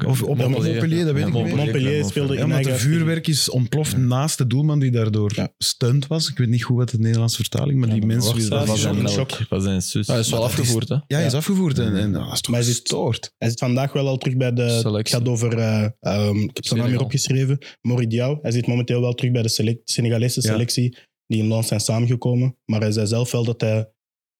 Of op Montpellier, Montpellier, dat ja. weet ik niet. meer. Montpellier. Montpellier Clermont, speelde Ja, in omdat eigen er vuurwerk is ontploft naast de doelman die daardoor Ja. stunt was. Ik weet niet goed wat de Nederlandse vertaling, maar Ja, die maar mensen... wacht, die dat dat Dat was is was- ook een een shock. Dat was een zus. Hij is wel Maar dat is- Eh, afgevoerd, hè. Ja, hij is Ja. afgevoerd en, en ah, dat is toch Maar is het- gestoord. Hij zit vandaag wel al terug bij de... Het Selectie. gaat over... eh, ehm, ik heb zijn naam hier Senegal. opgeschreven. Moridiao. Hij zit momenteel wel terug bij de selec- Senegalese Ja. selectie die in Lons zijn samengekomen. Maar hij zei zelf wel dat hij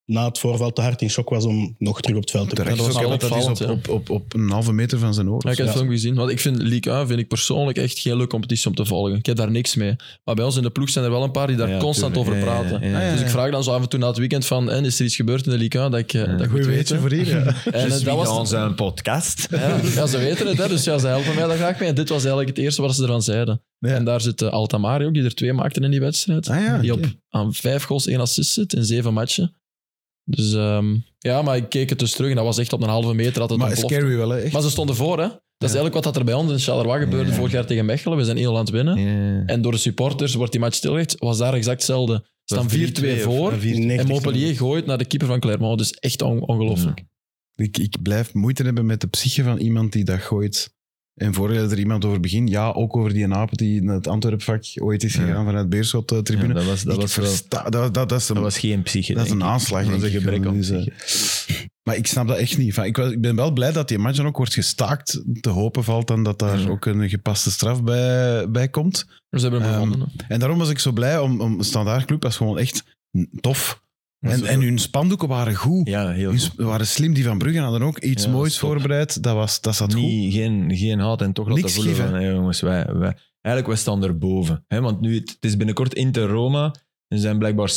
na het voorval te hard in shock was om nog terug op het veld te Terecht. Ja, dat was ook, wel want dat is Dus op, opvallend, op, op, op een halve meter van zijn Ja, oren. ik heb Ja. het film gezien. Want ik vind League 1 vind ik persoonlijk echt geen leuke competitie om te volgen. Ik heb daar niks mee. Maar bij ons in de ploeg zijn er wel een paar die daar Ja, constant tuurlijk. over Ja, ja, praten. ja, ja. Dus ik vraag dan zo af en toe na het weekend van, "Hè, is er iets gebeurd in de League 1 dat ik, eh, dat ik Goed moet weetje weten? voor hier. ja. En eh, dat was Dus zijn podcast. ja, ja, ze weten het, hè, dus ja, ze helpen mij daar graag mee. En dit was eigenlijk het eerste wat ze ervan zeiden. Ja. En daar zit eh, Altamari ook, die er twee maakte in die wedstrijd. Ah ja, Die oké. op aan vijf goals, één assist zit in zeven matchen. Dus ehm, ja, maar ik keek het dus terug en dat was echt op een halve meter dat het Maar ontplofte. scary wel, hè? echt. Maar ze stonden voor, hè? Dat is eigenlijk wat dat er bij ons in Charleroi gebeurde Ja. vorig jaar tegen Mechelen. We zijn 1 aan het winnen. En door de supporters wordt die match stilgelegd. Was daar exact hetzelfde. Ze staan 4-2 voor. En Montpellier gooit naar de keeper van Clermont. Dus echt on- ongelooflijk. Ik, ik blijf moeite hebben met de psyche van iemand die dat gooit. En vorig jaar er iemand over begin. Ja, ook over die aap die naar het Antwerpvak ooit is Ja. gegaan vanuit eh, Beerschot-tribune. dat was, dat was, wel- dat, dat, is een, dat was geen psyche. dat is een denk ik. aanslag. Dat denk is een ik. gebrek aan Dus, eh, psyche. Maar ik snap dat echt niet. Van, ik, was- ik ben wel blij dat die match dan ook wordt gestaakt. Te hopen valt dan dat daar Ja. ook een gepaste straf bij, bij komt. Dus ze hebben hem Ehm, gevonden. hè. En daarom was ik zo blij om, om Standaard Club was gewoon echt tof. En, en hun spandoeken waren goed. Ja, heel Hun goed. sp- waren slim. Die van Brugge hadden ook iets Ja, moois stop. voorbereid. Dat, was, dat zat goed. niet, geen, geen haat en toch laten Niks voelen geven. van, hey, jongens, wij, wij, eigenlijk wij staan erboven. Hè? Want nu, het, het is binnenkort Inter Roma, er zijn blijkbaar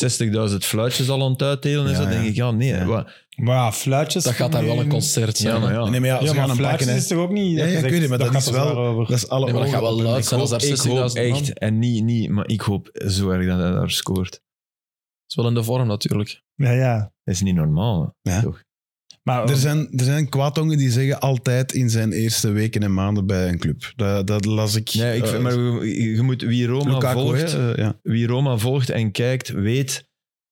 60.000 fluitjes al aan het uitdelen en Ja, zo. ja. denk ik, ja, nee. Ja. wa- Maar ja, fluitjes... Dat gaat daar wel een concert zijn. ja, maar hè. ja. Nee, maar ja, Ja, ze gaan maar hem fluitjes pakken. hè. is toch ook niet... Ja, ja, ik gezegd, weet het, maar dat gaat is er wel- zwaar over. Dat is alle Nee, maar dat ogen gaat op wel hem. luid Ik zijn als hoop- daar 60.000 ik hoop man. echt, en niet, niet, maar ik hoop zo erg dat hij daar scoort. Dat is wel in de vorm natuurlijk. Ja, ja. Dat is niet normaal. Ja. Toch? Maar Er zijn, er zijn kwaadongen die zeggen altijd in zijn eerste weken en maanden bij een club. Dat, dat las ik. Nee, ik, eh, vind- maar je, je moet, wie Roma Lukaku, volgt, hè, eh, ja. wie Roma volgt en kijkt, weet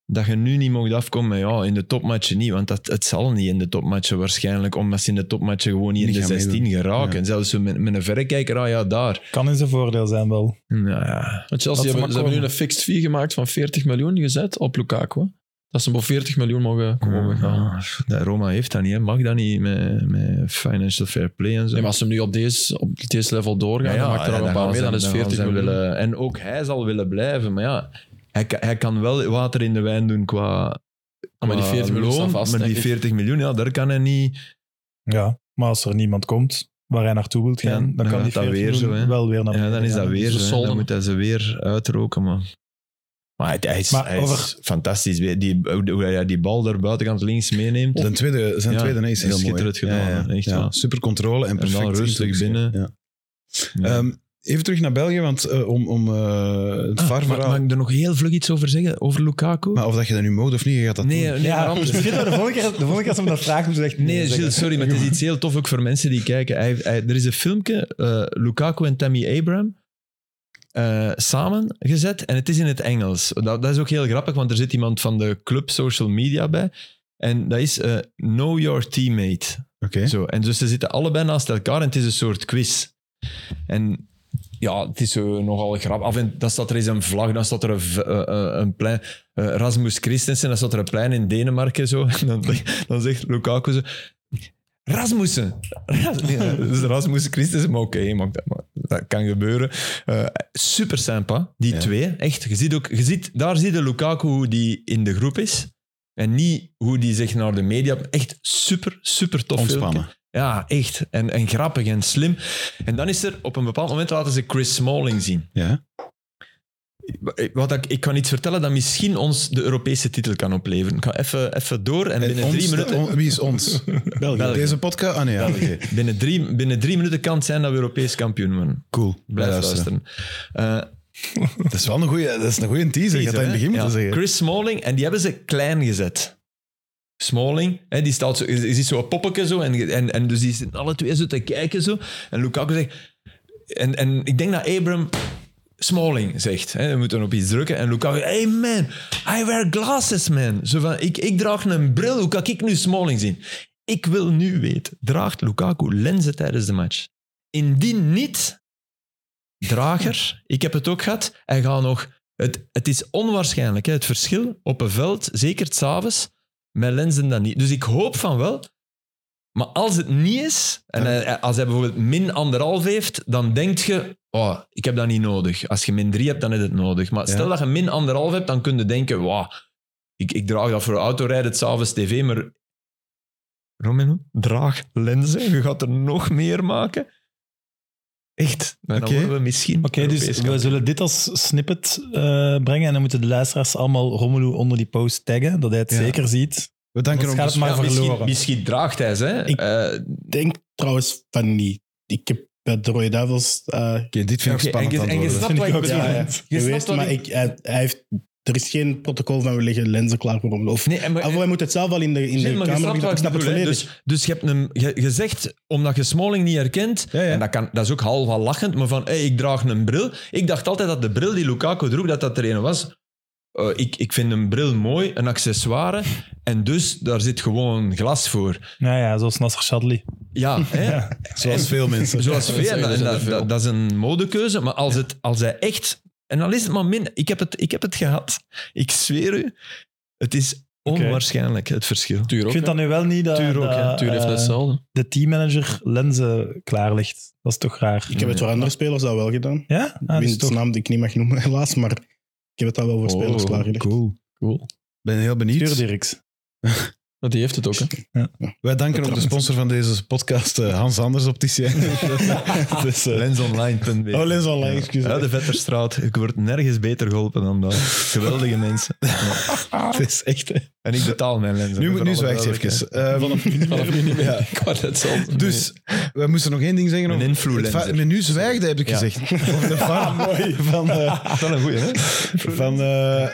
dat je nu niet mocht afkomen ja, in de topmatchen niet. Want dat, het zal niet in de topmatchen waarschijnlijk, omdat ze in de topmatchen gewoon niet, Niet in de gaan 16 geraken. Zelfs zo met, met een verrekijker, ah ja, daar. kan in zijn voordeel zijn wel. Nou ja. Want Laat ze Chelsea hebben, maar ze hebben nu komen. een fixed fee gemaakt van 40 miljoen gezet op Lukaku. hè. Dat ze hem voor 40 miljoen mogen mogen gaan. Ja, dat- nou, Roma heeft dat niet, hè. mag dat niet met, met financial fair play en zo. Nee, maar als ze hem nu op deze, op deze level doorgaan, Ja, ja, dan maakt er ja, al een gaan paar mee, ze- dan is gaan 40 ze hem miljoen. willen- en ook hij zal willen blijven, maar ja, hij, ka- hij kan wel water in de wijn doen qua. Ah, maar die qua 40 miljoen loon, staan vast, Maar die denk ik. 40 miljoen, ja, daar kan hij niet. Ja, maar als er niemand komt waar hij naartoe wilt gaan, Ja, dan dan kan die gaat dat 40 weer zo, miljoen hè. wel weer naar Ja, dan beneden is gaan. Dus dat weer. ze zo, hè. solden. Dan moet hij ze weer uitroken. Maar, maar hij, hij is, Maar hij is over- fantastisch. Die, hoe hoe hij die bal daar buitenkant links meeneemt. Zijn tweede, zijn Ja, tweede nee, is heel mooi. schitterend gedaan, hè. Echt waar. Super controle en dan perfect. rustig introductie. binnen. Ja. Ja. Ehm, even terug naar België, want eh, om, om eh, het Ah, VAR-verhaal... mag, mag ik er nog heel vlug iets over zeggen? Over Lukaku? Maar of dat je dat nu mode of niet, je gaat dat nee, doen. nee, maar Ja, anders. misschien dat de vorige keer, de vorige keer als hem dat vraagt, moet ze echt Nee, zeggen. Gilles, sorry, maar het is iets heel tof ook voor mensen die kijken. Hij, hij- er is een filmpje, eh, Lukaku en Tammy Abraham, eh, samen gezet. En het is in het Engels. Dat, dat is ook heel grappig, want er zit iemand van de club social media bij. En dat is eh, Know Your Teammate. Oké. Zo. En dus ze zitten allebei naast elkaar en het is een soort quiz. En ja, het is zo nogal grappig. Af en dan staat er eens een vlag, dan staat er een, v- eh, eh, een plein. eh, Rasmus Christensen, dan staat er een plein in Denemarken zo. En dan, dan zegt Lukaku zo... Rasmussen! Ras- Ja, dus Rasmus Christensen, maar oké, maar dat, maar dat kan gebeuren. Eh, super sympa, die Ja. twee. Echt, je ziet ook... Je ziet, daar zie je Lukaku hoe die in de groep is. En niet hoe die zich naar de media... Echt super, super tof filmpje. Ontspannen. Ja, echt. En, en grappig en slim. En dan is er op een bepaald moment laten ze Chris Smalling zien. Ja. Wat ik, ik kan iets vertellen dat misschien ons de Europese titel kan opleveren. Ik ga even, even door en, binnen ons, drie de- minuten... on- wie is ons? België. België. Deze podcast? Ah nee, ja. oké. Binnen drie, binnen drie minuten kan het zijn dat we Europees kampioen worden. Cool. Blijf luisteren. Eh, Dat is wel een goede, dat is een goede teaser. Je had dat in het begin Ja. moeten zeggen. Chris Smalling, en die hebben ze klein gezet. Smalling, hè, die staat zo, je ziet zo'n poppetje zo, en, en, en dus die zitten alle twee zo te kijken zo. En Lukaku zegt... En, en ik denk dat Abram Smalling zegt. Hè, we moeten op iets drukken. En Lukaku, hey man, I wear glasses man. Zo van, ik, ik draag een bril, hoe kan ik nu Smalling zien? Ik wil nu weten, draagt Lukaku lenzen tijdens de match? Indien niet, drager, ik heb het ook gehad, hij gaat nog... Het, het is onwaarschijnlijk, hè, het verschil op een veld, zeker 's avonds, met lenzen dan niet. Dus ik hoop van wel, maar als het niet is, en hij- als hij bijvoorbeeld min anderhalf heeft, dan denk je, oh, ik heb dat niet nodig. Als je min drie hebt, dan is het nodig. Maar stel dat je min anderhalf hebt, dan kun je denken, wow, ik, ik draag dat voor autorijden, s'avonds tv, maar... Romino, draag lenzen, je gaat er nog meer maken. Echt, en dan Oké. worden we misschien Oké, dus Europees we kampioen. zullen dit als snippet eh, brengen en dan moeten de luisteraars allemaal Romelu onder die post taggen, dat hij het Ja. zeker ziet. We danken Anders ons. dus gaat het maar Ja, misschien, verloren. misschien draagt hij ze. hè. Ik- Eh, denk trouwens van niet. Ik heb bij de Rode Duivels eh, Oké, dit vind ik Oké, spannend en je- en je antwoorden. snapt wat ik bedoel. ja, Je ja, snapt geweest, wat maar ik- ik, hij, hij heeft, er is geen protocol van we leggen lenzen klaar voor hem. Of, Nee, en maar- of hij moet het zelf al in de, in Nee, de maar je kamer snapt leggen. wat Ik ik snap het bedoel, hè. volledig. Dus, dus je hebt hem ge- gezegd, omdat je Smalling niet herkent, Ja, ja. en dat, kan, dat is ook half al lachend, maar van, hey, ik draag een bril. Ik dacht altijd dat de bril die Lukaku droeg, dat dat er een was. Eh, ik, ik vind een bril mooi, een accessoire, en dus daar zit gewoon glas voor. Nou ja, zoals Nasser Chadli. Ja, hè? Zoals veel mensen. Zoals Ja, veel. dat En dat, zijn er dat- veel. dat is een modekeuze. Maar als, het, als hij echt... En dan is het maar min. Ik heb het, ik heb het gehad. Ik zweer u. Het is Oké. onwaarschijnlijk, het verschil. Tuur Ik ook. vind dat nu wel niet dat, Tuur ook, dat, ja. Tuur heeft eh, net hetzelfde. de teammanager lenzen klaar ligt. Dat is toch raar? Ik heb het voor andere spelers al wel gedaan. Ja? Ah, dat is Wiens toch... naam die ik niet mag noemen, helaas. Maar ik heb het al wel voor spelers Oh, klaargelegd. Cool. Cool. Ben heel Tuur benieuwd. Dirks. Maar die heeft het ook, hè. Wij danken ook de sponsor van deze podcast, eh, Hans Anders Opticien. dus, eh, Lensonline.be oh, Lens Online, excuus. Ja, de Vetterstraat. Ik word nergens beter geholpen dan dat. Geweldige mensen. Ja. Het is echt... hè. En ik betaal mijn lenzen. Nu, hè, moet- voor nu alle zwijgt ze duidelijkheid. even. Eh, Vanaf nu niet meer. Ja. Ik wou net zelf. Dus, we moesten nog één ding zeggen. Een over- influencer. het va- Maar nu zwijgde, heb ik Ja. gezegd. Over de farm van, eh, Dat is wel een goeie, hè? van, eh,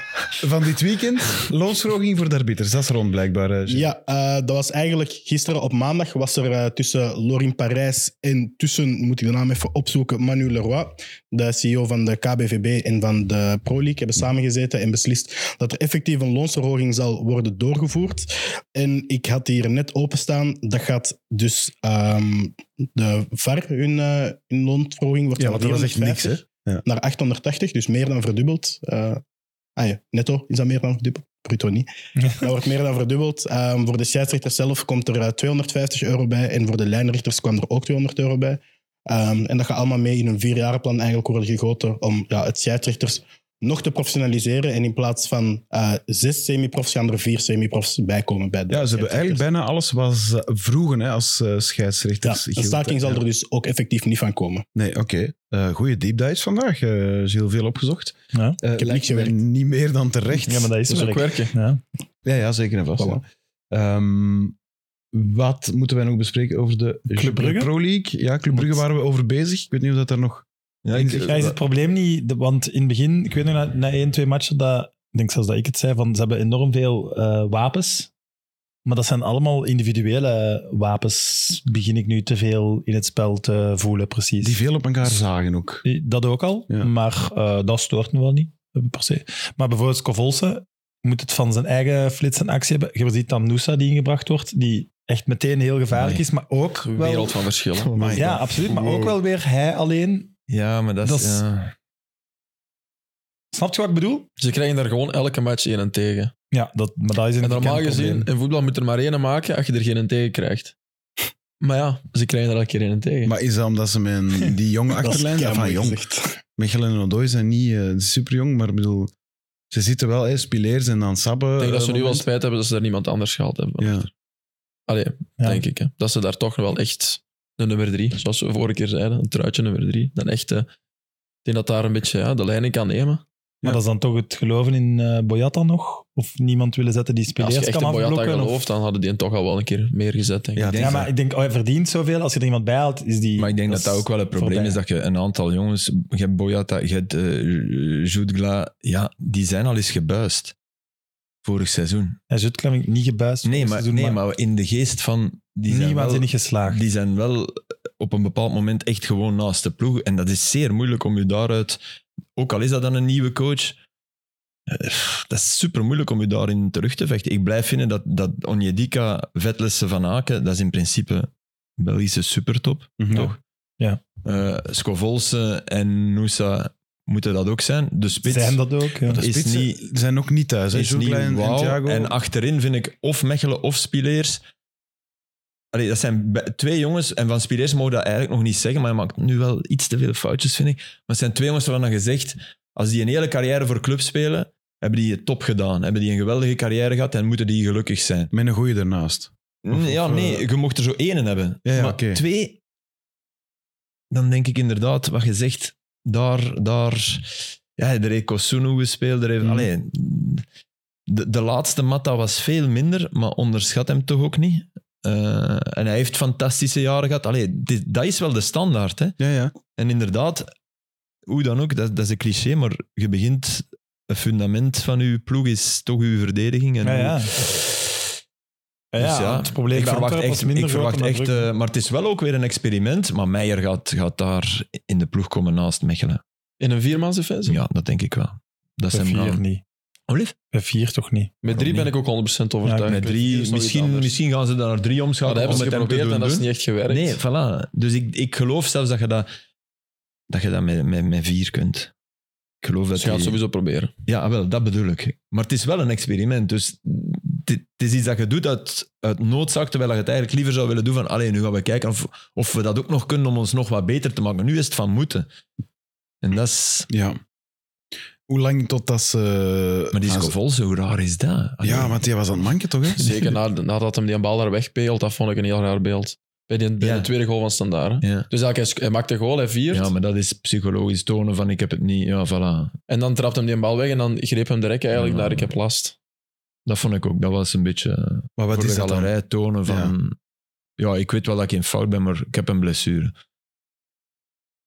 van dit weekend. Loonsverhoging voor de arbiters. Dat is rond, blijkbaar. eh, Gilles. Ja, eh, dat was eigenlijk gisteren op maandag was er eh, tussen Lorin Parijs en tussen, moet ik de naam even opzoeken, Manu Leroy, de CEO van de KBVB en van de Pro League, hebben samengezeten en beslist dat er effectief een loonsverhoging zal worden doorgevoerd. En ik had hier net openstaan, dat gaat dus ehm, de VAR, hun, eh, hun loonsverhoging wordt Ja, van want dat was echt niks, hè? 450 naar 880, dus meer dan verdubbeld. Eh, ah ja, netto is dat meer dan verdubbeld. Bruto niet. Dat wordt meer dan verdubbeld. Ehm, voor de scheidsrechter zelf komt er eh, 250 euro bij. En voor de lijnrichters kwam er ook 200 euro bij. Ehm, en dat gaat allemaal mee in een vierjarenplan eigenlijk worden gegoten om ja, het scheidsrechters nog te professionaliseren. En in plaats van eh, zes semi-profs gaan er vier semi-profs bij komen. Bij de Ja, ze hebben scheidsrechters. eigenlijk bijna alles wat ze vroegen hè, als eh, Ja, scheidsrechters. een staking zal er dus ook effectief niet van komen. Nee, oké. Eh, goeie deep dives vandaag. eh heel veel opgezocht. Ja. Eh, heb lijkt niks me gewerkt. Niet meer dan terecht. Ja, maar dat is, Dat is ook werk. werken. Ja. ja, ja, zeker en vast. Voilà. ja. Ehm, wat moeten wij nog bespreken over de Club Brugge? Pro League? Ja, Club Brugge waren we over bezig. Ik weet niet of dat daar nog... Ja, ik- Ja, is Dus het probleem niet, de- want in het begin, ik weet nog, na, na één, twee matchen, dat, ik denk zelfs dat ik het zei, van, ze hebben enorm veel eh, wapens. Maar dat zijn allemaal individuele wapens, begin ik nu te veel in het spel te voelen, precies. Die veel op elkaar zagen ook. Dat ook al, Ja. maar eh, dat stoort me wel niet, eh, per se. Maar bijvoorbeeld Scovolse moet het van zijn eigen flits en actie hebben. Je ziet dan Noosa die ingebracht wordt, die echt meteen heel gevaarlijk Nee. is, maar ook Een wel- wereld van verschillen. Amai. Ja, absoluut, maar ook wel weer hij alleen. Ja, maar dat is... Dat is- ja. Snap je wat ik bedoel? Ze krijgen daar gewoon elke match één en tegen. Ja, dat, maar dat is een En normaal bekend probleem. gezien, in voetbal moet er maar één maken als je er geen en tegen krijgt. Maar ja, ze krijgen er elke keer één en tegen. Maar is dat omdat ze met een- die jonge Dat is achterlijn... Enfin, keigoed jong. gezegd. Michel en Odoi zijn niet super jong, maar ik bedoel, ze zitten wel, hè, Spileers en dan Sabbe. ik denk dat eh, ze nu wel moment. spijt hebben dat ze daar niemand anders gehaald hebben. Ja. Allee, Ja. denk ik. Hè. Dat ze daar toch wel echt de nummer drie, zoals we vorige keer zeiden, een truitje nummer drie, dan echt... eh, ik denk dat daar een beetje ja, de leiding kan nemen. Maar dat is dan toch het geloven in eh Boyata nog? Of niemand willen zetten die Als je spelers echt kan in Boyata afblokken? gelooft, dan hadden die hem toch al wel een keer meer gezet, denk ik. Ja, Ja, het Ja, is maar ik denk, oh, hij verdient zoveel. Als je er iemand bij haalt, is die... Maar ik denk dat dat is ook wel het probleem voorbij. is, dat je een aantal jongens, je hebt Boyata, je hebt eh, Jutgla, ja, die zijn al eens gebuist. Vorig seizoen. Hij zit, geloof ik, niet gebuist. Nee, voor maar, het seizoen, nee, maar in de geest van... Die niet zijn wel, waanzinnig geslaagd. die zijn wel op een bepaald moment echt gewoon naast de ploeg. En dat is zeer moeilijk om je daaruit... Ook al is dat dan een nieuwe coach... eh, Dat is super moeilijk om je daarin terug te vechten. Ik blijf vinden dat, dat Onjedika, Vetlessen, Van Aken, dat is in principe Belgische supertop. Toch? Mhm. Ja. Eh, Scovolse en Nusa moeten dat ook zijn. De spits Zijn dat ook? ja. is Spitsen niet- zijn ook niet thuis. hè. is niet Joukla en- en wauw. Thiago. En achterin vind ik of Mechelen of Spileers. Allee, dat zijn be- twee jongens, en van Spileers mogen we dat eigenlijk nog niet zeggen, maar hij maakt nu wel iets te veel foutjes, vind ik. Maar het zijn twee jongens waarvan dan gezegd, als die een hele carrière voor club spelen, hebben die het top gedaan. Hebben die een geweldige carrière gehad en moeten die gelukkig zijn. Met een goeie ernaast. Of- ja, of, nee, eh, je mocht er zo één hebben. Ja, ja, maar oké. twee, dan denk ik inderdaad, wat je zegt, daar, daar, ja, er heeft Kosunu gespeeld, er heeft, Mhm. allee, de, de laatste Matta was veel minder, maar onderschat hem toch ook niet. Eh, en hij heeft fantastische jaren gehad. Allee, dit- dat is wel de standaard, hè. Ja, ja. En inderdaad, hoe dan ook, dat, dat is een cliché, maar je begint, het fundament van je ploeg is toch je verdediging. En Ja, ja. Ja, dus ja, het probleem ik bij verwacht Antwerpen echt, was minder ik verwacht groot dan echt dat eh, maar het is wel ook weer een experiment. Maar Meijer gaat, gaat daar in de ploeg komen naast Mechelen. In een viermansdefensie? Ja, dat denk ik wel. Dat Bij zijn vier namen. niet. Olief? Bij vier toch niet. Met drie niet? ben ik ook 100% overtuigd. Ja, ik Met drie, misschien, misschien gaan ze daar naar drie Maar omschakelen. dat hebben om ze met hem te geprobeerd en doen dat is doen. niet echt gewerkt. Nee, voilà. Dus ik, ik geloof zelfs dat je dat, dat, je dat met, met, met vier kunt. Ik geloof dat Ze gaan het die- sowieso proberen. Ja, wel, dat bedoel ik. Maar het is wel een experiment. Dus het het is iets dat je doet uit, uit noodzaak, terwijl je het eigenlijk liever zou willen doen van alleen nu gaan we kijken of, of we dat ook nog kunnen om ons nog wat beter te maken. Nu is het van moeten. En dat is... ja. Hoe lang tot dat ze... Maar die Ah, is ze- vol, hoe raar is dat? Allee. Ja, want die was aan het manken, toch? Hè? Zeker na, nadat hem die bal daar wegpeelt, dat vond ik een heel raar beeld. Bij, die, bij Ja. de tweede goal van Standaard. hè. Ja. Dus eigenlijk, hij, sc- hij maakt de goal, hij viert. ja, maar dat is psychologisch tonen van ik heb het niet. Ja, voilà. En dan trapt hem die bal weg en dan greep hem de rek eigenlijk Ja. naar ik heb last. Dat vond ik ook. Dat was een beetje eh, Maar wat voor is de dat dan? galerij tonen van... Ja. ik weet wel dat ik in fout ben, maar ik heb een blessure. Ah,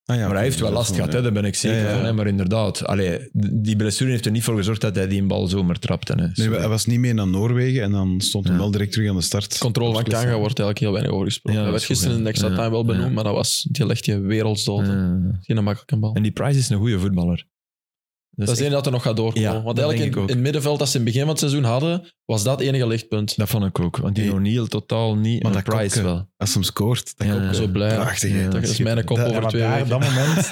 ja, maar oké, hij heeft dus wel dat last is gehad, dan, hè, daar ben ik zeker Ja, ja. van. Hè, maar inderdaad, allee, d- die blessure heeft er niet voor gezorgd dat hij die bal zomaar trapte. Hè. Nee, Sorry. maar hij was niet mee naar Noorwegen en dan stond hij Ja. wel direct terug aan de start. Controle van Kanga wordt eigenlijk heel weinig over gesproken. Ja, Hij dat werd is goed, gisteren in de extra ja. time wel benoemd, Ja. maar dat was, die legt je wereldsdood. Geen Eh, een makkelijke bal. en die Price is een goede voetballer. Dat is één dat er nog gaat doorkomen. Ja, Want dat eigenlijk denk in, ik ook. in het middenveld dat ze in het begin van het seizoen hadden, was dat enige lichtpunt. dat vond ik ook, want die Nee. O'Neill totaal niet. Maar Maar en dat Price kokken. wel. Als hem scoort, dan Ja, komt ja. hij. Zo blij. Prachtig, Ja, hè. dat is mijn kop Dat- over Ja, maar twee daar, weken. op dat moment...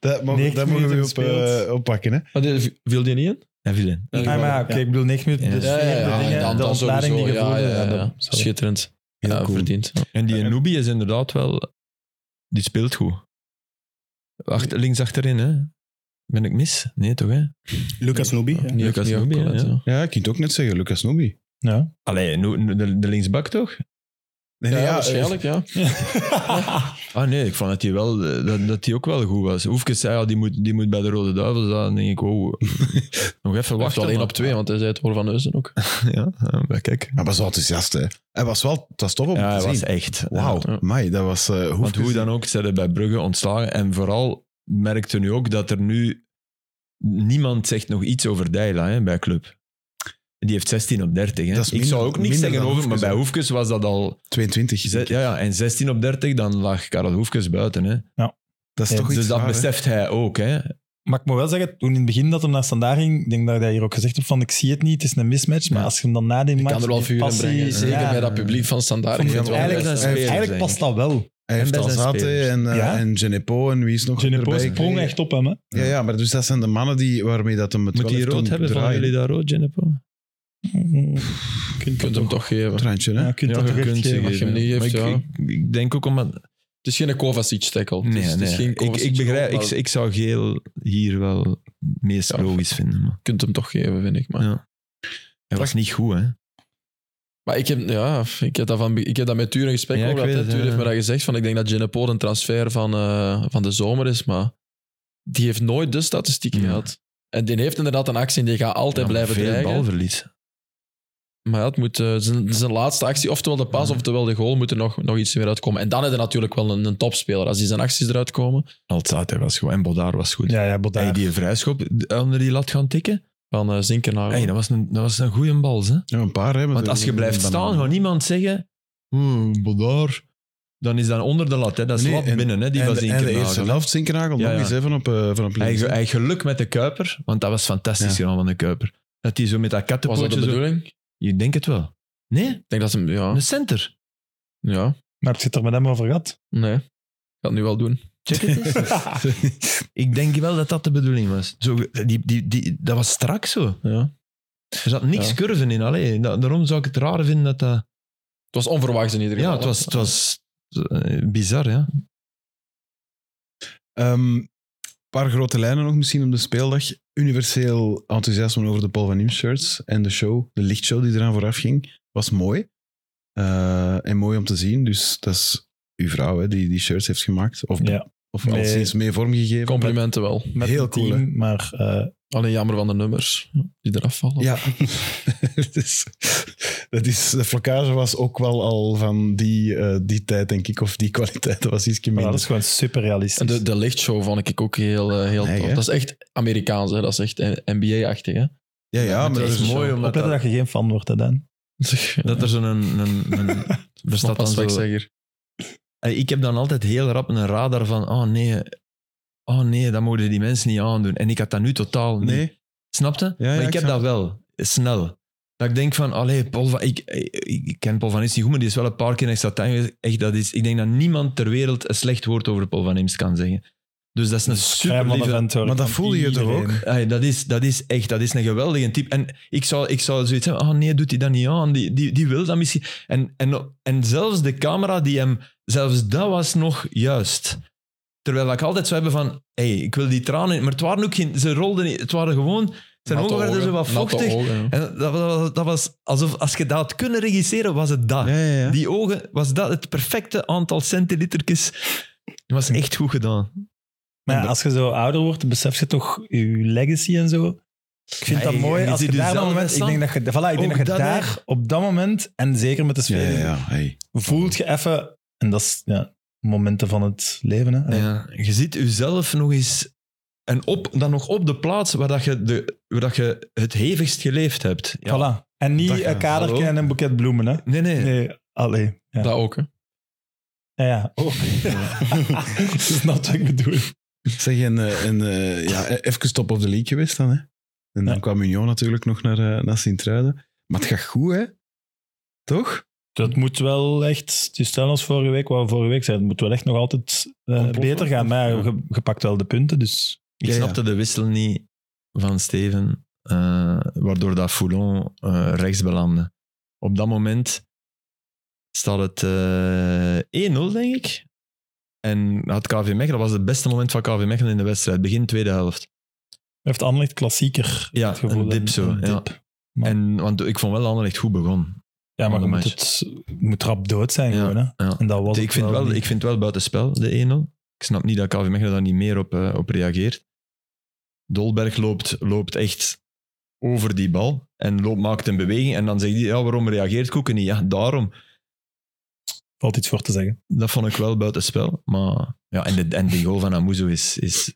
Dat mogen, 90 dat mogen we minuten op, gespeeld. eh, oppakken, hè? Maar die- viel die niet in? Hij viel in. Ah, maar ja, oké, ik bedoel, 9 minuten. Ja. De Ja, sfeer, de dingen, dan- de dan ontlading die sowieso. gevoeld Ja, is, ja, ja, dat- ja. sorry. Schitterend. Heel Ja, cool. verdiend. Ja. En die Nubi is inderdaad wel... Die speelt goed. Achter, links achterin, hè. Ben ik mis? Nee, toch, hè? Lucas Nubi. ja. Niet Lucas niet Nubi, opgelet, ja. ja. Ja, ik kan het ook net zeggen. Lucas Nobby. Ja. Allee, nu- nu- de, de linksbak toch? Nee, Ja, nee, waarschijnlijk, ja. Ah nee, ik vond dat hij wel, eh, dat, dat die ook wel goed was. Hoefkes zei, ja, die, moet, die moet bij de Rode Duivels. Dan denk ik, oh, nog even Wacht wachten. wel één maar- op twee, want hij zei het hoor van Eusen ook. Ja, eh, maar kijk. Hij was wel enthousiast, hè. Hij was wel... Het was tof om Ja, te hij zien. was echt. Wauw, Ja. Mai, dat was... eh hoe Want hoe dan ook, ze hebben bij Brugge ontslagen. En vooral merkte nu ook dat er nu... Niemand zegt nog iets over Deila hè, bij club. Die heeft 16 op 30. Hè. Dat is ik zou minder- ook niks minder zeggen dan over, maar Hoefkes, bij hè. Hoefkes was dat al... 22. ze- denk ik. Ja, ja, en 16 op 30, dan lag Karel Hoefkes buiten. Hè. Dat is Ja, toch Dus iets dat raar, hè? beseft hij ook. Hè. Maar ik moet wel zeggen, toen in het begin dat hem naar standaard ging, ik denk dat hij hier ook gezegd heeft van ik zie het niet, het is een mismatch. Maar Ja. als je hem dan na die Ik match... kan er wel die vuur in passie- brengen. Zeker ja. bij dat publiek van Standaard. Ik Ik vond vind het het wel eigenlijk, best best. een speler, eigenlijk denk past ik. dat wel. Hij heeft En bij zijn Alzate spelers. en, eh, Ja. en Genepo en wie is nog Genepo erbij sprong gekregen? echt op hem. Hè? Ja, ja, maar dus dat zijn de mannen die, waarmee dat hem het Moet wel hij heeft rood doen hebben? Van draaien. jullie daar rood, Jennifer? Je kunt hem toch geven. Traantje, hè? Ja, je kunt dat toch echt kunt geven. ze als je hem geven. niet geeft, Maar ik, ik, ik denk ook omdat... Het is geen Kovacic-tackle. Nee, het is, nee. Het is geen ik, ik Kovacic-goal, begrijp, maar ik, ik zou geel hier wel het meest Ja. logisch vinden. Maar. Je kunt hem toch geven, vind ik. Maar, Ja. Hij was niet goed, hè? maar ik, heb, ja, ik, heb dat van, ik heb dat met Tuur in gesprek Ja, ik over gehad. weet het, hè. Tuur ja. heeft me dat gezegd. Van, ik denk dat Genepo een transfer van, eh, van de zomer is, maar die heeft nooit de statistieken Ja. gehad. En die heeft inderdaad een actie en die gaat altijd Ja, blijven veel dreigen. balverlies. Maar ja, het moet, eh, zijn, zijn laatste actie, oftewel de pas, oftewel de goal, moet er nog, nog iets meer uitkomen. En dan heb je natuurlijk wel een, een topspeler. Als die zijn acties eruit komen, Altijd, hij was goed. En Bodaar was goed. Ja, ja, Hij Bodaar. die vrijschop onder die lat gaan tikken. van eh Zinkenaar. Hey, dat was een, dat was een goede bal. Hè? Ja, een paar. Hè, maar Want er- als je blijft dan- staan, gaat niemand zeggen... "Hmm, Bodaar. Dan is dat onder de lat. Hè? Dat is Nee, lat en- binnen, hè? die en van de- en de eerste Zinkernagel. helft Zinkernagel Ja, nog ja. eens hè, van op, eh, van op Hij, links. ge- hij geluk met de Kuiper, want dat was fantastisch Ja. gedaan van de Kuiper. Dat hij zo met dat was dat de kattenpootje... zo- bedoeling? Ik Je denkt het wel. Nee, denk dat ze hem, ja, een center. ja, Maar heb je het er met hem over gehad? nee. Ik ga het nu wel doen. Check het eens. Ik denk wel dat dat de bedoeling was. Zo, die, die, die, dat was strak zo. Ja. Er zat niks Ja. curven in. Allee, da- daarom zou ik het raar vinden dat dat... Het was onverwachts in ieder geval. Ja, het was, het was eh, bizar, ja. Ehm, een paar grote lijnen nog misschien op de speeldag. Universeel enthousiasme over de Paul van Nieuw shirts en de show, de lichtshow die eraan vooraf ging, was mooi. Eh, en mooi om te zien. Dus dat is uw vrouw hè, die die shirts heeft gemaakt. Of, Ja. of Nee. al sinds mee vormgegeven. Complimenten wel. Met Heel een team, cool, hè? maar eh, Alleen jammer van de nummers die eraf vallen. Ja, Het is- dat is, de flocage was ook wel al van die, eh, die tijd, denk ik. Of die kwaliteit, dat was iets maar minder. dat is gewoon super En realistisch. de, de lichtshow vond ik ook heel, eh, heel Nee, tof. hè? Dat is echt Amerikaans, hè. dat is echt eh, NBA-achtig. Hè? ja, ja, maar het dat is is dus mooi mooi. om- Opletten dat, je geen fan wordt, hè, Dan. Dat er zo'n... Een, een, een, er staat dan als zo... wegzegger. Eh, Ik heb dan altijd heel rap een radar van... Oh nee, oh nee, dat mogen die mensen niet aandoen. En ik had dat nu totaal niet. Nee, Snapte? Ja, ja, maar ik, ik heb snap dat wel. Snel. Dat ik denk van, allee, Paul van, ik, ik, ik ken Paul van Imst niet goed, maar die is wel een paar keer in extra time geweest. Echt, dat is, ik denk dat niemand ter wereld een slecht woord over Paul van Imst kan zeggen. Dus dat is een super Vrijman lieve... event, hoor. maar dat Van voelde je toch iedereen. ook? Allee, dat, is, dat is echt, dat is een geweldige type. En ik zou, ik zou zoiets hebben, oh nee, doet hij dat niet aan, die, die, die wil dat misschien. En, en, en zelfs de camera die hem, zelfs dat was nog juist. Terwijl ik altijd zou hebben van, hey, ik wil die tranen... Maar het waren ook geen, ze rolden niet, het waren gewoon... Zijn Natte ogen werden zo wat ogen, natte vochtig. ogen, ja. En dat, was- dat was alsof als je dat had kunnen regisseren, was het dat. Ja, ja, ja. Die ogen, was dat het perfecte aantal centilitertjes. Dat was echt goed gedaan. Maar ja, als je zo ouder wordt, besef je toch je legacy en zo. Ik vind Ja, dat en mooi. je Als je ziet daar dat jezelf moment, ik staan. denk dat je, voilà, ik denk Ook dat je dat, hè? daar op dat moment, en zeker met de Ja, sfeer, ja, ja. Hey. voelt je even, en dat is ja, momenten van het leven. Hè. Ja, je ziet jezelf nog eens... En op, dan nog op de plaats waar, dat je, de, waar dat je het hevigst geleefd hebt. Ja. Voilà. En niet Dat een gaat. kadertje Hallo. en een boeket bloemen. Hè. Nee, nee. Nee, allee. Ja, Dat ook, hè. ja. ja. Oh. je snapt wat ik bedoel. Zeg, en, eh, en eh, ja, e- even top of the league geweest dan, hè? En dan Ja. kwam Union natuurlijk nog naar, eh, naar Sint-Truiden. Maar het gaat goed, hè? Toch? Dat moet wel echt, dus stel ons vorige week, wat we vorige week zeiden, het moet wel echt nog altijd eh, Ontploffen. beter gaan. Maar ja, je, je pakt wel de punten, dus... Ik Ja, ja. snapte de wissel niet van Steven, eh, waardoor dat Foulon eh, rechts belandde. Op dat moment staat het eh 1-0, denk ik. En had KV Mechelen, dat was het beste moment van KV Mechelen in de wedstrijd, begin tweede helft. Heeft Anderlecht klassieker Ja, het gevoel. een dip een- zo, een ja. dip. Maar- En, want ik vond wel Anderlecht goed begon. Ja, maar je Ander moet, het, je moet rap dood zijn Ja, gewoon. Hè? ja. En dat was Ik het vind, wel, niet. ik vind wel buitenspel, de 1-0. Ik snap niet dat KV Mechelen daar niet meer op, eh, op reageert. Dolberg loopt, loopt echt over die bal en loopt, maakt een beweging. En dan zegt hij, ja, waarom reageert Koeken niet? Ja, daarom. Valt iets voor te zeggen. Dat vond ik wel buitenspel. Maar, ja, en, de, en die goal van Amuzo is... is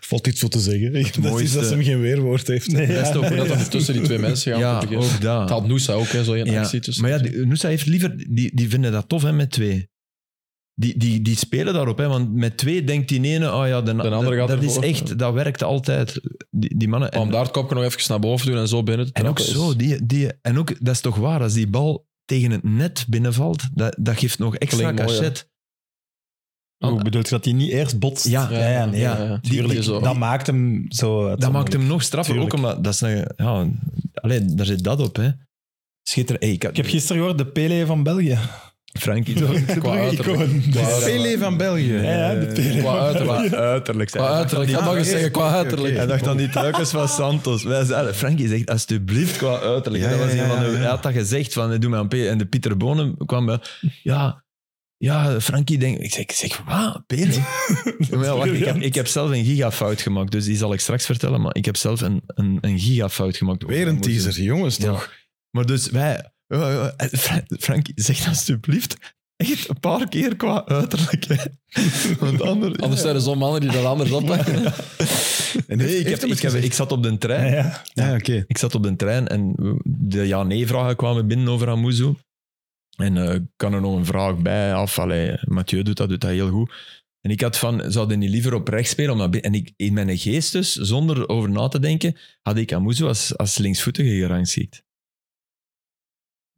Valt iets voor te zeggen. dat is mooiste- dat ze hem geen weerwoord heeft. Best ook dat er tussen die twee mensen gaan. ja, om te beginnen. ook dat. het had Noosa ook, hè, zo in Ja, actie tussen. Maar ja, die- Noosa heeft liever... Die, die vinden dat tof, hè, met twee. Die, die, die spelen daarop, hè. Want met twee denkt die ene... Oh ja, de, andere gaat dat, is ervoor. echt... Dat werkt altijd. Die, die mannen... Maar om daar het kopje nog even naar boven te doen en zo binnen te En ook trappen is- zo, die, die, en ook, dat is toch waar, als die bal tegen het net binnenvalt, dat, dat geeft nog extra Klinkt mooi, hè? cachet. Hoe bedoel je dat hij niet eerst botst? Ja. ja, ja, nee, Ja, ja. die- Tuurlijk, die zo. dat maakt hem zo... Dat maakt hem nog straffer, Tuurlijk. ook omdat, dat is een, ja, allee, daar zit dat op, hè. Schitter, hey, ik, had, Ik heb gisteren gehoord, de Pele van België. Frankie toch? Qua uiterlijk. Icoon. Qua Dus- uiterlijk. Pele E van België. Ja, ja, de Pele Qua van uiterlijk. België. uiterlijk. Qua uiterlijk. Ik had nog eens zeggen, qua Hij uiterlijk. dacht aan die truikers van Santos. Wij zeiden, Frankie zegt alsjeblieft qua uiterlijk. Ja, dat was ja, een ja, van de- ja. Hij had dat gezegd van, doe mij een P. En de Pieter Bonen kwam bij, ja, Ja, Frankie denkt... Ik zeg, ik zeg wat? Beer? Maar ja, wacht, ik, heb, ik heb zelf een gigafout gemaakt, dus die zal ik straks vertellen. Maar ik heb zelf een, een, een gigafout gemaakt. Weer een teaser, jongens Ja. toch? Maar dus wij... ja, ja, eh, Fra- Frankie, zeg alsjeblieft echt een paar keer qua uiterlijk. hè. Want anders... Anders zijn er zo'n mannen die dat anders oppakken. En Nee, heeft- heeft ik, heb, hem ik, het heb, gezegd? ik zat op de trein. Ja. Ja, oké. Ik zat op de trein en de ja-nee-vragen kwamen binnen over Amuzu. En eh, kan er nog een vraag bij af? Allee, Mathieu doet dat, doet dat heel goed. En ik had van, zouden niet liever op rechts spelen? Omdat, en ik, in mijn geest dus, zonder over na te denken, had ik Amuzu als, als linksvoetige gerangschikt.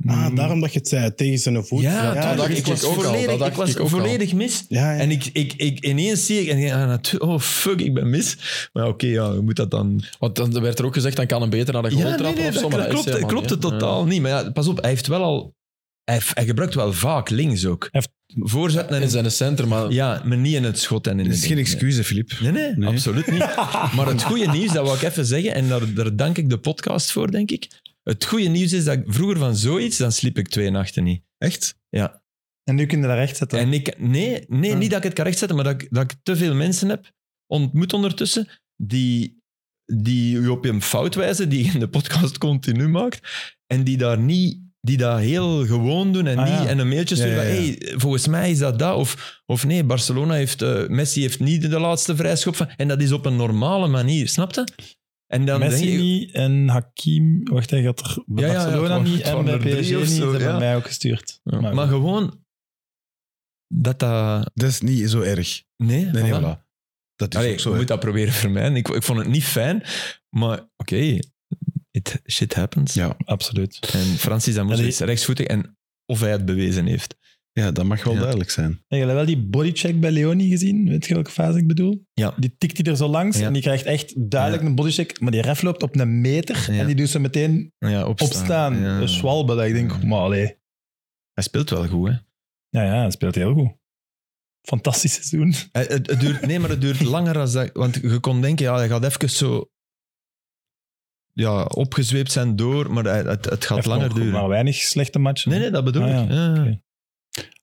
Ah, daarom dat je het zei, tegen zijn voet. dat dacht ik, ik was ook al, dat volledig, dacht ik was ik ook al. volledig mis. Ja, ja. En ik, ik, ik, ineens zie ik, en ik denk, ah, natu- oh fuck, ik ben mis. Maar ja, oké, ja, je moet dat dan Want dan werd er ook gezegd, dan kan hem beter naar de goal Ja, nee, trappen nee, of dat zo. maar klopt, dat is klopt, helemaal klopt het niet, hè. totaal niet. Maar ja, pas op, hij heeft wel al... Hij, heeft- hij gebruikt wel vaak links ook. Hij Voorzet Ja. en... In zijn center, maar Ja, maar niet in het schot en in Dit het is ding, geen nee. excuus, Filip. Nee, nee, Nee. absoluut niet. Maar het goede nieuws, dat wil ik even zeggen, en daar, daar dank ik de podcast voor, denk ik. Het goede nieuws is dat ik vroeger van zoiets, dan sliep ik twee nachten niet. Echt? Ja. En nu kun je dat recht zetten. En ik, nee, nee Ja. niet dat ik het kan rechtzetten, maar dat ik, dat ik te veel mensen heb ontmoet ondertussen die, die u op een fout wijzen, die je in de podcast continu maakt, en die daar niet, die dat heel gewoon doen en, Ah, niet, ja. en een mailtje sturen Ja, van, ja, ja. hey, volgens mij is dat dat, of, of nee, Barcelona heeft, eh, Messi heeft niet de laatste vrijschop, van, en dat is op een normale manier, snap je? En dan Messi denk je, niet en Hakim... Wacht, hij gaat er bij Ja, ja, ja, Barcelona het waren- niet het en waren bij er drie PSG niet. of Ze zo, hebben ja. mij ook gestuurd. Ja, Maar maar goed. gewoon dat dat... Dat is niet zo erg. Nee, Nee, nee, voilà. voilà. Dat is Allee, ook je zo. moet dat proberen vermijden. Ik, ik vond het niet fijn, maar oké, it, shit happens. Ja. Absoluut. En Francis Amoes Allee. is rechtsvoetig en of hij het bewezen heeft. hè. Ja, dat mag wel Ja. duidelijk zijn. Heb je wel die bodycheck bij Leonie gezien? Weet je welke fase ik bedoel? Ja. Die tikt hij er zo langs Ja. en die krijgt echt duidelijk Ja. een bodycheck. Maar die ref loopt op een meter Ja. en die doet ze meteen Ja, opstaan. opstaan. Ja. Een zwalbe. dat Ik denk, Ja. maar allee. Hij speelt wel goed, hè? Ja, ja, hij speelt heel goed. Fantastisch seizoen. Hij- Het, het duurt, nee, maar het duurt langer dan dat. Want je kon denken, ja, hij gaat even zo ja, opgezweept zijn door, maar hij- het, het gaat Heeft langer nog duren. Maar weinig slechte matchen. Nee, nee, dat bedoel Ah, ja. ik. Ja, Oké.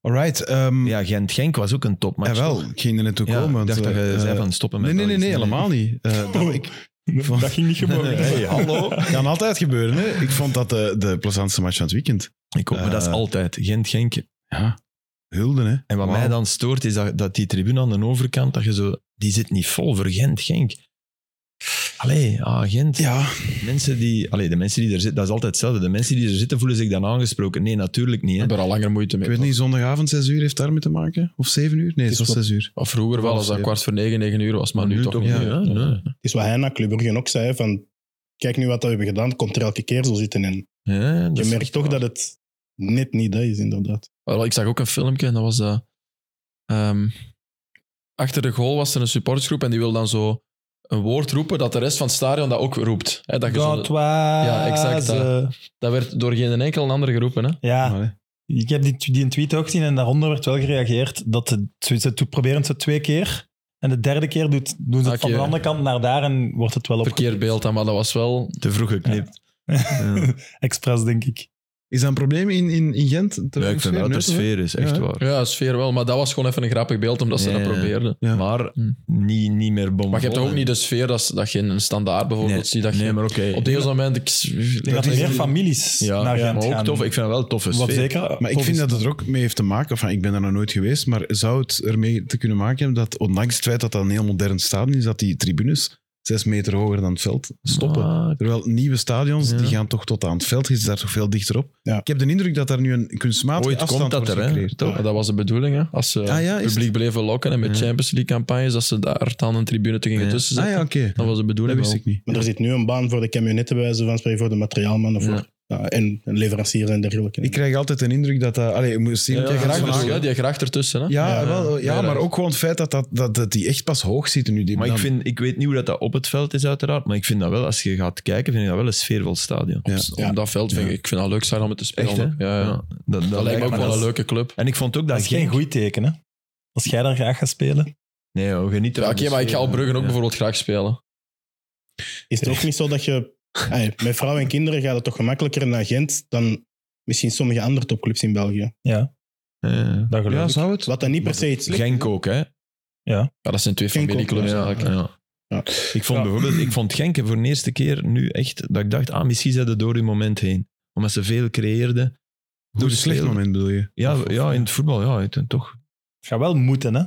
Alright. ehm Ja, Gent-Genk was ook een topmatch. jawel, toch? Eh, ik ging er naartoe Ja, komen. ik want, dacht dat je eh, zei van stoppen met Nee, nee, nee, Belgisch. nee, helemaal niet. Eh, Oh, dat, ik, Dat ging niet gebeuren. Hey, hallo. Kan altijd gebeuren, hè? Ik vond dat de, de plezantste match van het weekend. Ik ook, maar dat is Eh. altijd. Gent-Genk Ja. Hulden, hè? En wat Wauw. mij dan stoort, is dat, dat die tribune aan de overkant, dat je zo, die zit niet vol voor Gent, Genk. Allee, ah, Gent. Ja. Mensen die, allee, de mensen die er zitten, dat is altijd hetzelfde. De mensen die er zitten voelen zich dan aangesproken. Nee, natuurlijk niet. Hè. hebben er al langer moeite Ik mee. weet niet, zondagavond 6 uur heeft daarmee te maken? Of 7 uur? Nee, het was is 6 uur. Ah. Of vroeger wel, als dat kwart voor negen, negen uur was, maar nu, toch niet. ja, meer, hè. nee. Het is wat hij na Club Brugge ook zei, van kijk nu wat we hebben gedaan, het komt er elke keer zo zitten in. Ja, dat Je is- merkt toch dat het net niet dat is, inderdaad. Wel, ik zag ook een filmpje en dat was dat... ehm, achter de goal was er een supportersgroep en die wil dan zo een woord roepen dat de rest van het stadion dat ook roept. Hè, dat, je zo- Dat was... Ja, exact, dat. dat werd door geen enkel ander geroepen. Hè? eh, Ja, Maar, hè. Ik heb die, die tweet ook gezien en daaronder werd wel gereageerd dat ze, ze, ze proberen het zo twee keer. En de derde keer doet, doen ze het Ah, Oké. van de andere kant naar daar en wordt het wel op Verkeerd beeld dan, maar dat was wel... te vroeg geknipt. Ja. Expres, denk ik. Is dat een probleem in, in, in Gent? Ja, ik vind wel dat de sfeer is, echt Ja. waar. Ja, sfeer wel, maar dat was gewoon even een grappig beeld omdat ze Ja, dat ja. probeerden. Ja. Maar Hm. niet, niet meer bommen. Maar je hebt toch ook niet de sfeer dat, ze- dat je in een standaard bijvoorbeeld Nee, ziet. Dat je, Nee, maar oké. Op deze moment... Ik, Ik denk dat er is- meer families Ja, naar ja, Gent maar ook gaan. tof. Ik vind het wel een toffe sfeer. Wat zeker. Maar ik tof vind is. dat het er ook mee heeft te maken, of ik ben er nog nooit geweest, maar zou het ermee te kunnen maken hebben dat, ondanks het feit dat dat een heel modern stadion is, dat die tribunes zes meter hoger dan het veld stoppen? Ah, Terwijl nieuwe stadions, Ja. die gaan toch tot aan het veld, je zit daar toch veel dichterop. Ja. Ik heb de indruk dat daar nu een kunstmatige Ooit afstand komt dat wordt er, hè? gecreëerd. Toch? Maar dat was de bedoeling, hè? Als ze Ah, ja, is het publiek bleven lokken en met Ja. Champions League-campagnes, dat ze daar dan een tribune te gingen Ja. tussen Ah zetten. ja, oké. Dat was de Dat bedoeling wist wel. ik niet. Maar er zit nu een baan voor de camionetten, bij wijze van spreken, voor de materiaalmannen, voor, ja, en, en leveranciers en dergelijke. Ik krijg altijd een indruk dat dat... Allee, je moet zien... Ja, kijk, graag als we bedoel, nou- hè, die graag ertussen. Hè? ja, Ja, wel, ja, ja, maar dat- ook gewoon het feit dat, dat, dat, dat die echt pas hoog zitten nu. Die Maar ik, dan- vind, ik weet niet hoe dat, dat op het veld is, uiteraard. Maar ik vind dat wel, als je gaat kijken, vind ik dat wel een sfeervol stadion. Ja. Op dat veld vind ik, ik vind dat leuk zijn om het te spelen. Echt, hè? Ja, ja. Ja, dat, dat Dat lijkt me ook maar wel dat een is- leuke club. En ik vond ook dat, Dat is geen Genk- goed teken, hè? Als jij daar graag gaat spelen. Nee, joh, geniet er Ja, van Oké, de maar ik sfeer, ga op hè. Bruggen ook Ja. bijvoorbeeld graag spelen. Is het ook niet zo dat je... Ay, met vrouwen en kinderen gaat het toch gemakkelijker naar Gent dan misschien sommige andere topclubs in België? Ja. Ja. Dat geloof ja, ik. zou het? Wat dan niet per se iets slechts Genk ook, hè? Ja, dat zijn twee Genk ook, familieclubs ja. eigenlijk. Ja. Ik vond Ja. bijvoorbeeld, ik vond Genk voor de eerste keer nu echt, dat ik dacht, ah, misschien zijn ze door hun moment heen. Omdat ze veel creëerden. Door Goed een slecht speelden. moment bedoel je? Ja, Of- of- ja, in het voetbal, ja, het- toch. Het gaat wel moeten, hè?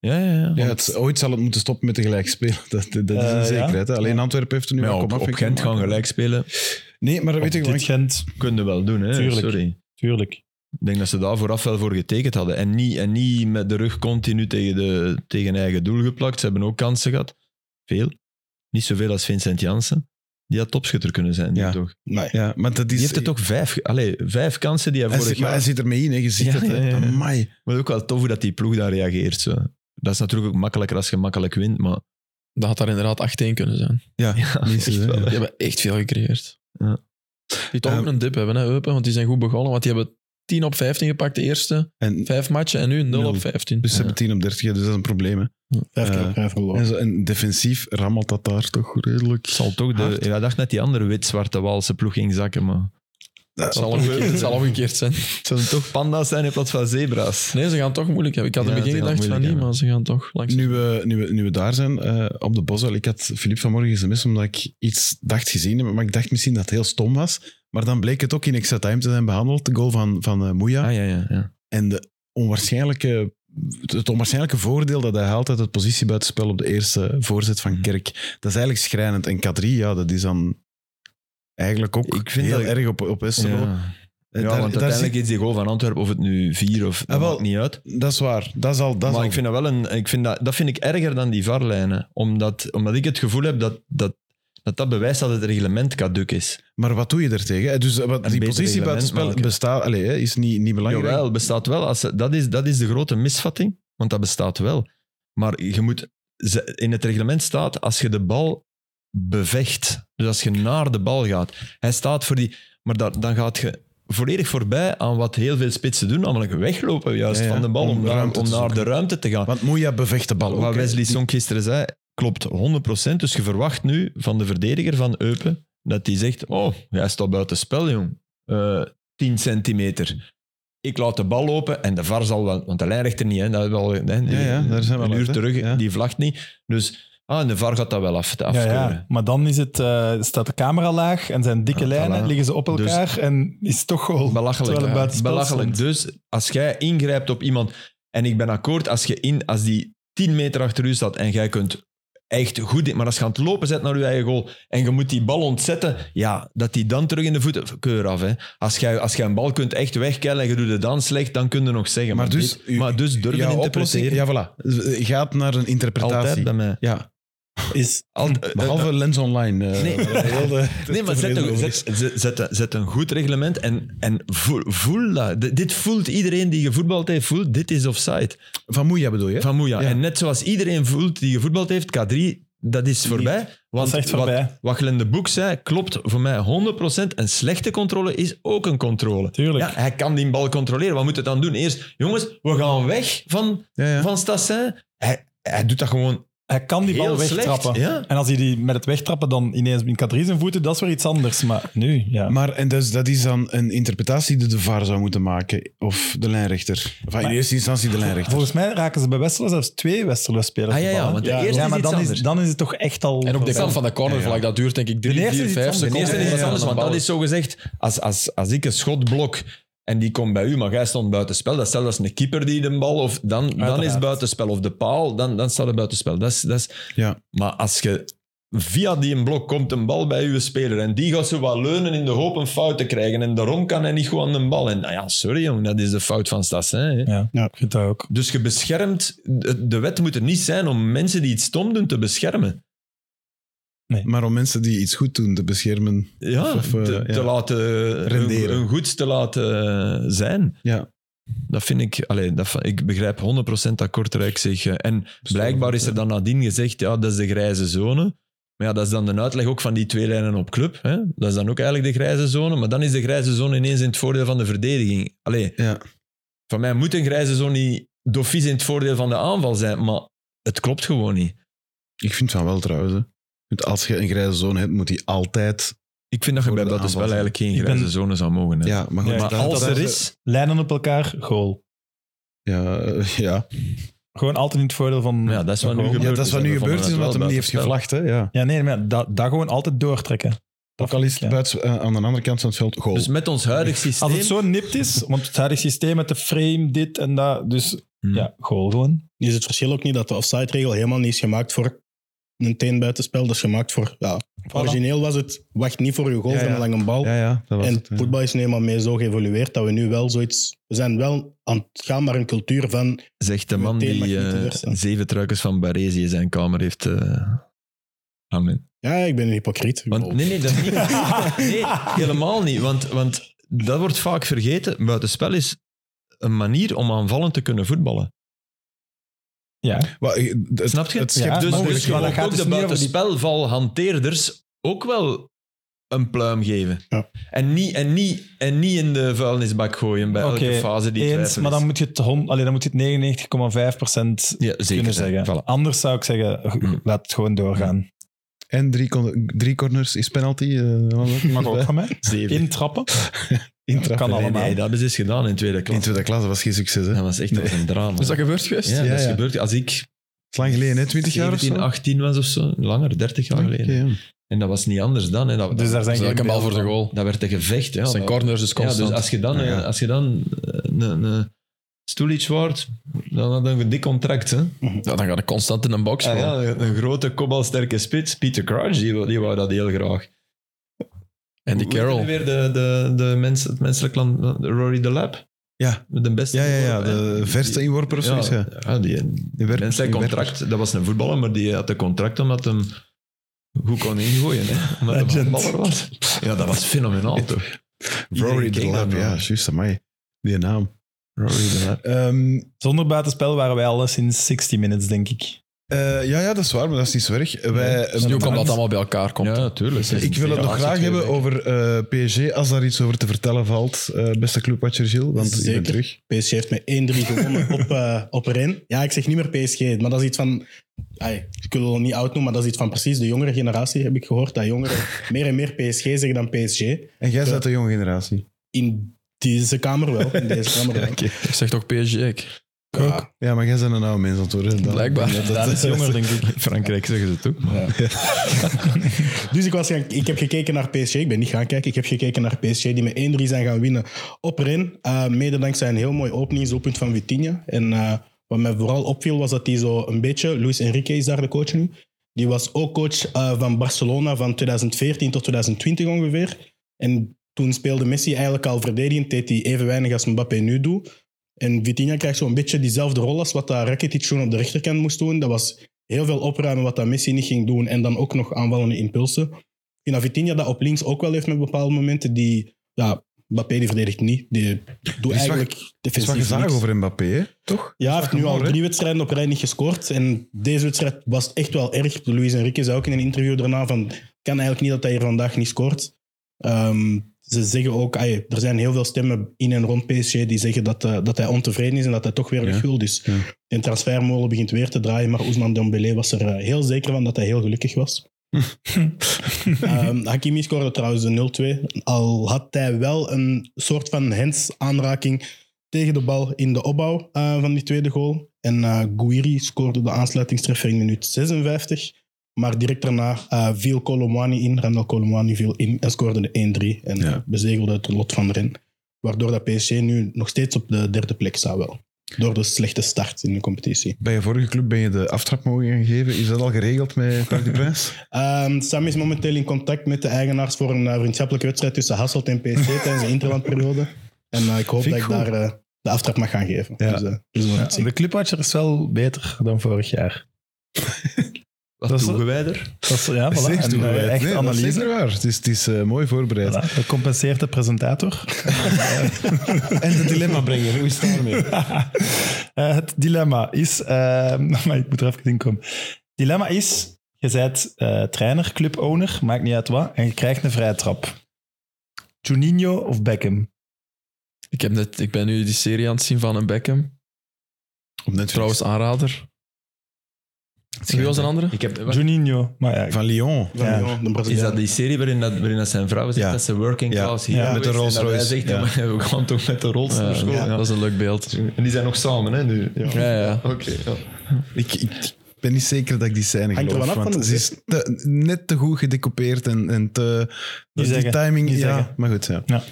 Ja, ja, ja. Ja, het, ooit zal het moeten stoppen met de gelijkspelen. Dat, dat is Eh, een ja. zekerheid. Hè? Alleen Antwerpen heeft er nu Maar ja, wel op, op komafweging Gent gemaakt. gaan gelijk spelen, Nee, maar Op weet je dit wat? Gent, kunnen wel doen, hè? Tuurlijk. Sorry. tuurlijk. Ik denk dat ze daar vooraf wel voor getekend hadden. En niet, en niet met de rug continu tegen, de, tegen eigen doel geplakt. Ze hebben ook kansen gehad. Veel. Niet zoveel als Vincent Janssen. Die had topschutter kunnen zijn, die Ja. toch? Nee. Ja, maar dat is... Die heeft het ook vijf, ge- allee, vijf kansen die hij Hij vorig zit, maar hij jaar... zit ermee in, hè. je ziet Ja, dat. hè. ja, ja, ja. Amai. Maar ook wel tof hoe dat die ploeg daar reageert. Zo. Dat is natuurlijk ook makkelijker als je makkelijk wint, maar... Dat had daar inderdaad 8-1 kunnen zijn. Ja, Ja, minstens, echt hè. wel, Die hè. hebben echt veel gecreëerd. Ja. Die toch ook Ehm, een dip hebben, hè, Eupen, want die zijn goed begonnen. Want die hebben 10 op 15 gepakt de eerste En, vijf matchen en nu 0 Nul. op 15. dus ze Ja. hebben 10 op 30, ja, dus dat is een probleem. Hè. Vijf keer Eh, op rij En, verloren. zo, en defensief rammelt dat daar toch redelijk. Het zal toch de... Hard. Ik dacht net die andere wit-zwarte Waalse ploeg ging zakken, maar... Het zal, omgekeerd, het zal omgekeerd zijn. Het zullen toch panda's zijn in plaats van zebra's. Nee, ze gaan toch moeilijk hebben. Ik had in Ja, het ze begin gaan gedacht van moeilijk niet, maar ze gaan toch langs. Nu we, nu, we, nu we daar zijn, eh, op de Boswell, ik had Filip vanmorgen sms omdat ik iets dacht gezien, maar ik dacht misschien dat het heel stom was. Maar dan bleek het ook in extra time te zijn behandeld. De goal van, van eh, Moeja. Ah, ja, ja. ja. En de onwaarschijnlijke, het onwaarschijnlijke voordeel dat hij haalt uit het positiebuitenspel op de eerste voorzet Mhm. van Kerk, dat is eigenlijk schrijnend. En K3, ja, dat is dan eigenlijk ook Ik vind heel dat- erg op, op Westerlo. Ja. Eh, ja, daar- want daar uiteindelijk is die goal van Antwerpen, of het nu vier of... Ah, Dat wel. maakt niet uit. zie- dat is waar. Dat is al... Dat is maar al- ik vind dat wel een... Ik vind dat, dat vind ik erger dan die varlijnen. Omdat, omdat ik het gevoel heb dat dat, dat dat bewijst dat het reglement kaduk is. maar wat doe je daartegen? Eh, Dus eh, wat, Een die beter positiebuitenspel reglement maken. bestaat... Allee, hè, is niet, niet belangrijk. Jawel, bestaat wel. Als, ze- dat, is, dat is de grote misvatting, want dat bestaat wel. Maar je moet... ze- In het reglement staat, als je de bal bevecht, dus als je naar de bal gaat, hij staat voor die... Maar daar, dan gaat je volledig voorbij aan wat heel veel spitsen doen, namelijk weglopen juist Ja, ja, van de bal om om, naar- ruimte om te naar zoeken. de ruimte te gaan. Want Moeja bevecht de bal ook. Wat hè. Wesley Song gisteren zei, klopt 100%. Dus je verwacht nu van de verdediger van Eupen dat hij zegt: Oh, jij staat buiten spel, jong. Eh 10 centimeter. Ik laat de bal lopen en de VAR zal wel, want de lijnrechter niet, hè, dat is wel, hè, die- Ja, ja, daar zijn we een al uur uit, hè. terug, Ja. die vlagt niet. Dus ah, en de VAR gaat dat wel af, de Ja, afkeuren. ja. Maar dan is het, eh, staat de camera laag en zijn dikke Ah, lijnen, voilà. liggen ze op Dus- elkaar en is het toch goal. Belachelijk. Terwijl het hè. buitenspel Belachelijk. Dus als jij ingrijpt op iemand, en ik ben akkoord, als, je in, als die 10 meter achter u staat en jij kunt echt goed in, maar als je aan het lopen zet naar je eigen goal en je moet die bal ontzetten, ja, dat die dan terug in de voeten, keur af. Hè. Als jij als jij een bal kunt echt wegkeilen en je doet het dan slecht, dan kun je nog zeggen. Maar Maar, dus- dus, maar dus durven Jouw oplossing... interpreteren. Ja, voilà. eh, Gaat naar een interpretatie. Altijd bij mij. eh, Ja. Is Alt- Behalve Lens Online. eh, Nee. waar heel de- Nee, maar zet tevreden een, over zet, is. zet- zet een- zet een goed reglement en, en voel, voel dat. D- dit voelt iedereen die gevoetbald heeft, voelt dit is offside. Van Moeja bedoel je? Van Moeja. Ja. En net zoals iedereen voelt die gevoetbald heeft, K3, dat is voorbij. Want is echt voorbij. Wat, wat Glenn de Boek zei, klopt voor mij 100%. Een slechte controle is ook een controle. Tuurlijk. Ja, hij kan die bal controleren. Wat moet het dan doen? Eerst, jongens, we gaan weg van, Ja, ja. van Stassin. Hij, hij doet dat gewoon Hij kan die bal heel slecht. wegtrappen. Ja. En als hij die met het wegtrappen dan ineens in Kadri zijn voeten, dat is weer iets anders. Maar nu, ja. Maar en dus, dat is dan een interpretatie die de VAR zou moeten maken. Of de lijnrechter. Of in Maar- eerste instantie de lijnrechter. Volgens mij raken ze bij Westerlo zelfs twee Westerlo-spelers. Ah, ja, de bal, ja, hè? want de Ja, eerste ja, maar is iets dan is, anders. dan is het toch echt al... En op de voorbij. kant van de cornervlag, dat duurt denk ik De 3, eerste 4, is iets 5 anders, seconden. De eerste is Ja, iets ja, anders, ja, want dan dat is zo gezegd. Als, als, als ik een schot blok en die komt bij u, maar jij stond buitenspel, dat is zelfs een keeper die de bal, of dan, dan is Uiteraard. het buitenspel, of de paal, dan, dan staat het buitenspel. Dat is, dat is, Ja. maar als je via die blok komt een bal bij uw speler en die gaat zo wat leunen in de hoop een fout te krijgen en daarom kan hij niet goed aan de bal. En nou ja, sorry jong, dat is de fout van Stassin. hè. Ja, Ja. ik vind dat ook. Dus je beschermt, de- de wet moet er niet zijn om mensen die iets stom doen te beschermen. Maar om mensen die iets goed doen te beschermen. Ja, Of, eh, te, ja. te laten Renderen. Hun, hun goeds te laten eh, zijn. Ja. Dat vind ik, allee, dat, va- ik begrijp 100% dat Kortrijk zich. eh, En blijkbaar is er dan nadien gezegd, ja, dat is de grijze zone. Maar ja, dat is dan de uitleg ook van die twee lijnen op club. Hè? Dat is dan ook eigenlijk de grijze zone. Maar dan is de grijze zone ineens in het voordeel van de verdediging. Allee, Ja. van mij moet een grijze zone niet dofies in het voordeel van de aanval zijn. Maar het klopt gewoon niet. Ik vind van wel trouwens. hè. Want als je een grijze zone hebt, moet die altijd. Ik vind dat je bij Voor de dat dus wel aanval. eigenlijk geen Ik ben- grijze zone zou mogen hebben. Ja, maar goed. Ja, Maar dat- als dat- er is, Lijnen op elkaar, goal. Ja, eh, ja. Gewoon altijd in het voordeel van... Ja, dat is wat nu ja, dat is wat nu We vonden gebeurd is, het wel omdat hem niet heeft buitenspel. gevlacht. Hè? Ja. Ja, nee, maar dat, dat gewoon altijd doortrekken. Dat Ook al is vind ik, het ja. buits- eh, aan de andere kant van het veld goal. Dus met ons huidig systeem... Als het zo nipt is, want het huidige systeem met de frame, dit en dat, dus Hmm. ja, goal gewoon. Is Dus het verschil ook niet dat de offside-regel helemaal niet is gemaakt voor een teen buitenspel. Dat is gemaakt voor... Ja, origineel was het, wacht niet voor je goal Ja, van ja. een lange bal. ja, ja, dat was En het, ja. voetbal is nu eenmaal mee zo geëvolueerd dat we nu wel zoiets... We zijn wel aan het gaan naar een cultuur van... Zegt de man Meteen mag die je niet eh, teleurstellen. zeven truikens van Baresi in zijn kamer heeft. eh amen. Ja, ik ben een hypocriet. Ik Want, Oh. bedoel, nee, nee, dat is niet. Nee, helemaal niet. Want, want dat wordt vaak vergeten. Buitenspel is een manier om aanvallend te kunnen voetballen. Ja. Maar, eh, het, Snap je? Het schept Ja, dus maar dus goed, dus het je gaat mag dus ook niet de over die- buitenspelvalhanteerders ook wel een pluim geven. Ja. En, niet, en, niet, en niet in de vuilnisbak gooien bij Oké, elke fase die Eens, twijfel maar is. dan moet je het, hon- allee, dan moet je het 99,5% ja, zeker, kunnen hè. zeggen. Voilà. Anders zou ik zeggen, g- Hmm. laat het gewoon doorgaan. En drie, con- drie corners is penalty. eh, wat ook Mag ook bij. van mij. Zeven. Intrappen. Intra- kan Nee, allemaal. nee, dat hebben ze eens gedaan in tweede In klas. tweede klas, dat was geen succes. Hè? Dat was echt dat was een drama. Dus Is dat gebeurd geweest? Ja, Ja, dat is ja. gebeurd. Als ik Is lang geleden, hè? 20 jaar of zo? 17, 18 was of zo, langer, 30 jaar geleden. Oké, ja. En dat was niet anders dan. Hè. Dat, Dus daar zijn Dat is geen ook een bal voor beelden de van. goal. dat werd een gevecht. Ja. Dat zijn corners, dus ja, constant. dus als je dan, Ja, ja. eh, Als je dan eh, een, een Stulic wordt, dan had je een dik contract. Hè. Ja, dan ga ik constant in een box. Ah, vallen. ja, een een grote, kopbalsterke spits. Peter Crouch, die, wou- die wou dat heel graag. En die Hoe heette Carroll. Weer de, de, de mens, het menselijk land, Rory de Lab. Ja. De beste. Ja, ja, ja, inworper, hè. de Die- verste inworper of zoiets. Ja. ja, die, Die werkt- En zijn die contract, dat was een voetballer, maar die had een contract omdat hem goed kon ingooien. Hè? Omdat hij Legend. een voetballer was. Ja, dat was fenomenaal toch? werkt- Rory Iedereen de keek Lab, daarnaar. ja, juist, amai. Die naam. Rory de Lab. Ehm, Zonder buitenspel waren wij al sinds 60 minutes, denk ik. eh, ja, ja, dat is waar, maar dat is niet zo erg. Wij, Dat is nu ook omdat dat allemaal bij elkaar komt. Ja, natuurlijk. ik wil het nog graag hebben over over eh, PSG, als daar iets over te vertellen valt. eh, beste clubwatcher Gilles, want je bent Zeker. terug. PSG heeft met 1-3 gewonnen op, eh op Rennes. Ja, ik zeg niet meer PSG, maar dat is iets van... Ai, ik wil het niet oud noemen, maar dat is iets van precies de jongere generatie, heb ik gehoord. Dat jongeren meer en meer PSG zeggen dan PSG. En jij bent de jonge generatie. In deze kamer wel. In deze kamer wel. Ik zeg toch PSG. ik. Ja, Ja, maar jij bent een oude mens aan het worden. Dan- Blijkbaar. Dat, Dat is jonger, denk ik. Frankrijk zeggen ze het ook. maar- Dus ik, was gaan, ik heb gekeken naar PSG. Ik ben niet gaan kijken. Ik heb gekeken naar PSG die met 1-3 zijn gaan winnen op Rennes. Eh, mede dankzij een heel mooi openingsdoelpunt van Vitinha. En eh, wat mij vooral opviel was dat hij zo een beetje... Luis Enrique is daar de coach nu. Die was ook coach eh, van Barcelona van 2014 tot 2020 ongeveer. En toen speelde Messi eigenlijk al verdedigend. Deed hij even weinig als Mbappé nu doet. En Vitinha krijgt zo'n beetje diezelfde rol als wat dat Rakitic toen op de rechterkant moest doen. Dat was heel veel opruimen wat dat Messi niet ging doen. En dan ook nog aanvallende impulsen. Ik vind dat Vitinha dat op links ook wel heeft met bepaalde momenten. Die, ja, Mbappé die verdedigt niet. Die doet is wat- eigenlijk Het is wat defensief gezaag niks. over Mbappé, hè? toch? Ja, hij Dat heeft is nu al gemor, hè? drie wedstrijden op rij niet gescoord. En deze wedstrijd was echt wel erg. Luis Enrique zei ook in een interview daarna van... kan eigenlijk niet dat hij hier vandaag niet scoort. Ehm, ze zeggen ook... "Ai, er zijn heel veel stemmen in en rond PSG die zeggen dat, eh, dat hij ontevreden is en dat hij toch weer Ja. weg wil. Dus Ja. de transfermolen begint weer te draaien. Maar Ousmane Dembélé was er eh, heel zeker van dat hij heel gelukkig was. Ehm, Hakimi scoorde trouwens de 0-2. Al had hij wel een soort van hands-aanraking tegen de bal in de opbouw eh, van die tweede goal. En eh Gouiri scoorde de aansluitingstreffer in minuut 56. Maar direct daarna eh, viel Colomwani in. Randall Colomwani viel in en scoorde de 1-3. En Ja. eh, bezegelde het lot van Rennes. Waardoor dat PSG nu nog steeds op de derde plek staat wel. Door de slechte start in de competitie. Bij je vorige club ben je de aftrap mogen gaan geven. Is dat al geregeld met Park de Prins? Ehm, Sam is momenteel in contact met de eigenaars voor een eh, vriendschappelijke wedstrijd tussen Hasselt en PSG tijdens de interlandperiode. En eh, ik hoop Vind dat ik ik daar eh, de aftrap mag gaan geven. Ja. Dus, eh, dus we gaan het zien. De Clubwatcher is wel beter dan vorig jaar. Wat Dat is- toegewijder. Dat is, ja, voilà. Zeker En, eh, toegewijd. echt Nee, dat is analyse. zeker waar. Het is, het is eh, mooi voorbereid. Voilà. Dat compenseert de presentator. En de dilemma brengen, hoe is het daarmee? Eh, het dilemma is... eh, maar ik moet er even in komen. dilemma is, je bent eh, trainer, clubowner, maakt niet uit wat, en je krijgt een vrije trap. Juninho of Beckham? Ik, heb net, ik ben nu die serie aan het zien van een Beckham. Op Netflix. Trouwens, aanrader. Wie was een andere? Ik heb, wacht, Juninho. Maar ja, Van Lyon. Van Ja. Lyon, de is dat Braziliaan. die serie waarin, dat, waarin dat zijn vrouw zegt Ja. dat ze working Ja. class hier Ja, met de geweest is en dat hij Rolls-Royce. zegt, Ja. "Ja, maar we gaan toch met de Rolls naar school. Ja, Ja. Dat is een leuk beeld. En die zijn nog samen, hè, nu. Ja. Ah, Ja, ja. Oké, ja. Ik, ik ben niet zeker dat ik die scène Hangt er geloof, wel af want van de ze is te- net te goed gedecoupeerd en, en te... Niet die zeggen, timing, niet ja, zeggen. maar goed, ja. Ja.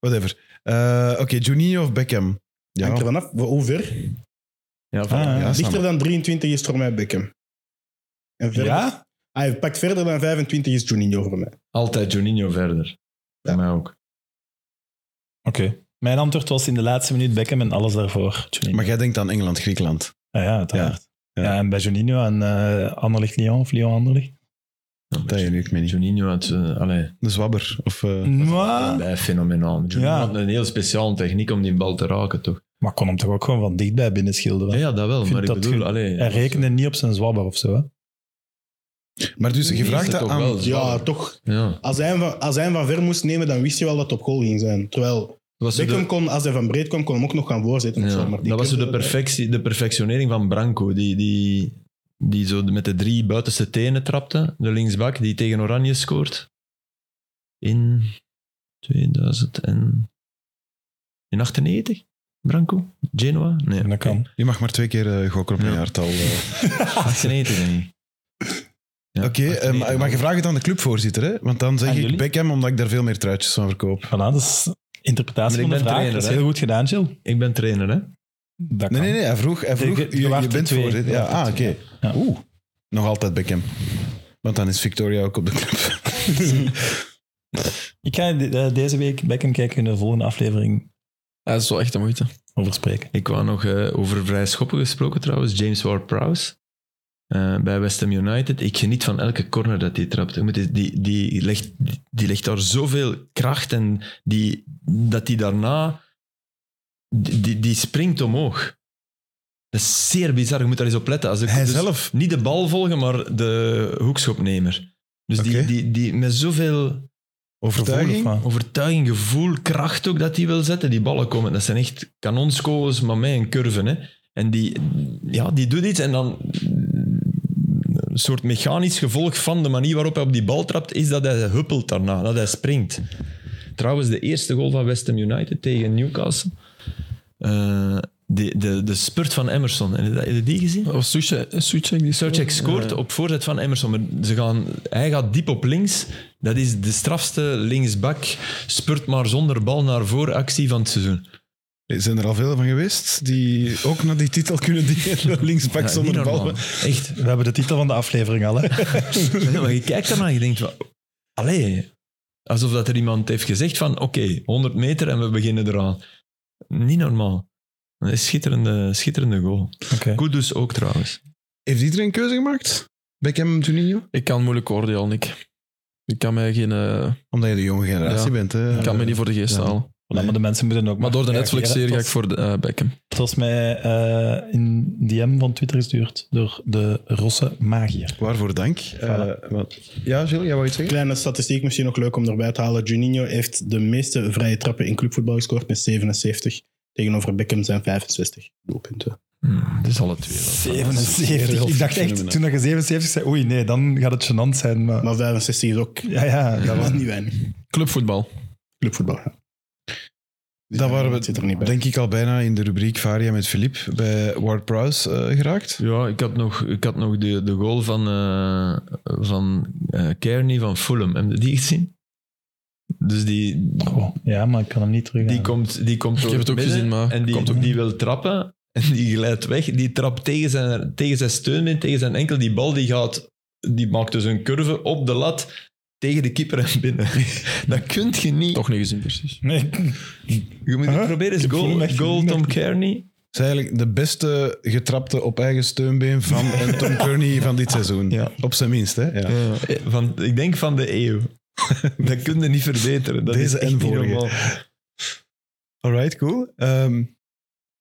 Whatever. Eh, Oké, Juninho of Beckham? Ja, Hangt er vanaf hoe ver? Ja, voilà. Ah, ja, Dichter Sam. dan 23 is voor mij Beckham. En verder, Ah, ja? Hij pakt verder dan 25 is Juninho voor mij. Altijd Juninho verder. Bij mij ook. Oké. Mijn antwoord was in de laatste minuut Beckham en alles daarvoor. Juninho. Maar jij denkt aan Engeland, Griekenland. Ah, ja, uiteraard. Ja. Ja. en bij Juninho en eh Anderlecht-Lyon of Lyon-Anderlecht. Ja, maar Dat je nu, ik meen niet. Juninho had... eh, allee, De zwabber. Of, eh, Maar... bij fenomenaal. Juninho Ja. had een heel speciale techniek om die bal te raken, toch? maar kon hem toch ook gewoon van dichtbij binnen schilderen. Ja, ja dat wel. Vind Maar ik dat bedoel, ge- allee... Hij rekende niet op zijn zwabber of zo. Hè? Maar dus, je Is vraagt het dat toch aan... wel Ja, zwaar? toch. Ja. Als hij, hem van, als hij hem van ver moest nemen, dan wist je wel dat het op goal ging zijn. Terwijl Was zo Beckham de, kon, als hij van breed kwam, kon hem ook nog gaan voorzetten. of ja. zo, maar die Dat was zo de, keuze- perfectie, de perfectionering van Branco. Die, die, die zo met de drie buitenste tenen trapte. De linksbak die tegen Oranje scoort. In 2000 en... In 98? Branco? Genoa? Nee. En dat kan. Je mag maar twee keer eh, gokken op een Ja. jaartal. eh. 98 denk ik. Ja, Oké, eh, 98, maar, maar je vraagt het aan de clubvoorzitter, hè? Want dan zeg Aan ik jullie? Beckham, omdat ik daar veel meer truitjes van verkoop. Voilà, dat is Maar interpretatie ik van de ben vraag. trainer, dat is hè? heel goed gedaan, Jill. Ik ben trainer, hè? Dat Nee, kan. nee, nee, hij vroeg, hij vroeg Je- je, je je waart er bent twee. voor. dit. Je Ja, waart er ah, oké. twee. Ja. Oeh, nog altijd Beckham. Want dan is Victoria ook op de club. Ik ga de- eh, deze week Beckham kijken in de volgende aflevering Ja, dat is wel echt de moeite. over spreken. Ik wou nog eh, over vrij schoppen gesproken trouwens. James Ward-Prowse eh, bij West Ham United. Ik geniet van elke corner dat hij trapt. Ik moet eens- Die, die, legt, die legt daar zoveel kracht en die, dat hij daarna... Die, die, die springt omhoog. Dat is zeer bizar. Je moet daar eens op letten. Als ik, Hij dus zelf. Niet de bal volgen, maar de hoekschopnemer. Dus die, Oké. die, die met zoveel Overtuiging. Gevoelig, maar- overtuiging, gevoel, kracht ook dat hij wil zetten. Die ballen komen, dat zijn echt kanonskogels, maar met een curve. Hè. En die, ja, die doet iets en dan een soort mechanisch gevolg van de manier waarop hij op die bal trapt, is dat hij huppelt daarna, dat hij springt. Trouwens, de eerste goal van West Ham United tegen Newcastle. Eh, de, de, de spurt van Emerson. Heb je dat- heb je die gezien? Of Suchek die Surchek scoort op voorzet van Emerson. Maar ze gaan, hij gaat diep op links. Dat is de strafste linksbak. Spurt maar zonder bal naar voor actie van het seizoen. Er Zijn er al veel van geweest die ook naar die titel kunnen dienen? Linksbak Ja, zonder niet normaal. bal. Echt. We hebben de titel van de aflevering al. Hè? Ja, maar je kijkt daarna en je denkt van... Allee. Alsof dat er iemand heeft gezegd van... Oké, 100 meter en we beginnen eraan. Niet normaal. Dat is schitterende, schitterende goal. Oké. Kudus ook trouwens. Heeft iedereen een keuze gemaakt? Beckham, Juninho? Ik kan moeilijk oordelen, Nick. Ik kan mij, geen, eh, Omdat je de jonge generatie Ja. bent. Hè? ik kan mij niet voor de geest ja. halen. Voilà, maar de mensen moeten ook Maar door de Netflix-serie ga ik reageren. voor de, eh, Beckham. Het was mij eh, in DM van Twitter gestuurd door de Rosse Magier. Waarvoor dank. Eh, wat- Ja, Gilles, jij wou iets zeggen? Kleine statistiek misschien nog leuk om erbij te halen. Juninho heeft de meeste vrije trappen in clubvoetbal gescoord met 77. Tegenover Beckham zijn 65 doelpunten. Hmm, het is alle twee. wel. 77. Ik dacht echt, toen dat je 77 zei, oei nee, dan gaat het gênant zijn. Maar, Maar 65 is ook ja, ja, dat dat was was niet weinig. Clubvoetbal. Clubvoetbal. ja. Dus Daar ja, waren dat zit er niet we, bij. denk ik, al bijna in de rubriek Varia met Philippe bij Ward-Prowse eh, geraakt. Ja, ik had nog, ik had nog de, de goal van, eh, van eh, Kearney van Fulham. Heb je die gezien? Dus die, Goh, ja, maar ik kan hem niet terug. die komt, die komt door heb het ook midden gezien, maar En die, komt ook die wil trappen en die glijdt weg. Die trapt tegen zijn, tegen zijn steunbeen, tegen zijn enkel. Die bal die gaat, die maakt dus een curve op de lat tegen de keeper en binnen. Dat kun je niet. Toch niet gezien, precies. Nee, Je moet het Huh? proberen. Is Ik heb Fulham goal, echt goal gezien, Tom echt. Kearney. Het is eigenlijk de beste getrapte op eigen steunbeen van een Tom Kearney van dit seizoen. Ja. Op zijn minst, hè? Ja. Eh, Van, ik denk van de eeuw. Dat kun je niet verbeteren. Dat Deze is echt en niet vorige. normaal. Alright, cool. Ehm, ik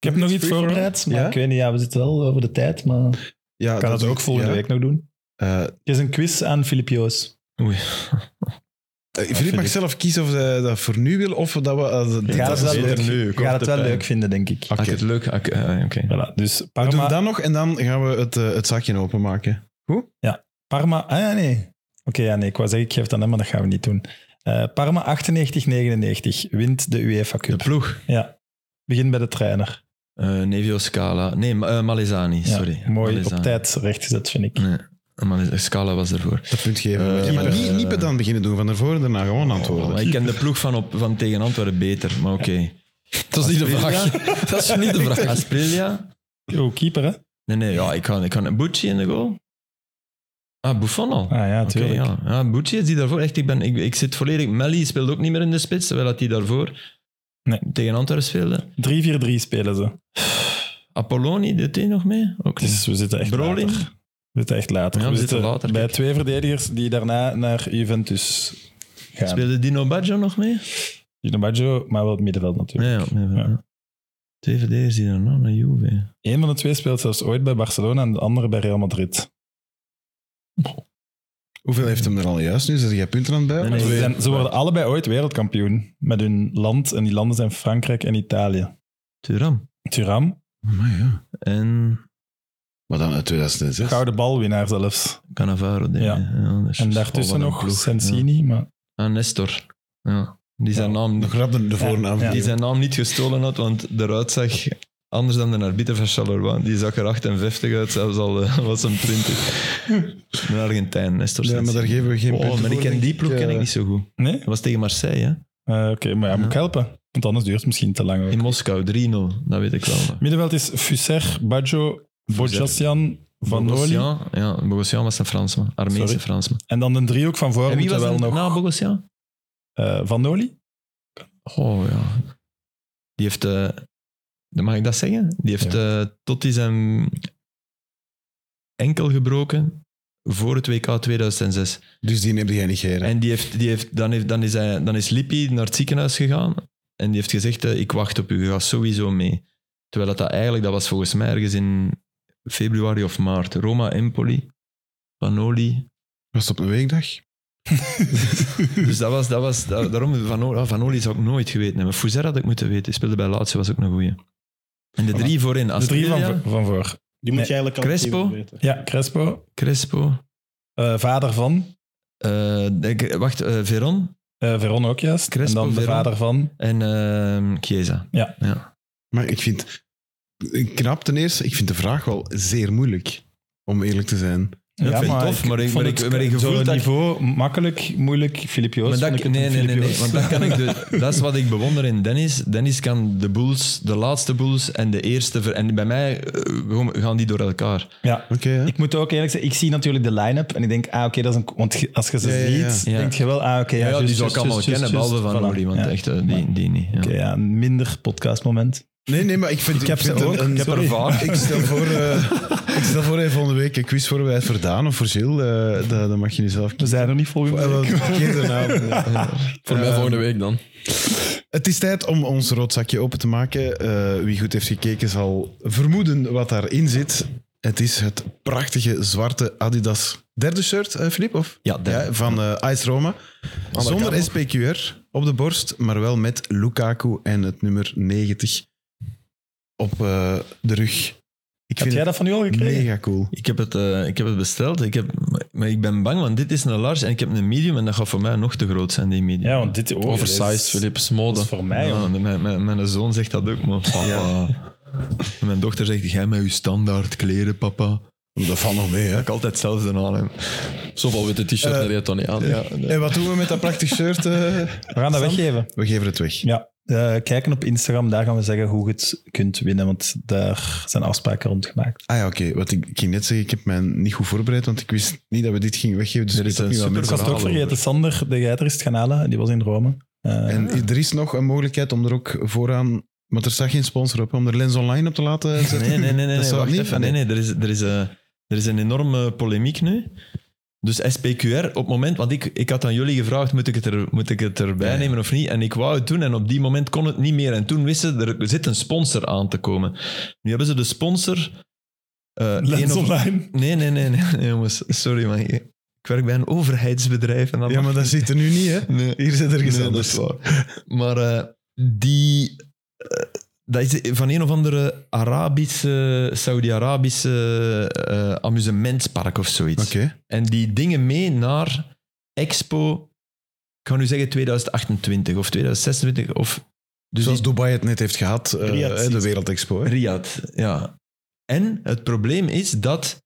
heb nog iets voorbereid, maar Ja? ik weet niet, ja, we zitten wel over de tijd, maar ik ja, kan dat, is- ook volgende ja. week nog doen. Eh, Het is een quiz aan Filip Joos. eh, Filip mag zelf kiezen of hij dat voor nu wil of dat we... eh, dat- Je gaat dat het wel, is- leuk, beter nu, je korte gaat het wel pijn. leuk vinden, denk ik. Had ik het leuk? had ik- eh, Oké. Voilà, dus We doen Parma, dat nog en dan gaan we het, eh, het zakje openmaken. Goed? Ja. Parma, ah ja, nee. Oké, ja, nee. Ik wou zeggen, ik geef het aan hem, maar dat gaan we niet doen. Eh, Parma 98-99 wint de UEFA De Cup. ploeg. Ja. Begin bij de trainer. Eh Nevio Scala. Nee, Ma- eh, Malesani, Ja, sorry. Mooi Malesani. op tijd rechtgezet, vind ik. Nee, Malesani. Scala was ervoor. Dat punt geven. Eh, Oh, Keeper, ja, maar, niet, eh, niet bedan beginnen doen, van ervoor en daarna gewoon antwoorden. Maar ik ken de ploeg van, op, van tegen Antwerpen beter, maar oké. Dat is niet de Asprilla? vraag. Dat is niet de vraag. Asprilia? Oh, keeper, hè? Nee, nee, ja, ik kan, ik kan Bucci in de goal. Ah, Buffon al. Ah ja, Oké, tuurlijk. ja. ja, Bucci is die daarvoor. Echt, ik, ben, ik, ik zit volledig... Melli speelt ook niet meer in de spits, terwijl dat die daarvoor Nee. tegen Antwerpen speelde. 3-4-3 spelen ze. Apolloni, deed hij nog mee? Ook niet. Dus we zitten echt Brolin? later. We zitten echt later. Ja, we we zitten later, bij kijk. twee verdedigers die daarna naar Juventus gaan. Speelde Dino Baggio nog mee? Dino Baggio, maar wel op het middenveld natuurlijk. Nee, ja, nee, Ja. Twee verdedigers die daarna naar Juve. Eén van de twee speelt zelfs ooit bij Barcelona en de andere bij Real Madrid. Hoeveel heeft hem er al juist nu? Zet jij punten aan het bij? Nee, Ze, nee. zijn- ze worden allebei ooit wereldkampioen met hun land. En die landen zijn Frankrijk en Italië. Turam. Thuram, Oh, Maar ja. En Maar dan eh, uit Dus- 2006. gouden balwinnaar zelfs. Cannavaro. denk ik. Ja. dat is En juist. daartussen Oh, wat een nog ploeg. Sensini. Maar Ja. Ah, Nestor. Ja. Die zijn naam Nog grap de, de voornaam. Ja. die zijn naam niet gestolen had, want eruit zag anders dan de arbiter van Charleroi. Die zag er 58 uit, zelfs al eh, was hem 20. Een Argentijn, Nestor Ja, maar daar Sensini. geven we geen Oh, punten maar ik voor, ken denk die ploeg ik, ken eh. ik niet zo goed. nee? Dat was tegen Marseille, hè? Eh, Oké, maar ja, moet ik Ja. helpen? Want anders duurt het misschien te lang. ook. in Moskou, 3-0. Dat weet ik wel. nog. Middenveld is Fusser, Baggio, Bojassian, Van Noli. Bogosian, ja, Bogosian was een Fransman, Armeense Sorry. Fransman. En dan de driehoek van voor En wie moeten was Ah. wel er nog... na Bogosian? eh, van Noli? Oh ja. Die heeft, eh, mag ik dat zeggen? Die heeft eh, Totti zijn enkel gebroken voor het WK 2006. Dus die neemt jij niet geren. En die heeft, die heeft, dan, heeft, dan, is hij, dan is Lippi naar het ziekenhuis gegaan en die heeft gezegd, eh, ik wacht op u, je gaat sowieso mee. Terwijl dat, dat eigenlijk, dat was volgens mij ergens Oh, in februari of maart. Roma, Empoli, Vanoli. Was het op een weekdag? Dus dat was, dat was da- daarom Vanoli, ah, Vanoli zou ik nooit geweten hebben. Fouzer had ik moeten weten, hij speelde bij Lazio, was ook een goeie. En de Dus drie voorin, De drie van, Astrilia, vo- van voor. Die Nee, moet je eigenlijk al Crespo? even weten. Ja, Crespo. Crespo, eh, vader van. eh, ik- wacht, eh, Veron eh, Veron ook juist. Crespo, en dan de Veron. vader van. en eh, Chiesa. Maar ik vind... Knap ten eerste, ik vind de vraag wel zeer moeilijk. Om eerlijk te zijn. ik vind het tof, maar ik- vond maar ik- het maar ik zo'n gevoel dat ik- niveau makkelijk, moeilijk. Filip Joos Maar vond dat, ik het nee, een nee, nee, Filip nee, Joos. Want dat, kan ik de- dat is wat ik bewonder in Dennis. Dennis kan de Bulls, de laatste Bulls en de eerste. ver- en bij mij eh, gewoon- gaan die door elkaar. Ja. Oké, hè? Ik moet ook eerlijk zeggen, ik zie natuurlijk de line-up en ik denk, ah oké, dat is een... Want ge- als je ze Ja, ja, ja. ziet, Ja. denk je wel, ah oké, Ja, juist, die zou juist, ik allemaal juist, kennen, juist, behalve van voilà. Noli, want Ja. echt, eh, die, die niet. Ja. Oké, ja, een minder podcastmoment. Nee, nee, maar ik vind... Ik heb vind ze een- ook. een- Ik heb er sorry. vaak. Ik stel voor... eh, ik stel voor even volgende week een quiz voor wij voor Daan of voor Gilles. eh, dat, dat mag je niet zelf We zijn er niet volgende Eh, week. wel, kindernaam. Voor Eh, mij Ehm, volgende week dan. Het is tijd om ons roodzakje open te maken. Eh, wie goed heeft gekeken zal vermoeden wat daarin zit. Het is het prachtige zwarte Adidas derde shirt, eh Filip? Of? Ja, derde. van eh Ice Roma. Zonder SPQR op de borst, maar wel met Lukaku en het nummer 90 op eh, de rug. Ik Heb jij dat van u al het gekregen? mega cool. Ik, heb het, eh, ik heb het besteld, ik heb, maar ik ben bang, want dit is een large en ik heb een medium en dat gaat voor mij nog te groot zijn, die medium. Ja, want dit... oh, dit Oversized, is- Philips, Dat mode. is voor mij, Ja, hoor. mijn, mijn, mijn zoon zegt dat ook, maar papa. En Mijn dochter zegt, jij met je standaard kleren, papa. Dat valt nog mee, hè? Ik altijd hetzelfde aan hem. Zoveel witte t-shirt, Eh, dat je toch niet aan. En wat doen we met dat prachtig shirt? eh? We gaan dat weggeven. We geven het weg. Ja, eh, kijken op Instagram, daar gaan we zeggen hoe je het kunt winnen, want daar zijn afspraken rond gemaakt. Ah ja, oké. Wat ik, ik ging net zeggen, ik heb mij niet goed voorbereid, want ik wist niet dat we dit gingen weggeven. Dus Er ik is weet een ook niet wat super- Ik was het ook verhaal vergeten, Sander de Geiter is het gaan halen, die was in Rome. Eh, mensen- En er is nog een mogelijkheid om er ook vooraan... Want er staat geen sponsor op, om er Lens Online op te laten zetten. Nee, nee, nee, nee, Dat nee zou wacht niet- even. Nee, nee, er is, er, is, eh, er is een enorme polemiek nu. Dus SPQR, op het moment, want ik, ik had aan jullie gevraagd, moet ik, het er, moet ik het erbij nemen of niet? En ik wou het doen en op die moment kon het niet meer. En toen wisten ze, er zit een sponsor aan te komen. Nu hebben ze de sponsor... eh, één Lens of- online. Nee, nee, nee, nee, nee, jongens. Sorry, maar ik, ik werk bij een overheidsbedrijf. En dan Ja, maar dat zit er nu niet, hè. Nee. Hier zit er Nee, gezond. dat is waar. Maar eh, die, eh, dat is van een of andere Arabische, Saudi-Arabische eh, amusementspark of zoiets. En die dingen mee naar Expo, ik ga nu zeggen 2028 of 2026 of... Dus Zoals die- Dubai het net heeft gehad, eh, Riyadh, de zie- Wereldexpo. hè. Riyadh, ja. En het probleem is dat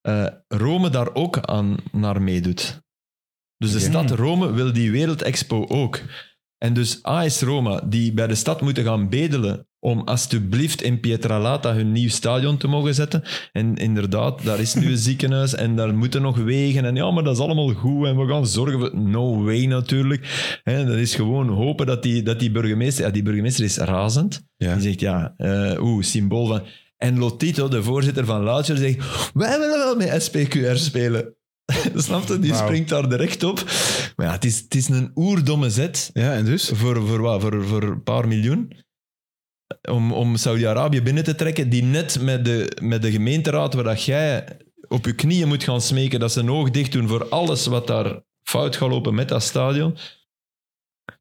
eh, Rome daar ook aan naar meedoet. Dus de Oké. stad Rome wil die Wereldexpo ook. En dus AS Roma, die bij de stad moeten gaan bedelen om alsjeblieft in Pietralata hun nieuw stadion te mogen zetten. En inderdaad, daar is nu een ziekenhuis en daar moeten nog wegen. En ja, maar dat is allemaal goed en we gaan zorgen voor... No way natuurlijk. Hè, dat is gewoon hopen dat die, dat die burgemeester... Ja, die burgemeester is razend. Ja. Die zegt, ja, eh oeh, symbool van... En Lotito, de voorzitter van Lazio, zegt... Wij willen wel met SPQR spelen. Snap je? Die Wauw. springt daar direct op. Maar ja, het is, het is een oerdomme zet. Ja, en dus? Voor, voor wat? Voor, voor een paar miljoen? Om, om Saudi-Arabië binnen te trekken, die net met de, met de gemeenteraad, waar dat jij op je knieën moet gaan smeken dat ze een oog dicht doen voor alles wat daar fout gaat lopen met dat stadion.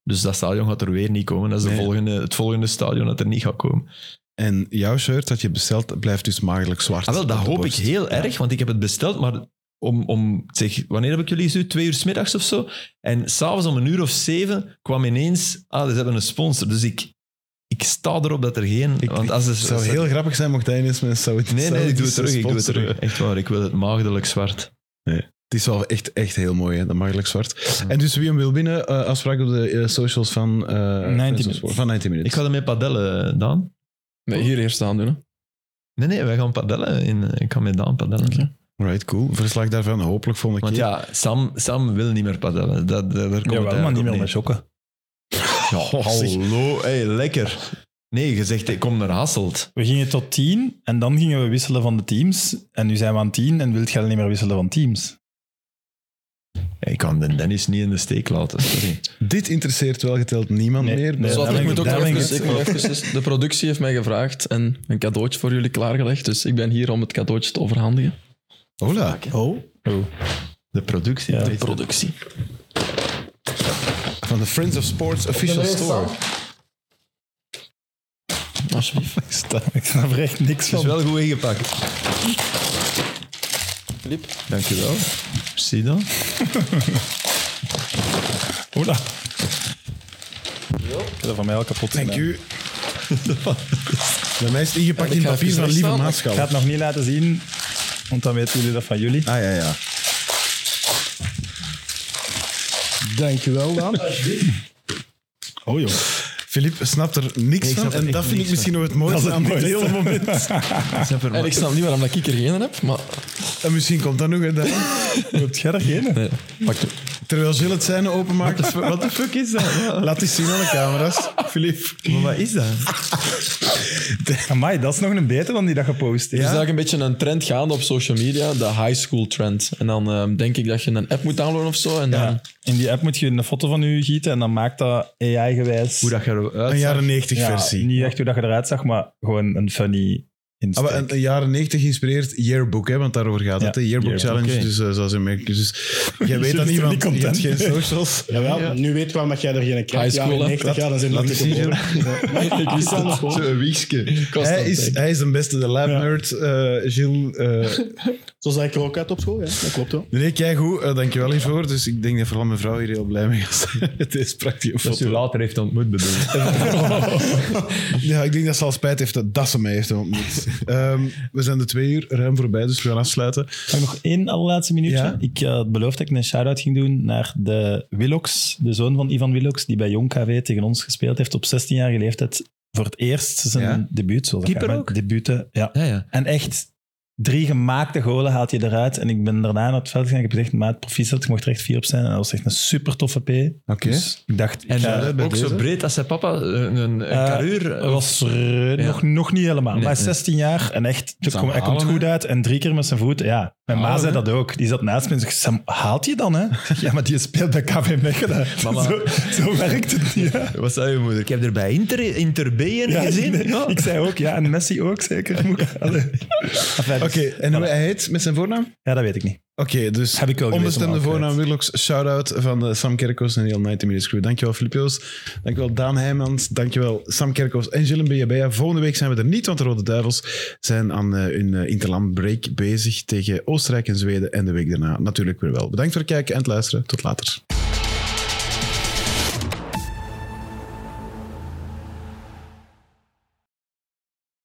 Dus dat stadion gaat er weer niet komen. Dat is de Nee. volgende, het volgende stadion dat er niet gaat komen. En jouw shirt dat je bestelt blijft dus maagdelijk zwart. Ah, wel, dat op de hoop ik borst. heel erg, want ik heb het besteld, maar om, om zeg, wanneer heb ik jullie gestuurd? Twee uur 's middags of zo. En s'avonds om een uur of zeven kwam ineens, ah, ze hebben een sponsor. Dus ik, ik sta erop dat er geen... Ik- want als ze- Het zou heel grappig zijn mocht hij eens met een Saudi Nee, nee, ik doe het terug, ik doe het sponsoren. terug. Echt waar, ik wil het maagdelijk zwart. Het is wel echt, echt heel mooi, hè? dat maagdelijk zwart. En dus wie hem wil winnen, eh, afspraak op de eh, socials van, eh, 90 Friends of Sport. van 90 Ik Minutes. ga ermee padellen, Daan. Nee, hier eerst aan doen. Hè. Nee, nee, wij gaan padellen. In, eh, ik ga met Daan padellen. Oké. Right, cool. Verslag daarvan, hopelijk volgende Want keer. ja, Sam, Sam wil niet meer padellen. Dat, dat, daar komt het Jawel, maar eigenlijk niet op meer neer. met jokken. Ja, hallo, hey, lekker. Nee, je zegt, ik kom naar Hasselt. We gingen tot tien en dan gingen we wisselen van de teams. En nu zijn we aan tien en wilt jij niet meer wisselen van teams. Ik kan de Dennis niet in de steek laten, sorry. Dit interesseert wel geteld niemand Nee, meer. nee, Dus Zwart, daar ik ben ik- moet ook daar nog ben ik even, ik het- moet even- De productie heeft mij gevraagd en een cadeautje voor jullie klaargelegd. Dus ik ben hier om het cadeautje te overhandigen. Hola. Oh. De productie. Ja. De productie. Van de Friends of Sports Official Store. Alsjeblieft. Ik sta- ik snap er echt niks Het is van. wel goed ingepakt. Filip. Dankjewel. Zie dan. Hola. Ik heb dat van mij al kapot Dank gedaan. u. Bij mij is het ingepakt Ja, in ik ga papier even van Lieve staan. Maaschouw. Ik ga het nog niet laten zien, want dan weten jullie dat van jullie. Ah ja, ja. Dankjewel, Daan. Oh joh. Filip snapt er niks snap van. er En echt dat vind ik niks misschien nog het mooiste aan dit hele moment. En ik snap niet waarom dat ik er geen heb, maar... En misschien komt dat nog. Hè, dan. Hebt jij er geen? Nee, pak het. Terwijl Gilles het zijn openmaakt. Wat de fuck is dat? Laat eens zien aan de camera's. Filip. Maar wat is dat? Amai, dat is nog een beter dan die dat gepost Er is. is eigenlijk een beetje een trend gaande op social media, de high school trend. En dan ehm, denk ik dat je een app moet downloaden of zo. En dan, Ja. In die app moet je een foto van u gieten en dan maakt dat AI-gewijs... Hoe dat je eruit Een ziet. jaren 90 Ja, versie. Niet echt hoe dat je eruit zag, maar gewoon een funny Ah, insteek. maar een, een jaren 90 geïnspireerd yearbook, hè, want daarover gaat Ja, het. Hè? Yearbook, yearbook, Challenge, oké. dus eh, zoals je merkt. Dus jij weet Gilles dat is niet, er want niet je hebt content. geen socials. Jawel, nu weet waarom dat jij er geen krijgt. High school, ja, hè? 90 jaar, dan zijn we Laat nog eens niet zien, geboren. ik wist dat nog wel. Zo'n wiegske. Kost Hij dat, is, denk ik. hij is de beste, de lab Ja. nerd, eh, Gilles. eh, Zo zag ik er ook uit op school, ja. dat klopt wel. nee, kijk goed, dankjewel hiervoor. Dus ik denk dat vooral mijn vrouw hier heel blij mee gaat zijn. Het is prachtig. Dat ze u later heeft ontmoet, bedoel ik. Ja, ik denk dat ze al spijt heeft dat, dat ze mij heeft ontmoet. Ehm, we zijn de twee uur ruim voorbij, dus we gaan afsluiten. Mag ik nog één allerlaatste minuutje? Ja. Ik eh, had beloofd dat ik een shout-out ging doen naar de Willox, de zoon van Ivan Willox, die bij Jong KV tegen ons gespeeld heeft op 16-jarige leeftijd. Voor het eerst zijn Ja. debuut. Zoals Keeper dat- ook? Debuten, ja. Ja, ja. En echt drie gemaakte golen haalt je eruit. En ik ben daarna naar het veld gegaan. Ik heb gezegd, maat, proficiat, ik mocht er echt vier op zijn. En dat was echt een super toffe P. Oké. Dus ik dacht, ik En ga- eh, eh, bij ook deze? zo breed als zijn papa. Een, een een Eh, karuur. Hij was er nog, nog niet helemaal. Nee, maar hij is nee. 16 jaar en echt, hij Sam komt- hij komt Halen, goed uit. En drie keer met zijn voet, ja. Mijn ma Halen, zei hè? dat ook. Die zat naast me en zei, Sam, haalt je dan, hè? Ik zeg, Ja, maar die speelt bij KV Mechelen. Mama. Zo, zo werkt het niet, hè? Wat zei je moeder? Ik heb er bij Inter, Inter B in Ja, gezien. nee. Ja. Ik zei ook, ja, en Messi ook zeker. Moet ik- Allee. Enfin, dus- Oké, en hoe hij heet met zijn voornaam? Ja, dat weet ik niet. Oké, dus Heb ik wel gelezen, onbestemde maar ook voornaam kwijt. Willocks. Shout-out van eh, Sam Kerkos en heel 90 Minutes Crew. Dankjewel, Filipio's. Dankjewel, Daan Heijmans. Dankjewel, Sam Kerkos en Gilles Bejabea. Volgende week zijn we er niet, want de Rode Duivels zijn aan eh, hun eh, interland break bezig tegen Oostenrijk en Zweden. En de week daarna natuurlijk weer wel. Bedankt voor het kijken en het luisteren. Tot later.